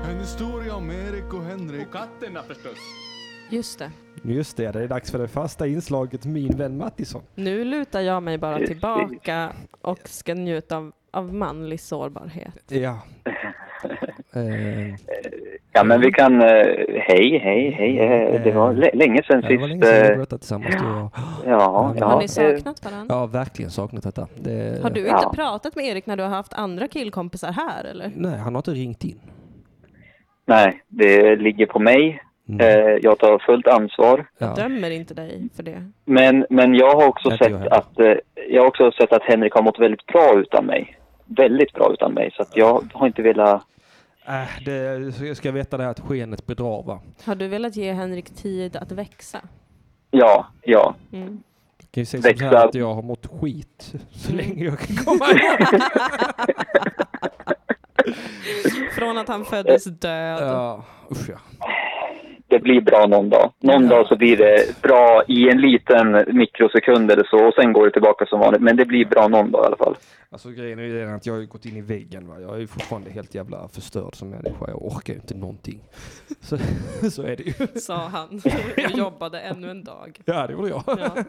Speaker 11: En historia om Erik och Henrik. Och katterna förstås.
Speaker 2: Just det.
Speaker 1: Just det, det är dags för det fasta inslaget Min vän Mattisson.
Speaker 2: Nu lutar jag mig bara tillbaka och ska njuta av, av manlig sårbarhet.
Speaker 1: Ja. eh, Mm.
Speaker 10: Ja, men vi kan eh, hej, hej, hej. Eh, Det var lä- länge sedan
Speaker 1: Ja,
Speaker 10: sist.
Speaker 1: det var länge sedan vi
Speaker 10: eh,
Speaker 1: berättade tillsammans. du och jag.
Speaker 10: Ja, ja.
Speaker 2: Har ni saknat varandra?
Speaker 1: Ja, verkligen saknat detta. Det,
Speaker 2: Har du inte pratat med Erik när du har haft andra killkompisar här eller?
Speaker 1: Nej, han har inte ringt in.
Speaker 10: Nej, det ligger på mig.
Speaker 1: Mm.
Speaker 10: Eh, Jag tar fullt ansvar.
Speaker 2: Jag dömer inte dig för det.
Speaker 10: Men, men jag har också sett att eh, jag har också sett att Henrik har mått väldigt bra utan mig. Väldigt bra utan mig. Så att jag har inte velat...
Speaker 1: Äh, det, så jag ska veta det här att skenet bedrar va?
Speaker 2: Har du velat ge Henrik tid att växa?
Speaker 10: Ja, ja.
Speaker 2: Mm.
Speaker 1: Jag kan ju säga som så här
Speaker 10: Växlar.
Speaker 1: att jag har mått skit så
Speaker 2: Mm.
Speaker 1: länge jag kan komma ihåg.
Speaker 2: Från att han föddes död.
Speaker 1: Ja, usch ja.
Speaker 10: Det blir bra någon dag. Någon dag så blir det bra i en liten mikrosekund eller så och sen går det tillbaka som vanligt. Men det blir bra någon dag i alla fall.
Speaker 1: Alltså grejen är ju den att jag har ju gått in i väggen va. Jag är ju fortfarande helt jävla förstörd som människa. Jag orkar ju inte någonting. Så, så är det ju.
Speaker 2: Sa han och jobbade ännu en dag.
Speaker 1: Ja, det gjorde jag.
Speaker 2: Ja.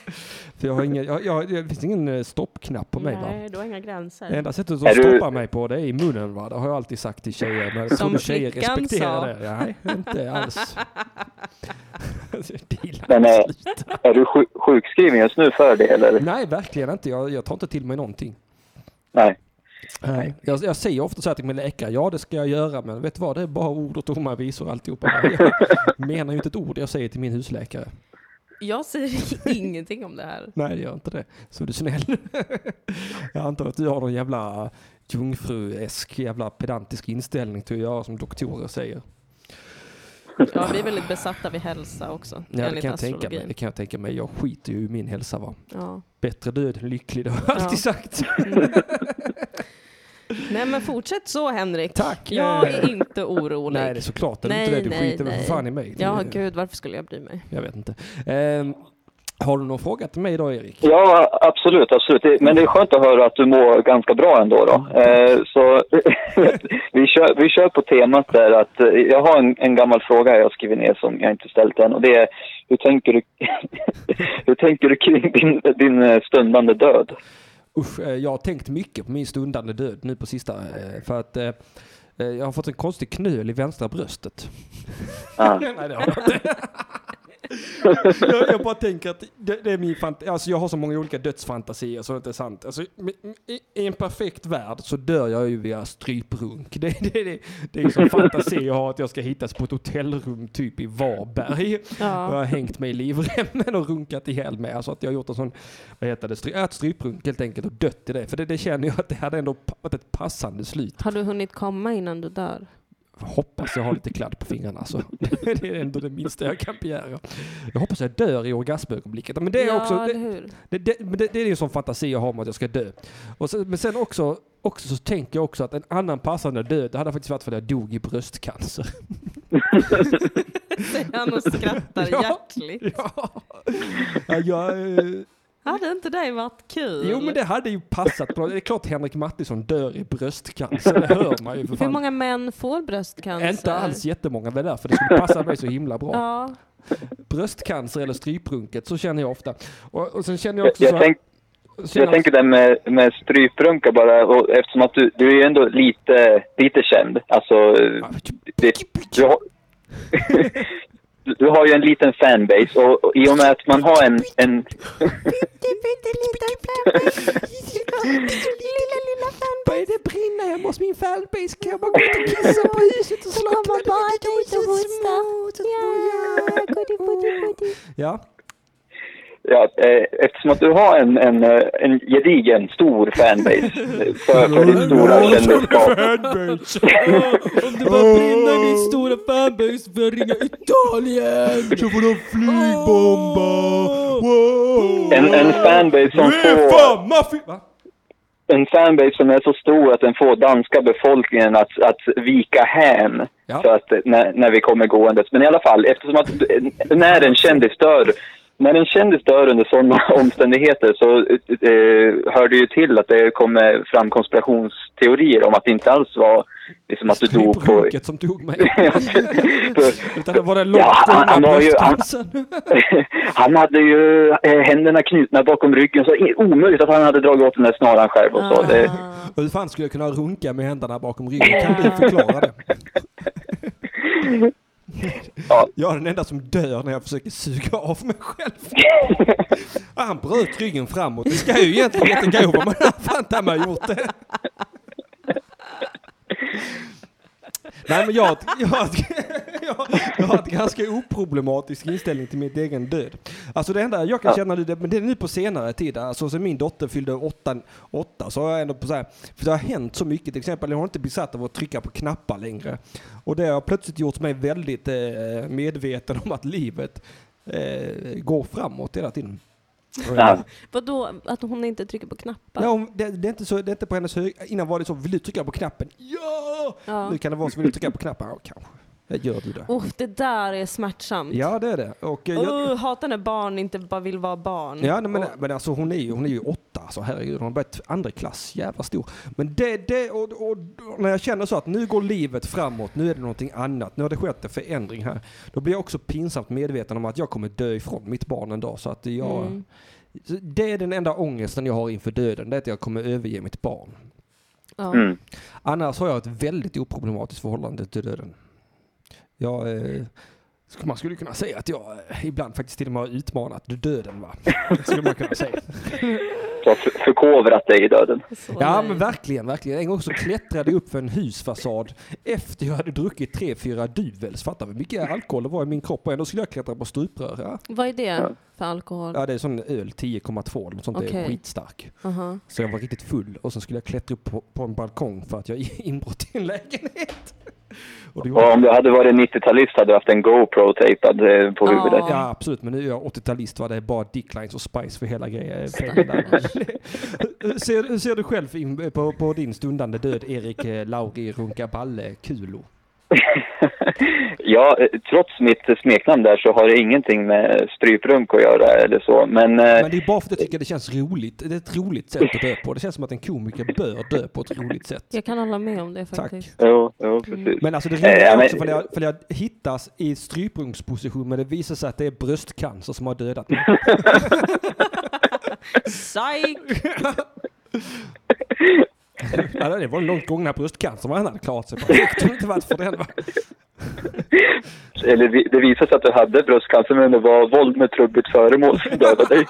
Speaker 1: För jag har ingen, jag, jag, det finns ingen eh, stoppknapp på mig va.
Speaker 2: Nej, du har inga gränser.
Speaker 1: Det enda sättet
Speaker 10: Är
Speaker 1: att
Speaker 10: du-
Speaker 1: stoppa mig på det är i munnen va. Det har jag alltid sagt till tjejer. Men jag
Speaker 2: Som
Speaker 1: trodde tjejer
Speaker 2: flickan sa.
Speaker 1: respekterade det. Nej, inte alls.
Speaker 10: Men är, är du sjuk, sjukskriven just nu för det eller?
Speaker 1: Nej, verkligen inte. Jag, jag tar inte till mig någonting.
Speaker 10: Nej.
Speaker 1: Nej. Jag, jag säger ofta så här till min läkare, ja det ska jag göra, men vet du vad, det är bara ord och tomma visor och alltihopa. Jag menar ju inte ett ord jag säger till min husläkare.
Speaker 2: Jag säger ingenting om det här.
Speaker 1: Nej, det gör inte det. Så är du snäll. Jag antar att du har någon jävla jungfruesk, jävla pedantisk inställning till att göra som doktorer säger.
Speaker 2: Ja, vi är väldigt besatta vid hälsa också.
Speaker 1: Ja, det
Speaker 2: enligt
Speaker 1: kan, jag tänka mig.
Speaker 2: astrologin.
Speaker 1: det kan jag tänka mig. Jag skiter ju i min hälsa va.
Speaker 2: Ja.
Speaker 1: Bättre död än lycklig, det har jag alltid
Speaker 2: Ja.
Speaker 1: sagt.
Speaker 2: Mm. Nej men fortsätt så Henrik.
Speaker 1: Tack.
Speaker 2: Jag är inte orolig.
Speaker 1: Nej, det är såklart. Är du inte det? Du skiter väl för fan i mig.
Speaker 2: Ja,
Speaker 1: Det-
Speaker 2: gud varför skulle jag bry mig?
Speaker 1: Jag vet inte. Ehm, har du någon fråga till mig då Erik?
Speaker 10: Ja, absolut, absolut. Det- Men det är skönt att höra att du mår ganska bra ändå. Då. Eh, så vi, kör, vi kör på temat där att eh, jag har en, en gammal fråga jag har skrivit ner som jag inte ställt än och det är hur tänker du, hur tänker du kring din, din eh, stundande död?
Speaker 1: Usch, eh, jag har tänkt mycket på min stundande död nu på sista. eh, För att eh, eh, jag har fått en konstig knöl i vänstra bröstet.
Speaker 10: Ah.
Speaker 1: Nej, det har jag inte. jag, jag bara tänker att det, det är min fantasi. Alltså jag har så många olika dödsfantasier så det är sant. Alltså, m- m- i- I en perfekt värld så dör jag ju via stryprunk. Det, det, det, det är ju som fantasi jag har att jag ska hittas på ett hotellrum typ i Varberg.
Speaker 2: Ja.
Speaker 1: Och jag har hängt mig i livremmen och runkat ihjäl mig. Alltså att jag har gjort en sån, vad heter det, stry, ett stryprunk helt enkelt och dött i det. För det, det känner jag att det hade ändå pa- varit ett passande slut.
Speaker 2: Har du hunnit komma innan du dör?
Speaker 1: Hoppas jag har lite kladd på fingrarna alltså. Det är ändå det minsta jag kan begära. Jag hoppas jag dör i orgasmögonblicket. Men det är
Speaker 2: ja,
Speaker 1: också...
Speaker 2: eller
Speaker 1: Det,
Speaker 2: hur?
Speaker 1: det, det, men det, det är ju en sån fantasi jag har om att jag ska dö. Och sen, men sen också, också så tänker jag också att en annan passande död det hade faktiskt varit för att jag dog i bröstcancer.
Speaker 2: Säger han och skrattar
Speaker 1: Ja,
Speaker 2: hjärtligt.
Speaker 1: Ja, jag, eh,
Speaker 2: Hade inte det varit kul?
Speaker 1: jo men det hade ju passat bra. Det är klart Henrik Mattisson dör i bröstcancer, det hör man ju för
Speaker 2: Hur
Speaker 1: fan.
Speaker 2: många män får bröstcancer?
Speaker 1: Inte alls jättemånga, det är därför det skulle passa mig så himla bra.
Speaker 2: Ja,
Speaker 1: Bröstcancer eller stryprunket, så känner jag ofta. Och, och sen känner jag
Speaker 10: Jag,
Speaker 1: också så
Speaker 10: jag,
Speaker 1: här-
Speaker 10: tänk,
Speaker 1: känner
Speaker 10: jag tänker det med, med stryprunka bara och eftersom att du, du är ju ändå lite, lite känd. Alltså,
Speaker 1: Ah,
Speaker 10: eh,
Speaker 1: typ-
Speaker 10: det, du, har, du har ju en liten fanbase och, och i och med att man har en, en
Speaker 1: Börjar det brinna hemma hos min fanbase kan jag bara gå ut och kissa på huset och slå mig bara dit och hosta. Oh, Ja,
Speaker 10: Ja, eh, eftersom att du har en, en, eh, en gedigen, stor fanbase eh, för, för din stora kändisskap.
Speaker 1: fanbase. Åh, Oh, Om det bara brinner i min stora fanbase så får jag ringa Italien. Oh. Så får de flygbomba. Wow.
Speaker 10: En, en fanbase som får...
Speaker 1: Uefa, maffi... Va?
Speaker 10: En fanbase som är så stor att den får danska befolkningen att, att vika hän.
Speaker 1: Ja.
Speaker 10: Så att eh, när, när vi kommer gåendes. Men i alla fall, eftersom att eh, när en kändis dör när en kändis dör under sådana omständigheter så eh, hör det ju till att det kommer fram konspirationsteorier om att det inte alls var liksom att du dog på...
Speaker 1: Bruket som tog mig.
Speaker 10: För-
Speaker 1: Utan det var den långt
Speaker 10: Ja, han, han,
Speaker 1: undan
Speaker 10: var ju, han,
Speaker 1: bröstcancern.
Speaker 10: han hade ju eh, händerna knutna bakom ryggen så i- omöjligt att han hade dragit åt den där snaran själv och så. Det,
Speaker 1: Hur fan skulle jag kunna runka med händerna bakom ryggen? Kan du förklara det? Jag är den enda som dör när jag försöker suga av mig själv. Ah, Han bröt ryggen framåt. Det ska ju egentligen inte gå, men han har fan ta mig gjort det. Nej, men jag, har ett- jag, har ett- jag, jag har ett ganska oproblematisk inställning till min egen död. Alltså det enda jag kan känna nu, det, men det är nu på senare tid, alltså sen min dotter fyllde åtta, åtta så har jag ändå på så här, för det har hänt så mycket, till exempel jag har inte besatt av att trycka på knappar längre. Och det har plötsligt gjort mig väldigt eh, medveten om att livet eh, går framåt hela tiden. Ah.
Speaker 10: Ja.
Speaker 2: Vadå, att hon inte trycker på knappar?
Speaker 1: Ja, hon- det, det, är inte så, det är inte på hennes hög... Innan var det så, vill du trycka på knappen? Ja!
Speaker 2: Ja.
Speaker 1: Nu kan det vara så, vill du trycka på knappen? Ja, kanske. Ja, Gör du det?
Speaker 2: Oh, det där är smärtsamt.
Speaker 1: Ja, det är det. Och, eh, jag,
Speaker 2: Oh, hatar när barn inte bara vill vara barn.
Speaker 1: Ja, nej, men, men alltså hon är ju, hon är ju åtta, alltså herregud, hon har börjat andra klass, jävla stor. Men det, det och, och, och när jag känner så att nu går livet framåt, nu är det någonting annat, nu har det skett en förändring här. Då blir jag också pinsamt medveten om att jag kommer dö ifrån mitt barn en dag. Så att jag,
Speaker 2: Mm.
Speaker 1: så det är den enda ångesten jag har inför döden, det är att jag kommer överge mitt barn.
Speaker 2: Ja.
Speaker 1: Annars har jag ett väldigt oproblematiskt förhållande till döden. Jag, eh, sk- man skulle kunna säga att jag eh, ibland faktiskt till och med har utmanat döden va? Det skulle man kunna säga.
Speaker 10: Du har för- förkovrat dig i döden.
Speaker 1: Ja men verkligen, verkligen. En gång så klättrade jag upp för en husfasad efter jag hade druckit tre, fyra duvels. Fattar vi hur mycket alkohol det var i min kropp och ändå skulle jag klättra på stuprör. Ja,
Speaker 2: Vad är det
Speaker 1: Ja.
Speaker 2: för alkohol?
Speaker 1: ja det är sån öl 10,2 eller något sånt. Det är
Speaker 2: Okej.
Speaker 1: skitstark.
Speaker 2: Aha.
Speaker 1: Så jag var riktigt full och sen skulle jag klättra upp på, på en balkong för att jag är inbrott i en lägenhet. Och det gjorde
Speaker 10: Och om du hade varit 90-talist hade du haft en GoPro tejpad eh, på huvudet.
Speaker 1: Ja, absolut. Men nu är jag 80-talist. va? Det är bara Dicklines och Spice för hela grejen. hur, ser, hur ser du själv in, på, på din stundande död, Erik eh, Lauri Runkaballe Kulo?
Speaker 10: Ja, eh, trots mitt eh, smeknamn där så har det ingenting med stryprunk att göra eller så. Men, eh,
Speaker 1: Men det är bara för att jag tycker det känns roligt. Det är ett roligt sätt att dö på. Det känns som att en komiker bör dö på ett roligt sätt.
Speaker 2: Jag kan hålla med om det faktiskt.
Speaker 10: Jo, jo, precis.
Speaker 1: Men alltså det
Speaker 10: Eh,
Speaker 1: roliga
Speaker 10: ja,
Speaker 1: är
Speaker 10: men-
Speaker 1: också för jag, för jag hittas i stryprungsposition men det visar sig att det är bröstcancer som har dödat mig.
Speaker 2: Psyk!
Speaker 1: ja, det var en långt gångna bröstcancer. men Han hade klarat sig perfekt. Jag vet inte varför den var.
Speaker 10: Eller vi- det visade sig att du hade bröstcancer men det var våld med trubbigt föremål som dödade dig.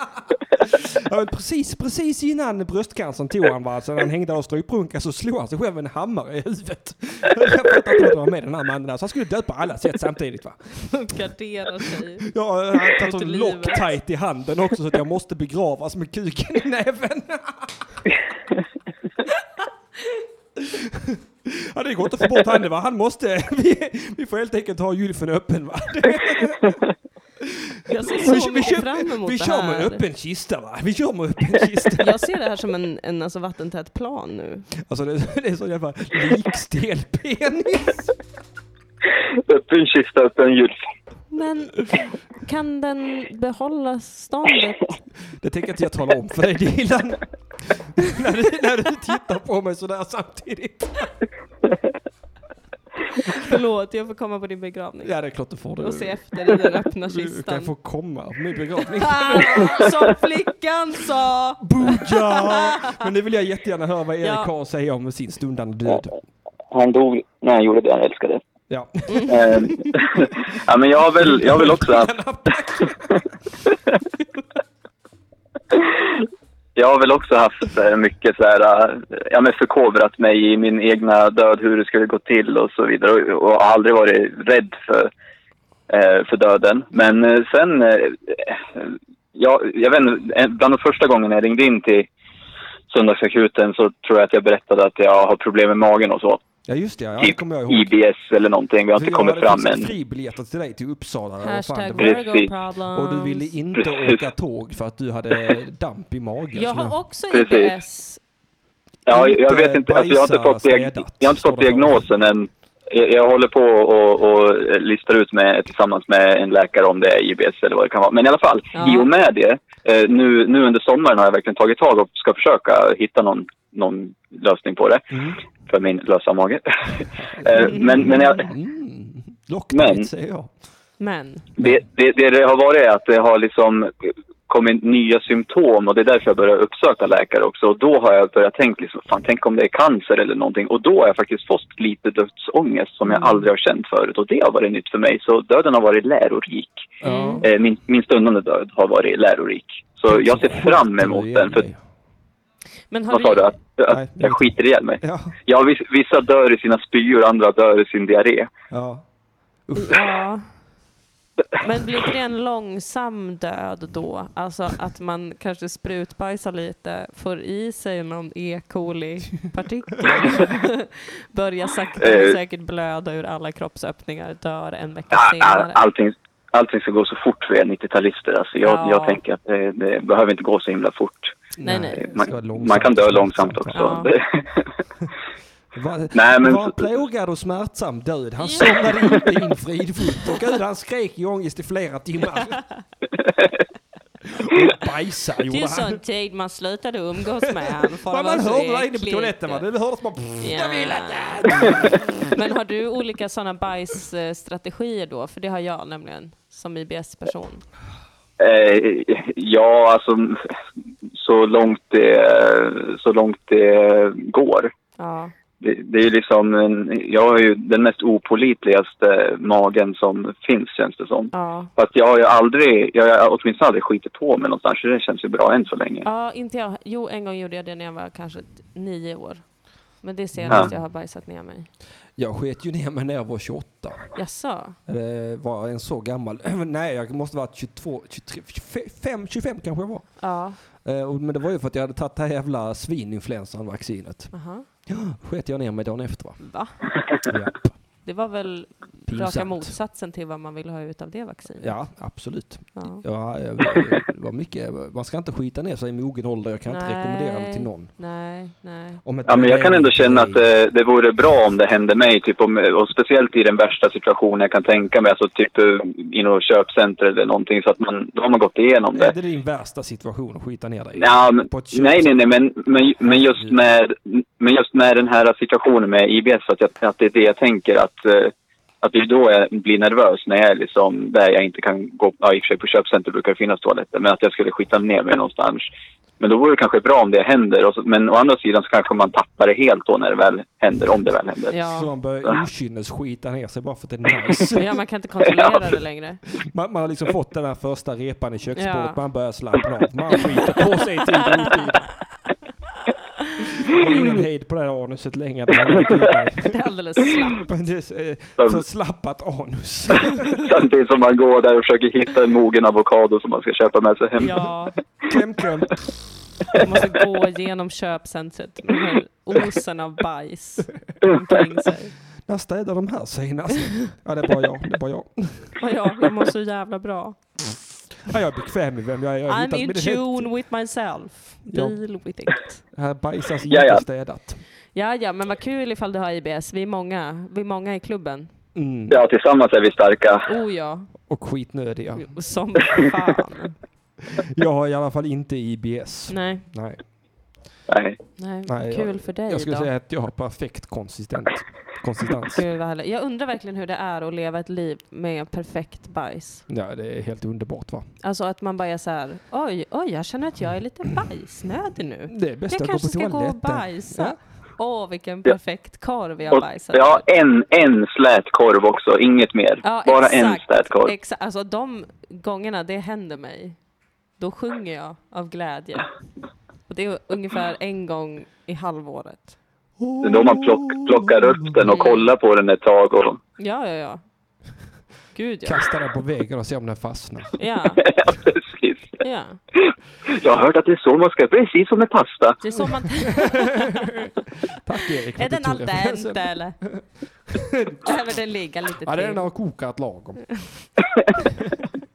Speaker 1: Ja, men precis, precis innan bröstcancern tog han va, så när han hängde där och stryprunkade så slog han sig själv med en hammare i huvudet. Jag fattar inte vad det var med den här mannen där, så han skulle dö på alla sätt samtidigt va.
Speaker 2: Garderar sig.
Speaker 1: Jag har eh, tagit
Speaker 2: Ut i
Speaker 1: en
Speaker 2: livet.
Speaker 1: Loctite i handen också så att jag måste begravas med kuken i näven. Ja, det går inte att få bort handen va, han måste, vi, vi får helt enkelt ha gylfen öppen va.
Speaker 2: Jag ser så mycket
Speaker 1: kör-
Speaker 2: fram emot
Speaker 1: Vi
Speaker 2: det
Speaker 1: kör med
Speaker 2: här.
Speaker 1: öppen kista va, vi kör med öppen kista.
Speaker 2: Jag ser det här som en, en alltså, vattentät plan nu.
Speaker 1: Alltså det, det är så jävla likstel penis.
Speaker 10: Öppen kista, öppen gylf.
Speaker 2: Men kan den behålla ståndet?
Speaker 1: Det tänker inte jag tala om för dig Dilan. när, du, när du tittar på mig sådär samtidigt.
Speaker 2: Förlåt, jag får komma på din begravning.
Speaker 1: Ja det är klart du får det.
Speaker 2: Och se efter i den öppna
Speaker 1: Du kan
Speaker 2: kistan.
Speaker 1: få komma på min begravning.
Speaker 2: Ah, som flickan sa!
Speaker 1: Boja! Men nu vill jag jättegärna höra vad Erik
Speaker 2: Ja.
Speaker 1: har att säga om sin stundande död.
Speaker 10: Han dog när han gjorde det han älskade.
Speaker 1: Ja.
Speaker 10: Eh, ja men jag har väl, jag har väl också haft... jag har väl också haft eh, mycket så här, eh, ja men förkovrat mig i min egna död, hur det skulle gå till och så vidare. Och, och har aldrig varit rädd för, eh, för döden. Men eh, sen, eh, jag, jag vet inte, en- bland de första gångerna jag ringde in till söndagsakuten så tror jag att jag berättade att jag har problem med magen och så. Typ
Speaker 1: Ja just det, ja, det kommer jag ihåg.
Speaker 10: IBS eller någonting. Vi har inte
Speaker 1: jag
Speaker 10: kommit
Speaker 1: hade
Speaker 10: fram
Speaker 1: fixat
Speaker 10: än.
Speaker 1: fribiljetter till dig till Uppsala. och
Speaker 2: Hashtag
Speaker 1: fan, det var-
Speaker 2: Virgo
Speaker 10: Precis.
Speaker 2: problems.
Speaker 1: Och du ville inte
Speaker 10: Precis.
Speaker 1: åka tåg för att du hade damp i magen.
Speaker 2: Jag
Speaker 1: Så nu-
Speaker 2: har också
Speaker 10: Precis.
Speaker 2: IBS.
Speaker 10: Ja, jag, jag
Speaker 1: Inte
Speaker 10: vet inte. Alltså, jag har inte
Speaker 1: bajsa
Speaker 10: fått, diag-
Speaker 1: städat,
Speaker 10: jag har inte
Speaker 1: står
Speaker 10: fått
Speaker 1: det på.
Speaker 10: diagnosen än. Jag, jag håller på och, och listar ut med, tillsammans med en läkare om det är IBS eller vad det kan vara. Men i alla fall,
Speaker 2: Ja.
Speaker 10: i och med det, eh, nu, nu under sommaren har jag verkligen tagit tag och ska försöka hitta någon, någon lösning på det. För min lösa mage. Eh, men, men jag...
Speaker 1: Lockbait säger jag.
Speaker 2: Men.
Speaker 10: Det, det, det det har varit är att det har liksom kommit nya symptom och det är därför jag börjar uppsöka läkare också. Och då har jag börjat tänka liksom, fan tänk om det är cancer eller någonting. Och då har jag faktiskt fått lite dödsångest som jag aldrig har känt förut. Och det har varit nytt för mig. Så döden har varit lärorik. Eh, Min, min stundande död har varit lärorik. Så jag ser fram emot den. För
Speaker 2: Men har
Speaker 10: vad sa
Speaker 2: du...
Speaker 10: du? Att, att jag skiter ihjäl mig? Ja. viss- vissa dör i sina spyor, andra dör i sin diarré.
Speaker 1: Ja.
Speaker 2: Ja. Men blir inte det en långsam död då? Alltså att man kanske sprutbajsar lite, får i sig någon E. coli-partikel, börjar sakta men
Speaker 10: Eh. Ah,
Speaker 2: säkert blöda ur alla kroppsöppningar, dör en vecka
Speaker 10: Ja, all-
Speaker 2: senare.
Speaker 10: Allting, allting ska gå så fort för er 90-talister. Alltså jag,
Speaker 2: Ja.
Speaker 10: jag tänker att det, det behöver inte gå så himla fort.
Speaker 2: Nej, nej.
Speaker 10: Man, man kan dö långsamt också.
Speaker 1: Va,
Speaker 10: Nej, men-
Speaker 1: var en plågad och smärtsam död. Han somnade inte in fridfullt. Och gud, han skrek i ångest i flera timmar. Och bajsade
Speaker 2: Det är ju
Speaker 1: gjorde
Speaker 2: sån
Speaker 1: han.
Speaker 2: tid man slutade umgås med han, för
Speaker 1: Man,
Speaker 2: Alltså, det var
Speaker 1: man hörde
Speaker 2: så
Speaker 1: där inne på
Speaker 2: äckligt.
Speaker 1: toaletten. Va? Det hördes bara...
Speaker 2: Ja. Men har du olika sådana bajsstrategier då? För det har jag nämligen, som IBS-person.
Speaker 10: Eh, ja, alltså så långt det, så långt det går.
Speaker 2: Ja.
Speaker 10: Det, det är ju liksom, en, jag har ju den mest opolitligaste magen som finns känns det som.
Speaker 2: Ja.
Speaker 10: Fast jag har ju aldrig, jag har åtminstone aldrig skitit på mig någonstans så det känns ju bra än så länge.
Speaker 2: ja, inte jag. Jo, en gång gjorde jag det när jag var kanske t- nio år. Men det ser jag
Speaker 1: Ja.
Speaker 2: att jag har bajsat ner mig.
Speaker 1: Jag sket ju ner mig när jag var 28.
Speaker 2: Jaså?
Speaker 1: Eller var jag ens så gammal? Nej, jag måste ha varit 22, 23, 25, 25 kanske jag var.
Speaker 2: Ja.
Speaker 1: Eh, och- Men det var ju för att jag hade tagit det här jävla svininfluensan-vaccinet.
Speaker 2: Aha.
Speaker 1: sket jag ner mig dagen efter va?
Speaker 2: Va?
Speaker 1: Ja,
Speaker 2: Det var väl raka
Speaker 1: Pinsamt.
Speaker 2: motsatsen till vad man vill ha ut av det vaccinet?
Speaker 1: ja absolut.
Speaker 2: Ja.
Speaker 1: Ja, eh, det var mycket, man ska inte skita ner sig i mogen ålder. Jag kan inte rekommendera det till någon.
Speaker 2: Nej, nej.
Speaker 1: Om ett-
Speaker 10: Ja, men jag kan ändå känna att eh, det vore bra om det hände mig. Typ om, och speciellt i den värsta situationen jag kan tänka mig. Alltså typ eh, i något köpcenter eller någonting. Så att man, då har man gått igenom det.
Speaker 1: Är det din värsta situation att skita ner dig i?
Speaker 10: Ja, men,
Speaker 1: På ett köp-
Speaker 10: nej, nej, nej. Men, men, men, just med, men just med den här situationen med IBS. Att, jag, att det är det jag tänker. Att, eh, att det är då jag blir nervös när jag är liksom där jag inte kan gå. Ja, i och för sig på köpcenter brukar det finnas toaletter. Men att jag skulle skita ner mig någonstans. Men då vore det kanske bra om det händer. Och så, men å andra sidan så kanske man tappar det helt då när det väl händer. Om det väl händer.
Speaker 1: Så man börjar okynnesskita ner sig bara för att det är nice.
Speaker 2: Ja, man kan inte kontrollera det längre.
Speaker 1: Man, man har liksom fått den här första repan i köksbordet,
Speaker 2: Ja.
Speaker 1: man börjar slappna av, man skiter på sig i tid och otid. Det är Ingen hejd på det här anuset längre. Det är
Speaker 2: alldeles slappt.
Speaker 1: För slappat eh, anus.
Speaker 10: Samtidigt som man går där och försöker hitta en mogen avokado som man ska köpa med sig hem.
Speaker 2: Ja.
Speaker 1: Kläm, kläm.
Speaker 2: Man måste gå igenom köpcentret med den här osen av bajs omkring sig.
Speaker 1: När städade de här senast? Ja, det är bara jag. Det är bara jag.
Speaker 2: Och ja, jag mår så jävla bra.
Speaker 1: Ja, jag är bekväm med vem jag är. Jag har
Speaker 2: I'm
Speaker 1: hittat
Speaker 2: in
Speaker 1: min helt.
Speaker 2: tune with myself.
Speaker 1: Ja.
Speaker 2: Deal with it.
Speaker 1: Här bajsas
Speaker 10: Ja, ja.
Speaker 1: inte städat.
Speaker 2: Ja, ja, men vad kul ifall du har IBS. Vi är många. Vi är många i klubben.
Speaker 10: Ja, tillsammans är vi starka.
Speaker 2: Oh ja,
Speaker 1: Mm. Och skitnödiga.
Speaker 2: som fan.
Speaker 1: Jag har i alla fall inte IBS.
Speaker 2: Nej.
Speaker 1: Nej.
Speaker 10: Nej.
Speaker 2: Nej,
Speaker 1: Nej,
Speaker 2: kul
Speaker 1: jag,
Speaker 2: för dig
Speaker 1: Jag skulle
Speaker 2: då.
Speaker 1: säga att jag har perfekt konsistent, konsistens.
Speaker 2: Gud vad härligt. Jag undrar verkligen hur det är att leva ett liv med perfekt bajs.
Speaker 1: Ja, det är helt underbart va?
Speaker 2: Alltså att man bara är så här, oj, oj, jag känner att jag är lite bajsnödig nu.
Speaker 1: Det är bäst
Speaker 2: jag
Speaker 1: att gå
Speaker 2: kanske
Speaker 1: på
Speaker 2: ska gå och
Speaker 1: toaletten.
Speaker 2: bajsa. Åh, vilken
Speaker 10: Ja.
Speaker 2: perfekt korv jag
Speaker 10: Och,
Speaker 2: bajsat.
Speaker 10: ja, en, en slät korv också, inget mer.
Speaker 2: Ja,
Speaker 10: Bara en
Speaker 2: exakt.
Speaker 10: slät korv.
Speaker 2: Exakt. Alltså de gångerna det händer mig, då sjunger jag av glädje. Och det är ungefär en gång i halvåret.
Speaker 10: Då man plock, plockar upp den och kollar på den ett tag. Och,
Speaker 2: Ja, ja, ja. Gud ja.
Speaker 1: Kasta den på väggen och se om den fastnar.
Speaker 2: Ja,
Speaker 10: ja, precis.
Speaker 2: ja.
Speaker 10: Jag har hört att det är så man ska, precis som med pasta.
Speaker 2: Det är så man...
Speaker 1: Tack Erik för
Speaker 2: är den al
Speaker 1: kulturreferensen.
Speaker 2: dente eller? Behöver den ligga lite till?
Speaker 1: Ja, den har kokat lagom.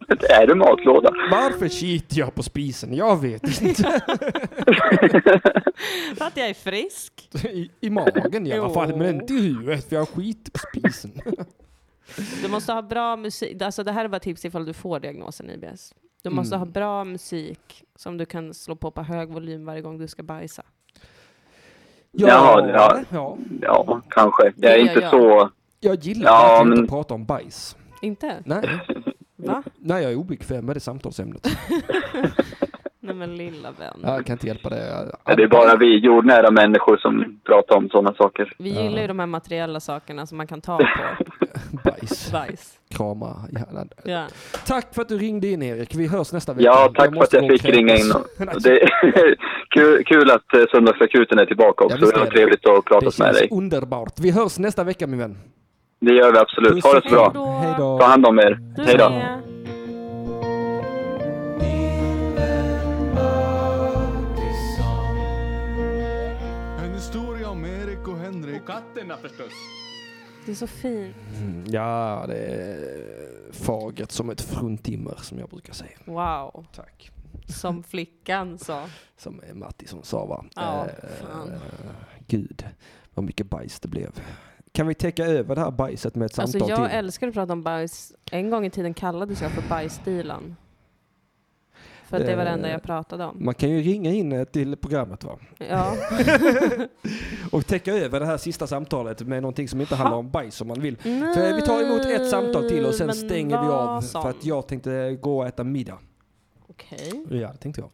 Speaker 10: Det är en matlåda.
Speaker 1: Varför skiter jag på spisen? Jag vet inte.
Speaker 2: För att jag är frisk.
Speaker 1: I, i magen i alla fall, men inte i huvudet för jag skiter på spisen.
Speaker 2: Du måste ha bra musik. Alltså det här är bara tips ifall du får diagnosen IBS. Du måste
Speaker 1: Mm.
Speaker 2: ha bra musik som du kan slå på på hög volym varje gång du ska bajsa.
Speaker 10: Jaha, ja.
Speaker 1: ja.
Speaker 10: Ja, kanske. Jag är
Speaker 2: Det
Speaker 10: inte
Speaker 2: gör jag.
Speaker 10: så...
Speaker 1: Jag gillar
Speaker 10: Ja,
Speaker 1: verkligen
Speaker 10: men-
Speaker 1: inte att prata om bajs.
Speaker 2: Inte?
Speaker 1: Nej.
Speaker 2: Va?
Speaker 1: Nej, jag är obekväm med det samtalsämnet.
Speaker 2: Nej men lilla vän.
Speaker 1: Jag kan inte hjälpa det.
Speaker 12: Det är bara vi jordnära människor som pratar om sådana saker.
Speaker 2: Vi gillar ju de här materiella sakerna som man kan ta på.
Speaker 1: Bajs.
Speaker 2: Bajs.
Speaker 1: Krama hjärnan.
Speaker 2: Ja.
Speaker 1: Tack för att du ringde in Erik. Vi hörs nästa vecka.
Speaker 12: Ja, tack för att
Speaker 1: måste
Speaker 12: jag
Speaker 1: gå och
Speaker 12: fick ringa in.
Speaker 1: kräkas.
Speaker 12: Och Det kul, kul att eh, Söndagsakuten är tillbaka också.
Speaker 1: visst
Speaker 12: det var
Speaker 1: är det.
Speaker 12: trevligt att prata
Speaker 1: Det
Speaker 12: med
Speaker 1: känns
Speaker 12: dig.
Speaker 1: underbart. Vi hörs nästa vecka min vän.
Speaker 12: Det gör vi absolut. Ha det så bra.
Speaker 1: Hejdå.
Speaker 12: Ta hand om er. Hej då.
Speaker 13: En historia om Erik och Henrik. Och katterna förstås.
Speaker 2: Det är så fint.
Speaker 1: Mm, Ja, det är fagert som ett fruntimmer som jag brukar säga.
Speaker 2: Wow.
Speaker 1: Tack.
Speaker 2: Som flickan sa.
Speaker 1: Som Mattisson sa va?
Speaker 2: Ja,
Speaker 1: Eh,
Speaker 2: fan.
Speaker 1: Gud, vad mycket bajs det blev. Kan vi täcka över det här bajset med ett
Speaker 2: Alltså
Speaker 1: samtal
Speaker 2: jag
Speaker 1: till?
Speaker 2: älskar att prata om bajs. En gång i tiden kallades jag för bajsdilan. För att det var det enda jag
Speaker 1: Eh,
Speaker 2: pratade om.
Speaker 1: Man kan ju ringa in eh, till programmet va?
Speaker 2: Ja.
Speaker 1: Och täcka över det här sista samtalet med någonting som inte handlar om bajs om man vill.
Speaker 2: Nej,
Speaker 1: För vi tar emot ett samtal till och sen
Speaker 2: men
Speaker 1: stänger vi av
Speaker 2: vad sånt.
Speaker 1: för att jag tänkte gå och äta middag.
Speaker 2: Okej.
Speaker 1: Ja, det tänkte jag.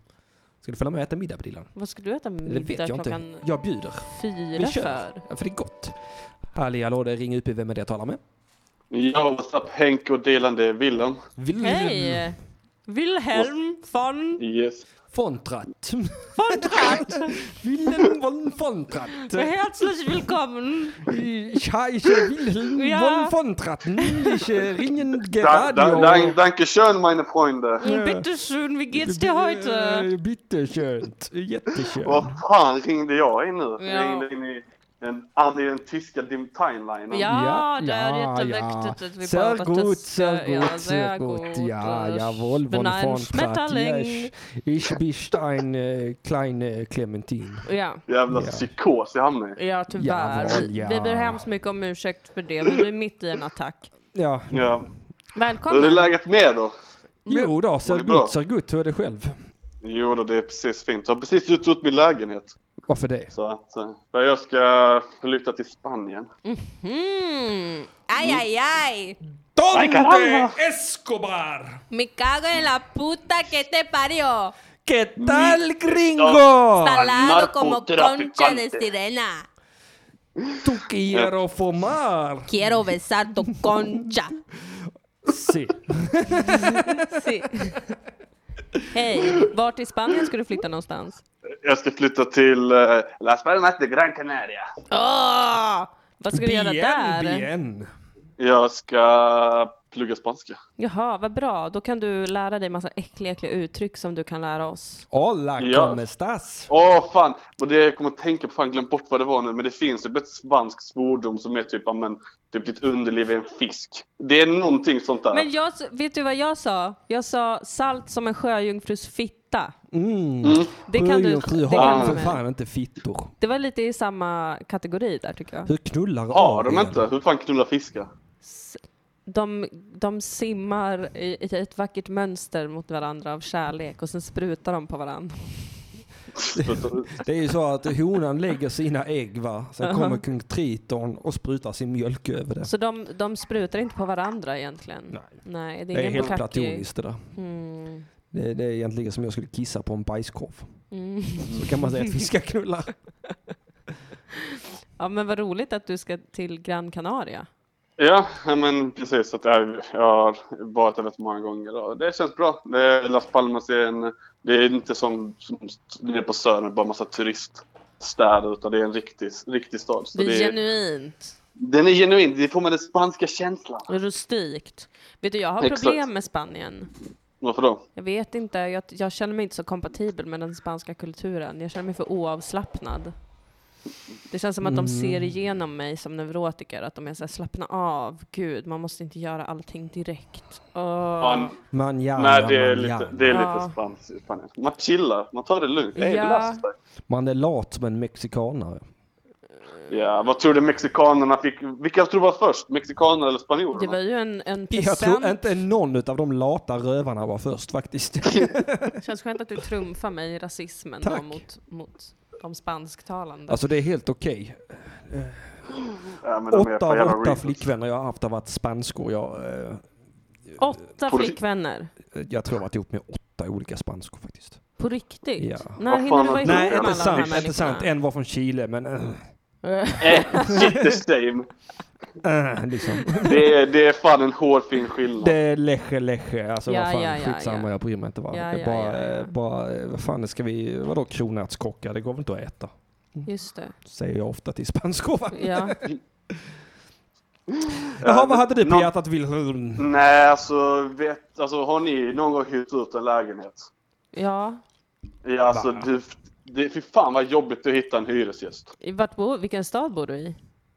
Speaker 1: Ska du följa med och äta middag Prillan?
Speaker 2: Vad ska du äta
Speaker 1: Det vet
Speaker 2: middag
Speaker 1: jag
Speaker 2: klockan
Speaker 1: inte. Jag bjuder.
Speaker 2: fyra för?
Speaker 1: Ja, för det är gott. Halli hallå, det är Ring UP. Vem är det jag talar med?
Speaker 10: Ja, what's up Henk och Dylan, det är Wilhelm.
Speaker 1: Vill-
Speaker 2: Hej! Wilhelm von
Speaker 10: Yes.
Speaker 1: Fontrat. Fontrat! Wilhelm von Fontrat.
Speaker 2: herzlich willkommen!
Speaker 1: Ich heiße Wilhelm
Speaker 2: Ja.
Speaker 1: von Fontrat. Ich äh, ringen
Speaker 10: Da, da,
Speaker 1: gerade.
Speaker 10: dank, danke schön meine Freunde.
Speaker 2: schön, wie geht's dir heute?
Speaker 1: Äh, Bitte schön. Jätteschön.
Speaker 10: Vad fan ringde jag in nu?
Speaker 2: Ja.
Speaker 10: Jag ringde in i den, an i den tyska dim- timelinen.
Speaker 2: Ja, det är jätteviktigt att vi
Speaker 1: Sehr
Speaker 2: pratar
Speaker 1: gut,
Speaker 2: tyska.
Speaker 1: sehr gut,
Speaker 2: äh, Ja,
Speaker 1: sehr,
Speaker 2: sehr
Speaker 1: gut.
Speaker 2: gut.
Speaker 1: Ja,
Speaker 2: Äh,
Speaker 1: jawohl, von
Speaker 2: Benign
Speaker 1: Fontrat. Ja,
Speaker 2: Schmetterling.
Speaker 1: ich, ich bist ein äh, kleine Clementin.
Speaker 2: Ja.
Speaker 10: Jävla psykos jag hamnade i.
Speaker 2: Ja, tyvärr.
Speaker 1: Jawohl,
Speaker 2: Vi-
Speaker 1: ja.
Speaker 2: Vi ber hemskt mycket om ursäkt för det. Vi är mitt i en attack.
Speaker 1: Ja.
Speaker 10: Ja. Hur är
Speaker 2: Välkommen.
Speaker 10: läget med er då?
Speaker 1: Jo då, ser
Speaker 10: det bra?
Speaker 1: gut, ser gut. Hur är det själv?
Speaker 10: Jo då, det är precis fint. Jag har precis gjort ut min lägenhet.
Speaker 1: Varför det?
Speaker 10: Så att eh, jag ska flytta till Spanien.
Speaker 2: Mm. Aj, aj, aj!
Speaker 10: caramba!
Speaker 1: Escobar!
Speaker 2: Me cago en la puta que te parió.
Speaker 1: ¿Qué tal,
Speaker 2: gringo?
Speaker 1: gringo?
Speaker 2: Salado como concha de sirena.
Speaker 1: Tu quiero fumar.
Speaker 2: Quiero besar tu concha.
Speaker 1: Sí.
Speaker 2: Sí. Hej, vart i Spanien ska du flytta någonstans?
Speaker 10: Jag ska flytta till eh, Las Palmas de Gran Canaria.
Speaker 2: Åh! Vad ska du göra där?
Speaker 1: Bien.
Speaker 10: Jag ska plugga spanska.
Speaker 2: Jaha, vad bra. Då kan du lära dig massa äckliga, äckliga uttryck som du kan lära oss.
Speaker 1: Hola,
Speaker 10: Ja.
Speaker 1: ¿cómo estás?
Speaker 10: Åh fan! Och det jag kommer att tänka på, fan glömt bort vad det var nu, men det finns typ ett spansk svordom som är typ, ja, men, typ ditt underliv är en fisk. Det är någonting sånt där.
Speaker 2: Men jag, vet du vad jag sa? Jag sa salt som en sjöjungfrus fitta.
Speaker 1: Mm.
Speaker 2: Det kan du-
Speaker 1: Sjöjungfru
Speaker 2: det
Speaker 1: har väl
Speaker 2: kan du
Speaker 1: för
Speaker 2: med.
Speaker 1: fan inte fittor.
Speaker 2: Det var lite i samma kategori där tycker jag.
Speaker 1: Hur knullar
Speaker 10: Har de
Speaker 1: Adrian?
Speaker 10: inte? Hur fan knullar fiskar?
Speaker 2: De, de simmar i, i ett vackert mönster mot varandra av kärlek och sen sprutar de på varandra.
Speaker 1: Det är ju så att honan lägger sina ägg va. Sen kommer kung Triton och sprutar sin mjölk över det.
Speaker 2: Så de, de sprutar inte på varandra egentligen. Nej, det är,
Speaker 1: Det är
Speaker 2: ingen
Speaker 1: helt
Speaker 2: bukkake.
Speaker 1: platoniskt det där.
Speaker 2: Mm.
Speaker 1: Det, det är egentligen som jag skulle kissa på en bajskorv.
Speaker 2: Mm.
Speaker 1: Så kan man säga att fiskar knullar.
Speaker 2: Ja, men vad roligt att du ska till Gran Canaria.
Speaker 10: Ja, ja, men precis. Att jag, jag har varit där rätt många gånger och det känns bra. Det är Las Palmas är en... Det är inte som, som nere på Södern, bara massa turiststäder, utan det är en riktig, riktig stad. Så
Speaker 2: det
Speaker 10: det
Speaker 2: är
Speaker 10: är,
Speaker 2: genuint.
Speaker 10: den är genuin. Det får man den spanska känslan.
Speaker 2: Rustikt. Vet du, jag har
Speaker 10: Exakt.
Speaker 2: problem med Spanien.
Speaker 10: Varför då?
Speaker 2: Jag vet inte, jag, jag känner mig inte så kompatibel med den spanska kulturen. Jag känner mig för oavslappnad. Det känns som att de
Speaker 1: Mm.
Speaker 2: ser igenom mig som neurotiker, att de är såhär slappna av, gud, man måste inte göra allting direkt. Åh.
Speaker 1: Man ja,
Speaker 10: Nej, det är
Speaker 1: man, ja.
Speaker 10: lite, det är
Speaker 2: Ja.
Speaker 10: lite spanskt i Spanien. Man chillar, man tar det lugnt. Det är
Speaker 2: Ja.
Speaker 10: relaxed.
Speaker 1: man är lat som en mexikanare.
Speaker 10: Ja, vad tror du mexikanerna fick? Vilka tror du var först? Mexikaner eller
Speaker 2: Det
Speaker 10: spanjorerna?
Speaker 2: var ju en, en
Speaker 1: Jag
Speaker 2: present.
Speaker 1: tror inte någon av de lata rövarna var först faktiskt.
Speaker 2: Det känns skönt att du trumfar mig i rasismen då,
Speaker 1: Tack.
Speaker 2: mot, mot de spansktalande.
Speaker 1: Alltså det är helt okej.
Speaker 10: Ja, men de är
Speaker 1: Åtta
Speaker 10: fan jävla
Speaker 1: av åtta
Speaker 10: reasons.
Speaker 1: flickvänner jag har haft har varit spanskor. Jag, eh,
Speaker 2: Åtta flickvänner?
Speaker 1: Jag tror jag har varit ihop med åtta olika spanskor faktiskt.
Speaker 2: På riktigt?
Speaker 1: Ja.
Speaker 2: När hinner du vara ihop
Speaker 1: Nej,
Speaker 2: med alla
Speaker 1: inte
Speaker 2: de här
Speaker 1: sant, inte sant.
Speaker 2: människorna?
Speaker 1: En var från Chile, men... eh,
Speaker 10: Shit the same.
Speaker 1: eh, liksom.
Speaker 10: Det är, det är fan en hårfin skillnad.
Speaker 1: Det är leche, leche. Alltså
Speaker 10: Ja,
Speaker 1: vad fan,
Speaker 10: ja, ja,
Speaker 1: skitsamma, jag bryr mig inte. Vad.
Speaker 2: Ja, ja,
Speaker 1: bara, eh, bara, eh, vad fan ska vi, vadå kronärtskocka? Det går väl inte att äta?
Speaker 2: Just det.
Speaker 1: Säger jag ofta till spanskor. va?
Speaker 2: Ja.
Speaker 1: Jaha, vad hade du på hjärtat Wilhelm?
Speaker 10: Nej, alltså, vet, alltså har ni någon gång hyrt ut en lägenhet?
Speaker 2: ja.
Speaker 10: Ja, alltså, du, det, fy fan vad jobbigt att hitta en hyresgäst.
Speaker 2: I Vart bor, vilken stad bor du i?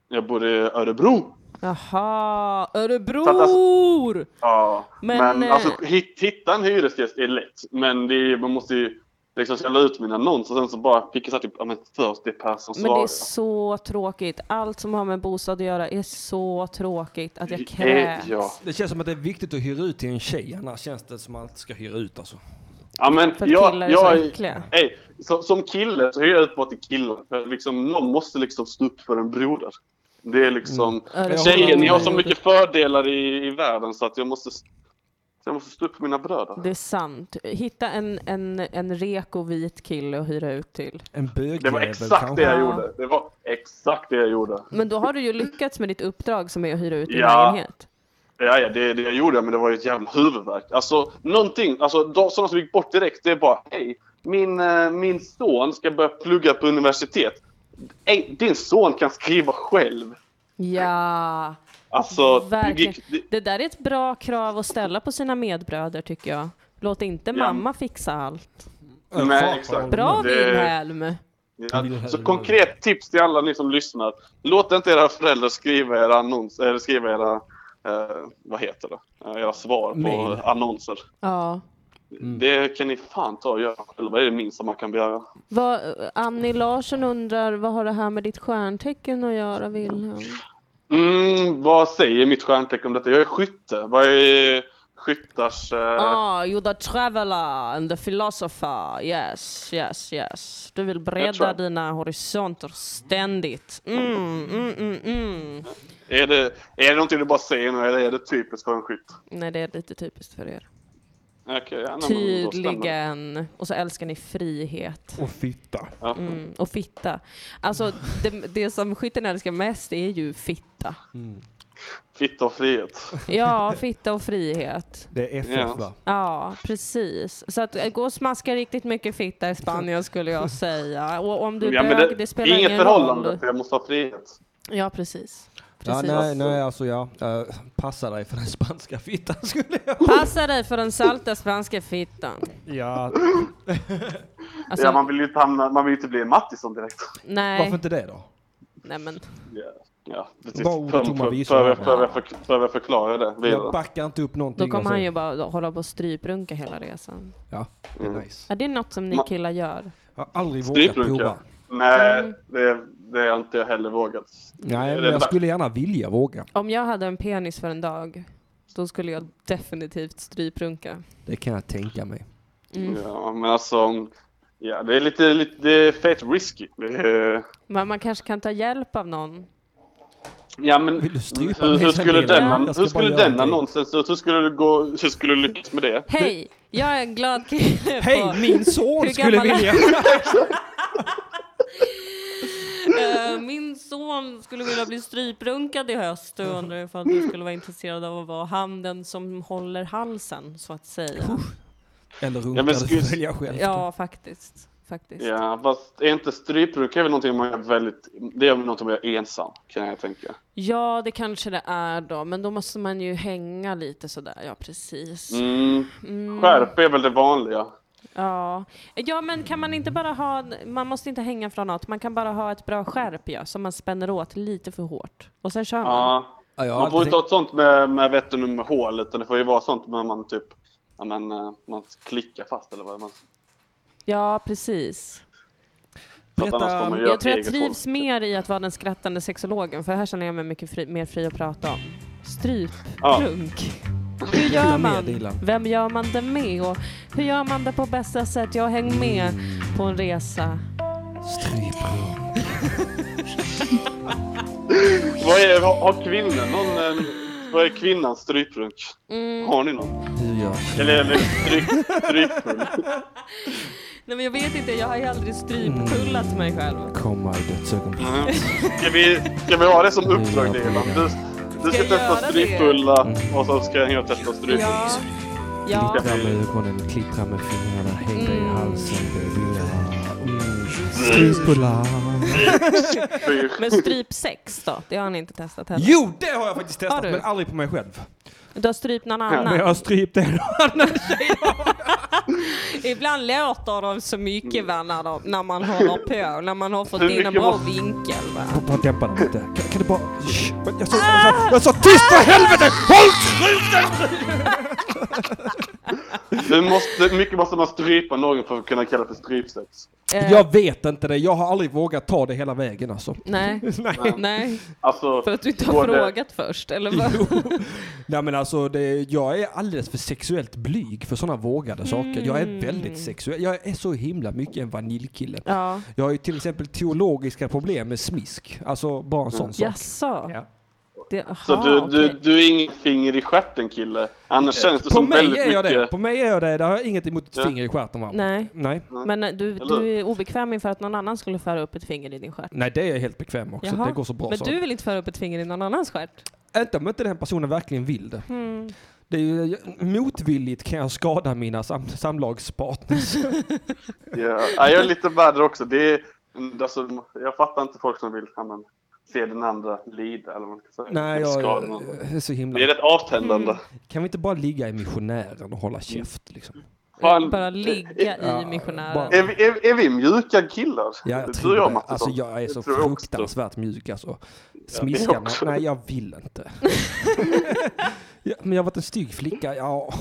Speaker 10: Jag bor i Örebro.
Speaker 2: Jaha, Örebro!
Speaker 10: Så att alltså- ja,
Speaker 2: Men,
Speaker 10: men,
Speaker 2: eh,
Speaker 10: alltså hit, hitta en hyresgäst är lätt. Men det är, man måste ju liksom ställa ut min annons och sen så bara picka så här typ, ja men 40 personer
Speaker 2: Men det är
Speaker 10: svarar.
Speaker 2: så tråkigt. Allt som har med bostad att göra är så tråkigt att jag
Speaker 10: Eh,
Speaker 2: kräks.
Speaker 10: ja.
Speaker 1: Det känns som att det är viktigt att hyra ut till en tjej, annars känns det som att man ska hyra ut alltså.
Speaker 10: Ja, men
Speaker 1: För
Speaker 10: jag,
Speaker 1: killar är
Speaker 10: jag,
Speaker 1: så äckliga.
Speaker 10: Ey, som, som kille så är jag ut på att det är killar. För liksom, någon måste liksom stå upp för en broder. Det är liksom...
Speaker 1: Mm.
Speaker 10: Tjejer, ni har så mycket fördelar i, i världen så att jag måste, jag måste stå upp för mina bröder.
Speaker 2: Det är sant. Hitta en, en, en reko vit kille att hyra ut till.
Speaker 1: En bögjävel
Speaker 10: Det var exakt det
Speaker 2: Ja.
Speaker 10: jag gjorde. Det var exakt det jag gjorde.
Speaker 2: Men då har du ju lyckats med ditt uppdrag som är att hyra ut din
Speaker 10: Ja.
Speaker 2: lägenhet.
Speaker 10: Ja, ja det, det jag gjorde, men det var ju ett jävla huvudvärk. Alltså, någonting. Alltså, de, sådana som gick bort direkt, det är bara hej. Min, eh, min son ska börja plugga på universitet. Ey, din son kan skriva själv.
Speaker 2: Ja,
Speaker 10: Alltså, det
Speaker 2: verkligen.
Speaker 10: gick,
Speaker 2: Det där är ett bra krav att ställa på sina medbröder tycker jag. Låt inte
Speaker 10: Ja.
Speaker 2: mamma fixa allt.
Speaker 10: Nej, exakt.
Speaker 2: Bra
Speaker 10: Det-
Speaker 2: Wilhelm!
Speaker 10: Ja, så konkret tips till alla ni som lyssnar. Låt inte era föräldrar skriva era annons, eller skriva era, eh, vad heter det, Eh, era svar på
Speaker 2: Mail.
Speaker 10: annonser.
Speaker 2: Ja.
Speaker 10: Mm. Det kan ni fan ta och göra själva. Det är det minsta man kan begära.
Speaker 2: Vad, Annie Larsson undrar, vad har det här med ditt stjärntecken att göra Wilhelm?
Speaker 10: Mm, vad säger mitt stjärntecken om detta? Jag är skytte. Vad är skyttars... eh,
Speaker 2: Ah, you're the traveler and the philosopher. Yes, yes, yes. Du vill
Speaker 10: Jag tror
Speaker 2: bredda
Speaker 10: att-
Speaker 2: dina horisonter ständigt. Mm, mm, mm, mm.
Speaker 10: Är, det, är det någonting du bara säger nu eller är det typiskt för en skytt?
Speaker 2: Nej, det är lite typiskt för er.
Speaker 10: Okej, ja, nej, men då stämmer det.
Speaker 2: Tydligen. Och så älskar ni frihet.
Speaker 1: Och fitta.
Speaker 2: Mm, och fitta. Alltså, det, det som skytten älskar mest är ju fitta.
Speaker 1: Mm.
Speaker 10: Fitta och frihet.
Speaker 2: Ja, fitta och frihet.
Speaker 1: Det är FF
Speaker 10: Ja.
Speaker 1: va?
Speaker 2: Ja, precis. Så att eh, gå och smaska riktigt mycket fitta i Spanien skulle jag säga. Och om du är
Speaker 10: Ja, men
Speaker 2: bög, det,
Speaker 10: det
Speaker 2: spelar
Speaker 10: inget
Speaker 2: ingen
Speaker 10: förhållande,
Speaker 2: roll.
Speaker 10: för jag måste ha frihet.
Speaker 2: Ja, precis.
Speaker 1: Ja,
Speaker 2: precis.
Speaker 1: nej, nej, alltså ja. Eh, passa dig för den spanska fittan skulle jag...
Speaker 2: Passa dig för den salta spanska fittan.
Speaker 1: Ja.
Speaker 2: Alltså-
Speaker 10: ja, man vill ju inte, hamna, man vill ju inte bli en Mattisson direkt.
Speaker 2: Nej.
Speaker 1: Varför inte det då?
Speaker 2: Nej, men.
Speaker 10: Ja, precis.
Speaker 1: Bara ord och
Speaker 10: Behöver-
Speaker 1: tomma visor.
Speaker 10: behöver- Behöver jag för- behöver jag förklara det?
Speaker 1: Jag backar inte upp någonting.
Speaker 2: Då kommer
Speaker 1: alltså.
Speaker 2: han ju bara hålla på och stryprunka hela resan.
Speaker 1: Ja, det
Speaker 10: Mm.
Speaker 1: är nice.
Speaker 2: Är det något som ni
Speaker 10: Ma-
Speaker 2: killar gör?
Speaker 1: Jag har aldrig vågat
Speaker 10: Stryprunka?
Speaker 1: prova.
Speaker 2: Mm.
Speaker 10: Nej, det, det har inte jag heller vågat.
Speaker 1: Nej, men
Speaker 10: Det är
Speaker 1: jag
Speaker 10: bara-
Speaker 1: skulle gärna vilja våga.
Speaker 2: Om jag hade en penis för en dag, då skulle jag definitivt stryprunka.
Speaker 1: Det kan jag tänka mig.
Speaker 2: Mm.
Speaker 10: Ja, men alltså... Ja, det är lite, lite det är fett risky. Det är,
Speaker 2: Men man kanske kan ta hjälp av någon.
Speaker 10: ja, men
Speaker 1: Vill du strypa
Speaker 10: hur,
Speaker 1: mig sen,
Speaker 10: hur skulle
Speaker 1: Wilhelm?
Speaker 10: den,
Speaker 1: Jag ska
Speaker 10: hur
Speaker 1: bara
Speaker 10: skulle
Speaker 1: göra
Speaker 10: den
Speaker 1: någonting.
Speaker 10: annonsen se ut? Hur skulle du gå, hur skulle du lyckas med det?
Speaker 2: Hej! Jag är en glad kille på...
Speaker 1: Hej, min son
Speaker 2: Hur
Speaker 1: skulle
Speaker 2: gammal är-
Speaker 1: vilja...
Speaker 2: Eh, Min son skulle vilja bli stryprunkad i höst och jag undrar ifall du skulle vara intresserad av att vara handen som håller halsen, så att säga.
Speaker 1: Eller
Speaker 10: Ja, men
Speaker 1: runkade
Speaker 10: skulle-
Speaker 1: välja själv.
Speaker 2: Ja, faktiskt. faktiskt.
Speaker 10: Ja, fast är inte stryprunk är väl någonting man är väldigt... Det är väl någonting man är ensam, kan jag tänka.
Speaker 2: Ja, det kanske det är då, men då måste man ju hänga lite sådär. Ja, precis.
Speaker 10: Mm.
Speaker 2: Mm.
Speaker 10: Skärp är väl det vanliga.
Speaker 2: Ja. ja, men kan man inte bara ha, man måste inte hänga från något, man kan bara ha ett bra skärp ja, som man spänner åt lite för hårt. Och sen kör man.
Speaker 10: Ja. man får inte ha ett sånt med, med vetten med hål, utan det får ju vara sånt med man typ... Ja, men, eh, man klickar fast eller vad man...
Speaker 2: Ja, precis.
Speaker 10: För att annars får man göra
Speaker 2: Jag tror jag
Speaker 10: ett eget
Speaker 2: trivs mer i att vara den skrattande sexologen, för här känner jag mig mycket fri, mer fri att prata om.
Speaker 10: Ja.
Speaker 2: Stryprunk. Hur
Speaker 1: Dela
Speaker 2: gör
Speaker 1: med
Speaker 2: man?
Speaker 1: dig, Dilan.
Speaker 2: Vem gör man det med? Och hur gör man det på bästa sätt? Jag häng med på en resa.
Speaker 1: Stryprunk.
Speaker 10: Vad är, har, har kvinnor någon, eh,
Speaker 14: Vad är kvinnans stryprunk?
Speaker 2: Mm.
Speaker 14: Har ni någon?
Speaker 1: Hur gör
Speaker 14: Eller, eller stryk, stryprull?
Speaker 2: Nej men jag vet inte, jag har ju aldrig strypkullat mig själv.
Speaker 1: Komma i dödsögonblick.
Speaker 14: Mm. Ska, vi, ska vi ha det som uppdrag Dilan? Du, du ska
Speaker 2: jag
Speaker 14: testa
Speaker 2: göra det?
Speaker 14: stryprulla och så ska jag testa stryprull.
Speaker 2: Ja. Ja.
Speaker 1: Glittra med ögonen, klittra med fingrarna, häng dig i
Speaker 2: Mm.
Speaker 1: halsen, det vill jag ha. Mm. Strumpulla.
Speaker 2: men strypsex då? Det har ni inte testat heller?
Speaker 1: Jo, det har jag faktiskt testat,
Speaker 2: Har du?
Speaker 1: men aldrig på mig själv.
Speaker 2: Du har strypt någon
Speaker 1: Men
Speaker 2: annan?
Speaker 1: jag har strypt en annan.
Speaker 2: Ibland låter de så mycket va, när, de, när man håller på, när man har fått
Speaker 1: Hur
Speaker 2: in en
Speaker 1: mycket
Speaker 2: bra
Speaker 1: måste-
Speaker 2: vinkel. Va?
Speaker 1: Bara- Bara dämpa den lite. Kan, kan du bara... Shh, men Jag sa, jag,
Speaker 2: Ah!
Speaker 1: sa, jag sa tyst för helvete! Håll truten!
Speaker 14: Du måste, mycket måste man strypa någon för att kunna kalla det för strypsex.
Speaker 2: Eh.
Speaker 1: Jag vet inte det. Jag har aldrig vågat ta det hela vägen alltså.
Speaker 2: Nej.
Speaker 1: Nej.
Speaker 2: Nej.
Speaker 14: Alltså,
Speaker 2: För att du inte har
Speaker 1: går det-
Speaker 2: frågat först, eller vad?
Speaker 1: Nej men alltså, det, jag är alldeles för sexuellt blyg för sådana vågade saker. Jag
Speaker 2: Mm.
Speaker 1: är väldigt sexuell. Jag är så himla mycket en vaniljkille.
Speaker 2: Ja.
Speaker 1: Jag har ju till exempel teologiska problem med smisk. Alltså bara en sån sak.
Speaker 2: Jaså?
Speaker 1: Ja.
Speaker 2: Det,
Speaker 14: Så
Speaker 2: aha,
Speaker 14: du, du,
Speaker 2: okej.
Speaker 14: du är ingen finger i stjärten kille. Annars känns det
Speaker 1: På
Speaker 14: som
Speaker 1: mig
Speaker 14: väldigt
Speaker 1: är jag
Speaker 14: mycket...
Speaker 1: det. På mig är jag det. Där har jag inget emot ett finger i stjärten va?
Speaker 2: Nej.
Speaker 1: Nej.
Speaker 2: Men eh, du,
Speaker 1: Eller?
Speaker 2: du är obekväm inför att någon annan skulle föra upp ett finger i din stjärt?
Speaker 1: Nej, det är jag helt bekväm också.
Speaker 2: Jaha.
Speaker 1: Det går så bra
Speaker 2: Men
Speaker 1: så.
Speaker 2: du vill inte föra upp ett finger i någon annans stjärt?
Speaker 1: Inte om inte den personen verkligen vill det.
Speaker 2: Hmm.
Speaker 1: det är ju, eh, motvilligt kan jag skada mina sam, samlagspartners.
Speaker 14: Ja, ja, jag är lite värre också. Det är, mm, alltså, jag fattar inte folk som vill ja, men, se den andra lida. Eller vad man ska säga.
Speaker 1: Nej, jag, eh,
Speaker 14: Skada någon.
Speaker 1: är så himla...
Speaker 14: Det är rätt avtändande.
Speaker 2: Mm.
Speaker 1: Kan vi inte bara ligga i missionären och hålla käft? Liksom?
Speaker 14: Fan.
Speaker 2: Bara ligga i
Speaker 1: Ja,
Speaker 2: missionären.
Speaker 1: bara-
Speaker 14: Är, vi- är, är vi mjuka killar?
Speaker 1: Ja, jag
Speaker 14: det
Speaker 1: tror
Speaker 14: tror jag
Speaker 1: det.
Speaker 14: Mattisson.
Speaker 1: Alltså jag
Speaker 14: Det
Speaker 1: är så
Speaker 14: tror jag också.
Speaker 1: fruktansvärt mjuk alltså.
Speaker 14: det
Speaker 1: Smiskarna,
Speaker 14: också.
Speaker 1: nej jag vill inte. ja, men jag har varit en stygg flicka, ja.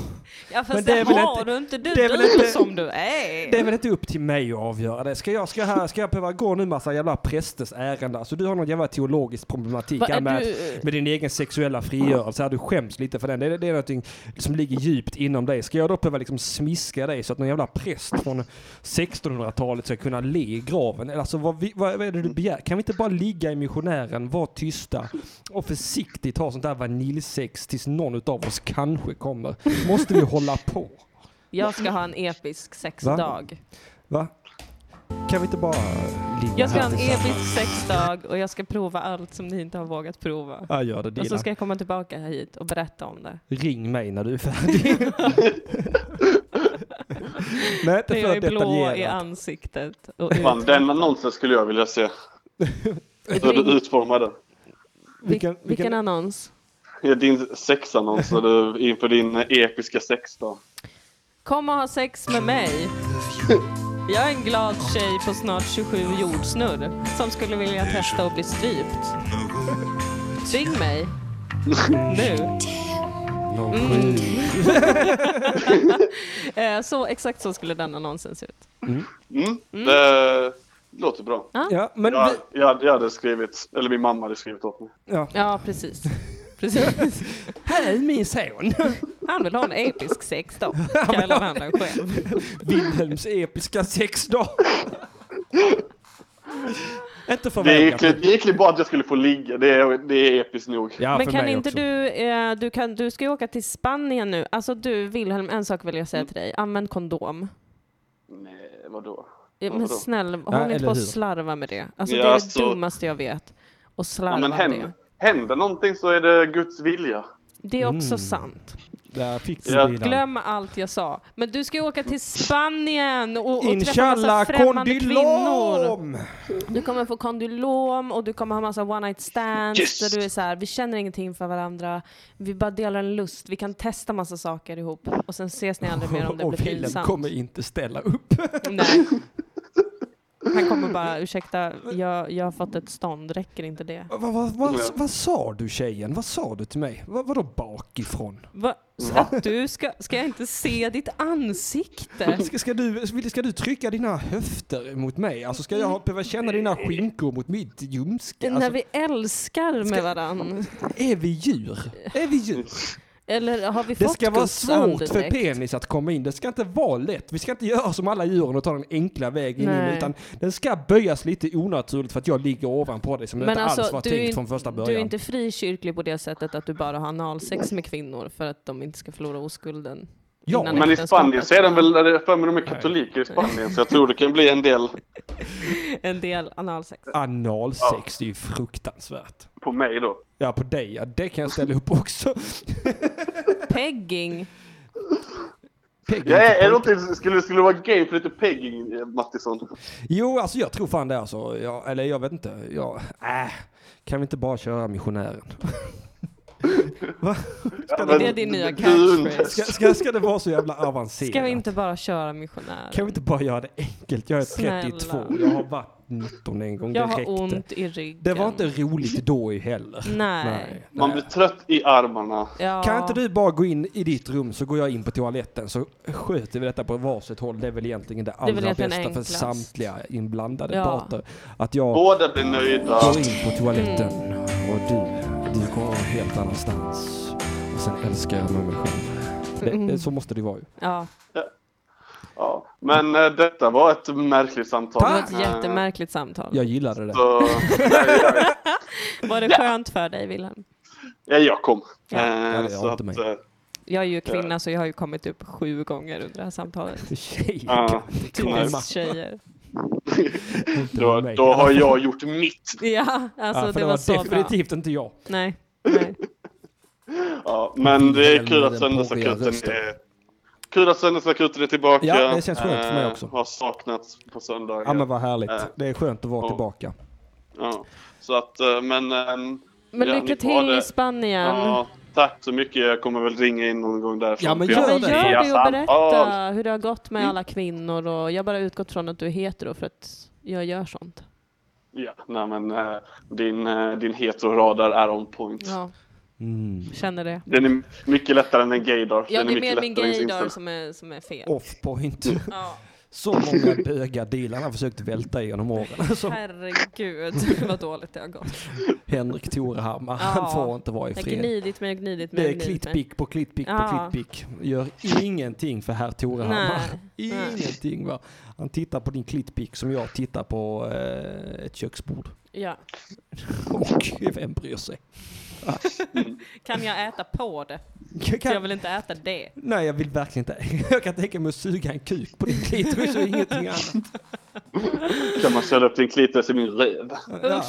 Speaker 2: Ja fast
Speaker 1: Men
Speaker 2: det,
Speaker 1: det är väl
Speaker 2: har
Speaker 1: inte-
Speaker 2: du inte, du
Speaker 1: det är väl
Speaker 2: duger
Speaker 1: inte-
Speaker 2: som du är.
Speaker 1: Det är väl inte upp till mig att avgöra det. Ska jag, ska jag, ska jag behöva gå nu massa jävla prästers ärende? Alltså du har någon jävla teologisk problematik
Speaker 2: Vad är
Speaker 1: här med,
Speaker 2: du-
Speaker 1: med din egen sexuella frigörelse. Här, Du skäms lite för den. Det är, det är någonting som ligger djupt inom dig. Ska jag då behöva liksom smiska dig så att någon jävla präst från 1600-talet ska kunna le i graven? Eller Alltså vad, vi- vad, vad är det du begär? Kan vi inte bara ligga i missionären, vara tysta och försiktigt ha sånt där vaniljsex tills någon utav oss kanske kommer? Måste vi hålla på?
Speaker 2: Jag ska ha en episk sexdag.
Speaker 1: Va? Kan vi inte bara ligga
Speaker 2: Jag ska ha
Speaker 1: här
Speaker 2: en
Speaker 1: tillsammans?
Speaker 2: episk sexdag och jag ska prova allt som ni inte har vågat prova.
Speaker 1: Ja, gör det,
Speaker 2: Och så
Speaker 1: Dilan.
Speaker 2: ska jag komma tillbaka hit och berätta om det.
Speaker 1: Ring mig när du är färdig. Nej, inte
Speaker 2: När
Speaker 1: för
Speaker 2: jag är blå i
Speaker 1: detaljerat.
Speaker 2: ansiktet. Och
Speaker 14: Fan,
Speaker 2: ut.
Speaker 14: den annonsen skulle jag vilja se. Hur du utformar den.
Speaker 1: Vilken,
Speaker 2: Vilken annons?
Speaker 14: Ja, Din sexannons när du- inför din episka sexdag.
Speaker 2: Kom och ha sex med mig. Jag är en glad tjej på snart 27 jordsnurr som skulle vilja testa att bli strypt. Ring mig. Nu. Mm. Eh, så exakt så skulle den annonsen se ut.
Speaker 14: Mm, Det låter bra.
Speaker 2: Ja.
Speaker 1: Ja, men
Speaker 14: jag, jag, jag hade skrivit, eller min mamma hade skrivit åt mig.
Speaker 1: Ja,
Speaker 2: ja precis. precis.
Speaker 1: Hej min son!
Speaker 2: Han vill ha en episk sexdag. Kallar han den själv.
Speaker 1: Wilhelms episka sexdag. inte för
Speaker 14: Det är
Speaker 1: mig.
Speaker 14: egentligen- det är egentligen bara att jag skulle få ligga. Det är, det är episkt nog.
Speaker 2: Men kan inte du, eh, du, kan, du ska ju åka till Spanien nu. Alltså du Wilhelm, en sak vill jag säga till dig. Använd kondom.
Speaker 14: Nej, vadå?
Speaker 2: Eh, Men
Speaker 14: Vadå?
Speaker 2: snäll, håll
Speaker 14: Ja,
Speaker 2: inte
Speaker 14: eller
Speaker 2: på och
Speaker 14: hur?
Speaker 2: slarva med det. Alltså
Speaker 14: Ja,
Speaker 2: det är det
Speaker 14: alltså-
Speaker 2: dummaste jag vet. Och
Speaker 14: Ja,
Speaker 2: slarva
Speaker 14: men
Speaker 2: med
Speaker 14: händer,
Speaker 2: det.
Speaker 14: händer någonting så är det Guds vilja.
Speaker 2: Det är också
Speaker 14: Mm.
Speaker 2: sant.
Speaker 1: Där fick
Speaker 14: Ja.
Speaker 1: du Dilan.
Speaker 2: Glöm allt jag sa. Men du ska ju åka till Spanien och, och träffa massa
Speaker 1: Inshallah
Speaker 2: främmande kvinnor.
Speaker 1: kondylom!
Speaker 2: Du kommer få kondylom och du kommer ha massa one night stands där du är så här, vi känner ingenting för varandra, vi bara delar en lust, vi kan testa massa saker ihop och sen ses ni aldrig mer om det
Speaker 1: Och
Speaker 2: blir
Speaker 1: Wilhelm
Speaker 2: pinsamt.
Speaker 1: kommer inte ställa upp.
Speaker 2: Nej. Han kommer bara, ursäkta, jag, jag har fått ett stånd, räcker inte det?
Speaker 1: Vad, vad, vad, vad sa du tjejen? Vad sa du till mig? Vad, vadå bakifrån?
Speaker 2: Va? Så att du ska, ska jag inte se ditt ansikte?
Speaker 1: Eh, Ska, ska, du, vill- ska du trycka dina höfter mot mig? Alltså ska jag ha- behöva känna dina skinkor mot mitt ljumske?
Speaker 2: När
Speaker 1: Alltså,
Speaker 2: vi älskar med varann.
Speaker 1: Är vi djur? Är vi djur?
Speaker 2: Eller har vi
Speaker 1: Det
Speaker 2: fått
Speaker 1: ska vara
Speaker 2: gussan
Speaker 1: svårt för
Speaker 2: direkt?
Speaker 1: penis att komma in. Det ska inte vara lätt. Vi ska inte göra som alla djuren och ta den enkla vägen in.
Speaker 2: Nej.
Speaker 1: Utan den ska böjas lite onaturligt för att jag ligger ovanpå dig som det
Speaker 2: Men
Speaker 1: inte alls
Speaker 2: alltså,
Speaker 1: var
Speaker 2: du,
Speaker 1: tänkt
Speaker 2: är in-
Speaker 1: från första början.
Speaker 2: du är inte frikyrklig på det sättet att du bara har analsex med kvinnor för att de inte ska förlora oskulden. innan
Speaker 14: men i
Speaker 2: äktenskapet.
Speaker 14: Spanien så är den väl, jag för mig de är katoliker i Spanien, så jag tror det kan bli en del
Speaker 2: En del analsex.
Speaker 1: Analsex, det är ju fruktansvärt.
Speaker 14: på mig då.
Speaker 1: Ja, på dig. Ja, det kan jag ställa upp också.
Speaker 2: Pegging.
Speaker 14: Jag är, är det inte, skulle, skulle det vara gay för lite pegging, eh, Mattisson?
Speaker 1: Jo, alltså jag tror fan det alltså. Jag, eller jag vet inte. Jag, äh, kan vi inte bara köra missionären?
Speaker 2: Ja, men- Det är din nya catchphrase.
Speaker 1: Ska, ska, ska det vara så jävla avancerat?
Speaker 2: Ska vi inte bara köra missionär?
Speaker 1: Kan vi inte bara göra det enkelt? Jag är 32,
Speaker 2: Snälla.
Speaker 1: jag har varit 19 en gång,
Speaker 2: Jag
Speaker 1: det
Speaker 2: har
Speaker 1: räckte.
Speaker 2: ont i ryggen.
Speaker 1: Det var inte roligt då i heller.
Speaker 2: Nej.
Speaker 14: Man blir trött i armarna.
Speaker 2: Ja.
Speaker 1: Kan inte du bara gå in i ditt rum så går jag in på toaletten så sköter vi detta på varsitt håll. Det är väl egentligen det
Speaker 2: är väl
Speaker 1: allra
Speaker 2: egentligen
Speaker 1: bästa för
Speaker 2: enklast.
Speaker 1: samtliga inblandade
Speaker 2: Ja.
Speaker 1: parter. Att jag
Speaker 14: Båda blir nöjda.
Speaker 1: går in på toaletten och du, du går helt annanstans. Och sen älskar jag mig själv. Det,
Speaker 14: Mm.
Speaker 1: det, så måste det vara ju.
Speaker 2: Ja.
Speaker 14: Ja. Men eh, detta var ett märkligt samtal.
Speaker 2: Det var ett
Speaker 1: Ah.
Speaker 14: Eh,
Speaker 2: jättemärkligt samtal.
Speaker 1: Jag gillade det.
Speaker 14: Så,
Speaker 2: Var det skönt för dig, Wilhelm?
Speaker 14: ja, jag kom.
Speaker 2: Ja.
Speaker 14: Eh,
Speaker 2: Ja, det
Speaker 1: gör
Speaker 14: så
Speaker 1: inte
Speaker 14: att,
Speaker 1: mig.
Speaker 14: eh,
Speaker 2: Jag är ju kvinna så jag har ju kommit upp sju gånger under det här samtalet.
Speaker 1: Tjejer
Speaker 14: ja.
Speaker 2: Typiskt tjejer.
Speaker 14: då, då har jag gjort mitt.
Speaker 2: Ja, alltså
Speaker 1: ja, för
Speaker 2: det, var, så bra.
Speaker 1: definitivt inte jag.
Speaker 2: Nej, nej.
Speaker 14: Ja, men det är kul att
Speaker 1: Den
Speaker 14: söndagsakuten
Speaker 1: borgerliga
Speaker 14: är... Kul att söndagsakuten är tillbaka.
Speaker 1: Ja, det känns skönt för mig
Speaker 14: Eh,
Speaker 1: också.
Speaker 14: Har saknats på söndagar.
Speaker 1: Ja men vad härligt.
Speaker 14: Eh,
Speaker 1: Äh. Det är skönt att vara
Speaker 14: och-
Speaker 1: tillbaka.
Speaker 14: Ja, så att, eh, men... ehm,
Speaker 2: Men
Speaker 14: ja,
Speaker 2: lycka
Speaker 14: ni får ha
Speaker 2: till
Speaker 14: det.
Speaker 2: i Spanien.
Speaker 14: Ja, tack så mycket. Jag kommer väl ringa in någon gång därifrån.
Speaker 1: Ja, men
Speaker 14: för jag
Speaker 1: gör
Speaker 14: har
Speaker 1: det.
Speaker 14: fria
Speaker 2: Gör det och
Speaker 14: samtal.
Speaker 2: berätta hur det har gått med alla kvinnor och jag har bara utgått från att du heter då för att jag gör sånt.
Speaker 14: Ja, nej, men eh, din, eh, din heteroradar är on point.
Speaker 2: Ja,
Speaker 1: Mm.
Speaker 2: känner det.
Speaker 14: Den är mycket lättare än en gaydar.
Speaker 2: Ja,
Speaker 14: Den
Speaker 2: det är
Speaker 14: mycket
Speaker 2: mer min
Speaker 14: lättare än sin
Speaker 2: gaydar
Speaker 14: ställ-
Speaker 2: som är, som är fel.
Speaker 1: Off point.
Speaker 2: Ja.
Speaker 1: Så många bögar dealarna har försökt välta genom åren. Så
Speaker 2: Herregud, vad dåligt det har gått.
Speaker 1: Henrik Torehammar,
Speaker 2: Ja.
Speaker 1: han får inte vara i
Speaker 2: Jag har
Speaker 1: fred.
Speaker 2: gnidit mig och gnidit mig.
Speaker 1: Det är
Speaker 2: och gnidit mig.
Speaker 1: klittpick på klittpick
Speaker 2: Ja.
Speaker 1: på klittpick. Gör ingenting för herr Torehammar. Ingenting va. Han tittar på din klittpick som jag tittar på eh, ett köksbord.
Speaker 2: Ja.
Speaker 1: Och vem bryr sig?
Speaker 2: Kan jag äta på det?
Speaker 1: Jag
Speaker 2: För
Speaker 1: kan-
Speaker 2: jag vill inte äta det.
Speaker 1: Nej jag vill verkligen inte. Jag kan tänka mig att suga en kuk på din klitoris och ingenting annat.
Speaker 14: Kan man köra upp din klitoris i min röv?
Speaker 1: Ja.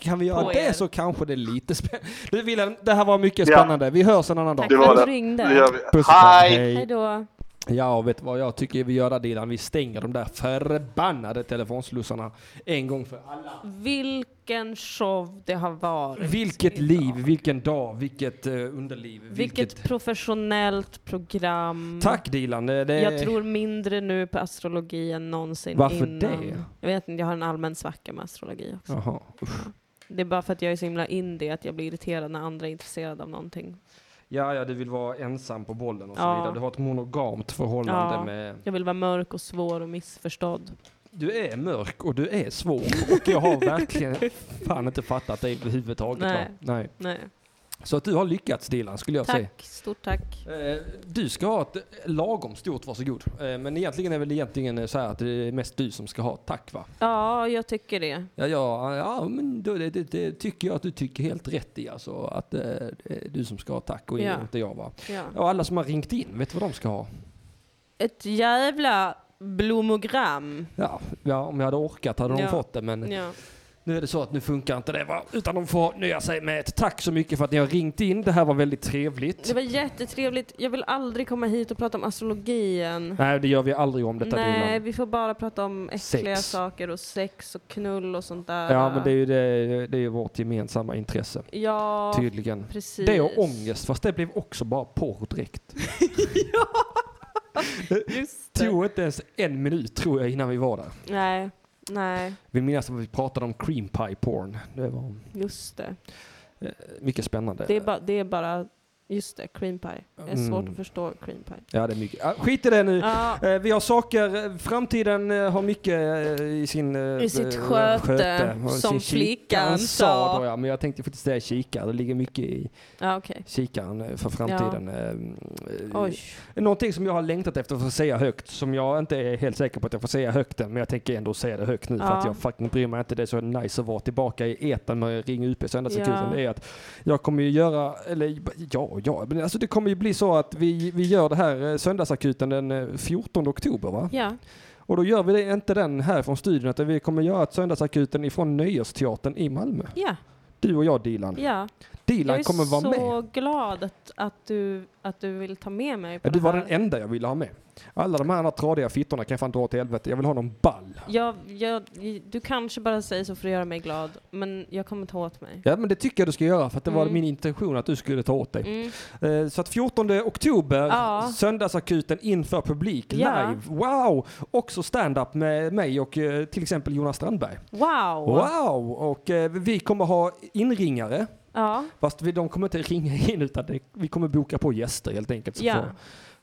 Speaker 1: Kan vi göra
Speaker 2: På er.
Speaker 1: det så kanske det är lite spännande. Du Wilhelm, det här var mycket
Speaker 14: Ja.
Speaker 1: spännande. Vi hörs en annan dag.
Speaker 2: Tack för att du ringde.
Speaker 14: Det gör vi.
Speaker 1: Puss och kram,
Speaker 2: Hej då.
Speaker 1: Ja, vet du vad jag tycker vi gör där Dilan? Vi stänger de där förbannade telefonslussarna en gång för alla.
Speaker 2: Vilken show det har varit.
Speaker 1: Vilket liv, vilken dag, vilket eh, underliv.
Speaker 2: Vilket, professionellt program.
Speaker 1: Tack Dilan. Det, det...
Speaker 2: Jag tror mindre nu på astrologi än någonsin
Speaker 1: Varför
Speaker 2: innan.
Speaker 1: det?
Speaker 2: Jag vet inte, jag har en allmän svacka med astrologi också.
Speaker 1: Jaha.
Speaker 2: Det är bara för att jag är så himla in det att jag blir irriterad när andra är intresserade av någonting.
Speaker 1: Ja, ja, du vill vara ensam på bollen och så
Speaker 2: Ja.
Speaker 1: vidare. Du har ett monogamt förhållande
Speaker 2: Ja.
Speaker 1: med...
Speaker 2: Jag vill vara mörk och svår och missförstådd.
Speaker 1: Du är mörk och du är svår. Och jag har verkligen fan inte fattat dig överhuvudtaget. va?
Speaker 2: Nej.
Speaker 1: Nej.
Speaker 2: Nej.
Speaker 1: Så att du har lyckats Dilan, skulle jag säga.
Speaker 2: Tack, stort tack.
Speaker 1: Eh, Du ska ha ett eh, lagom stort, varsågod. Eh, Men egentligen är väl egentligen eh, så här att det är mest du som ska ha ett tack va?
Speaker 2: Ja, jag tycker det.
Speaker 1: Ja, ja, ja men då, det, det, det tycker jag att du tycker helt rätt i alltså. Att eh, det är du som ska ha tack och
Speaker 2: Ja.
Speaker 1: inte jag va?
Speaker 2: Ja.
Speaker 1: Och alla som har ringt in, vet du vad de ska ha?
Speaker 2: Ett jävla blommogram.
Speaker 1: Ja, ja om jag hade orkat hade de
Speaker 2: Ja.
Speaker 1: fått det men
Speaker 2: Ja.
Speaker 1: nu är det så att nu funkar inte det va? Utan de får nöja sig med ett tack så mycket för att ni har ringt in. Det här var väldigt trevligt.
Speaker 2: Det var jättetrevligt. Jag vill aldrig komma hit och prata om astrologi igen.
Speaker 1: Nej, det gör vi aldrig om detta
Speaker 2: Nej,
Speaker 1: Dilan.
Speaker 2: vi får bara prata om äckliga
Speaker 1: Sex.
Speaker 2: saker och sex och knull och sånt där.
Speaker 1: Ja, men det är ju det, det är ju vårt gemensamma intresse.
Speaker 2: Ja,
Speaker 1: Tydligen.
Speaker 2: precis.
Speaker 1: Det och ångest, fast det blev också bara porr direkt.
Speaker 2: Just det.
Speaker 1: Tog inte ens en minut tror jag innan vi var där.
Speaker 2: Nej, nej,
Speaker 1: Vi minns att vi pratade om cream pie porn. Det var
Speaker 2: just det.
Speaker 1: eh, mycket spännande.
Speaker 2: Det är, ba, det är bara Just det, cream pie. Det är svårt
Speaker 1: Mm.
Speaker 2: att förstå cream pie.
Speaker 1: Ja, det är mycket. Ah, skit i det nu.
Speaker 2: Ja.
Speaker 1: Eh, vi har saker, framtiden eh, har mycket eh, i sin... eh,
Speaker 2: I sitt
Speaker 1: eh,
Speaker 2: sköte,
Speaker 1: och
Speaker 2: som
Speaker 1: sin
Speaker 2: flickan sa.
Speaker 1: Då, ja. Men jag tänkte faktiskt säga kikare, det ligger mycket i
Speaker 2: Ja, okej.
Speaker 1: kikaren eh, för framtiden. Eh, eh,
Speaker 2: Oj.
Speaker 1: Någonting som jag har längtat efter att få säga högt, som jag inte är helt säker på att jag får säga högt än, men jag tänker ändå säga det högt nu för
Speaker 2: Ja.
Speaker 1: att jag fucking bryr mig inte. Det är så nice att vara tillbaka i etern med Ring UP så enda
Speaker 2: Ja.
Speaker 1: sekunden. Det är att jag kommer ju göra, eller ja, ja, men alltså det kommer ju bli så att vi, vi gör det här eh, söndagsakuten den eh, 14 oktober va?
Speaker 2: Ja.
Speaker 1: Och då gör vi det, inte den här från studion, utan vi kommer göra ett söndagsakuten ifrån Nöjesteatern i Malmö.
Speaker 2: Ja.
Speaker 1: Du och jag Dilan.
Speaker 2: ja.
Speaker 1: Dilan kommer vara
Speaker 2: Jag är
Speaker 1: med.
Speaker 2: så glad att, att, du, att du vill ta med mig på
Speaker 1: Ja, Du
Speaker 2: det
Speaker 1: var
Speaker 2: här.
Speaker 1: den enda jag ville ha med. Alla de här andra tradiga fittorna kan jag fan dra till helvete. Jag vill ha någon ball.
Speaker 2: Jag, jag, du kanske bara säger så för att göra mig glad, men jag kommer ta åt mig.
Speaker 1: Ja men det tycker jag du ska göra för att det var
Speaker 2: Mm.
Speaker 1: min intention att du skulle ta åt dig.
Speaker 2: Mm.
Speaker 1: Eh, Så att 14 oktober,
Speaker 2: Ja.
Speaker 1: söndagsakuten inför publik,
Speaker 2: Ja.
Speaker 1: live. Wow! Också stand-up med mig och eh, till exempel Jonas Strandberg.
Speaker 2: Wow!
Speaker 1: Wow! Och eh, vi kommer ha inringare.
Speaker 2: Ja.
Speaker 1: Fast vi, de kommer inte ringa in utan det, vi kommer boka på gäster helt enkelt. som
Speaker 2: Ja.
Speaker 1: får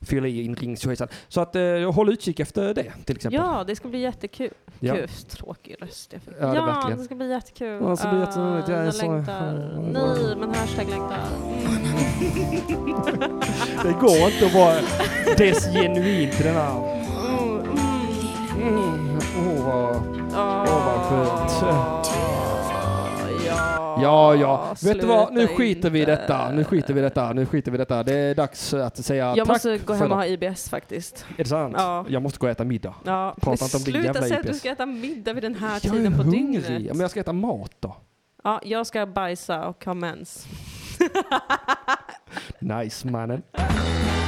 Speaker 1: Fylla i inringningshejsan. Så att eh, håll utkik efter det till exempel.
Speaker 2: ja, det ska bli jättekul.
Speaker 1: Ja.
Speaker 2: Kul. Tråkig röst jag fick.
Speaker 1: Ja, det verkligen.
Speaker 2: det ska bli jättekul.
Speaker 1: Ja, det ska bli jätteroligt. Jag är
Speaker 2: jag
Speaker 1: så-
Speaker 2: längtar. Nej, men hashtag längtar.
Speaker 1: Det går inte att vara desgenuint i den här...
Speaker 2: Mm,
Speaker 1: Åh, vad, åh,
Speaker 2: Ah.
Speaker 1: vad skönt.
Speaker 2: Ja,
Speaker 1: ja. Vet du vad? Nu
Speaker 2: sluta
Speaker 1: skiter vi i detta. Nu skiter vi i detta. Nu skiter vi i detta. Det är dags att säga
Speaker 2: jag
Speaker 1: tack
Speaker 2: måste
Speaker 1: för
Speaker 2: gå hem och
Speaker 1: idag.
Speaker 2: ha IBS faktiskt.
Speaker 1: Är det sant?
Speaker 2: Ja.
Speaker 1: Jag måste gå och äta middag.
Speaker 2: Ja.
Speaker 1: Prata inte om din
Speaker 2: Sluta
Speaker 1: jävla
Speaker 2: säga att du
Speaker 1: IPS.
Speaker 2: ska äta middag vid den här
Speaker 1: Jag är
Speaker 2: tiden på
Speaker 1: hungrig.
Speaker 2: dygnet.
Speaker 1: Ja, men jag ska äta mat då.
Speaker 2: Ja, jag ska bajsa och ha mens.
Speaker 1: Nice mannen.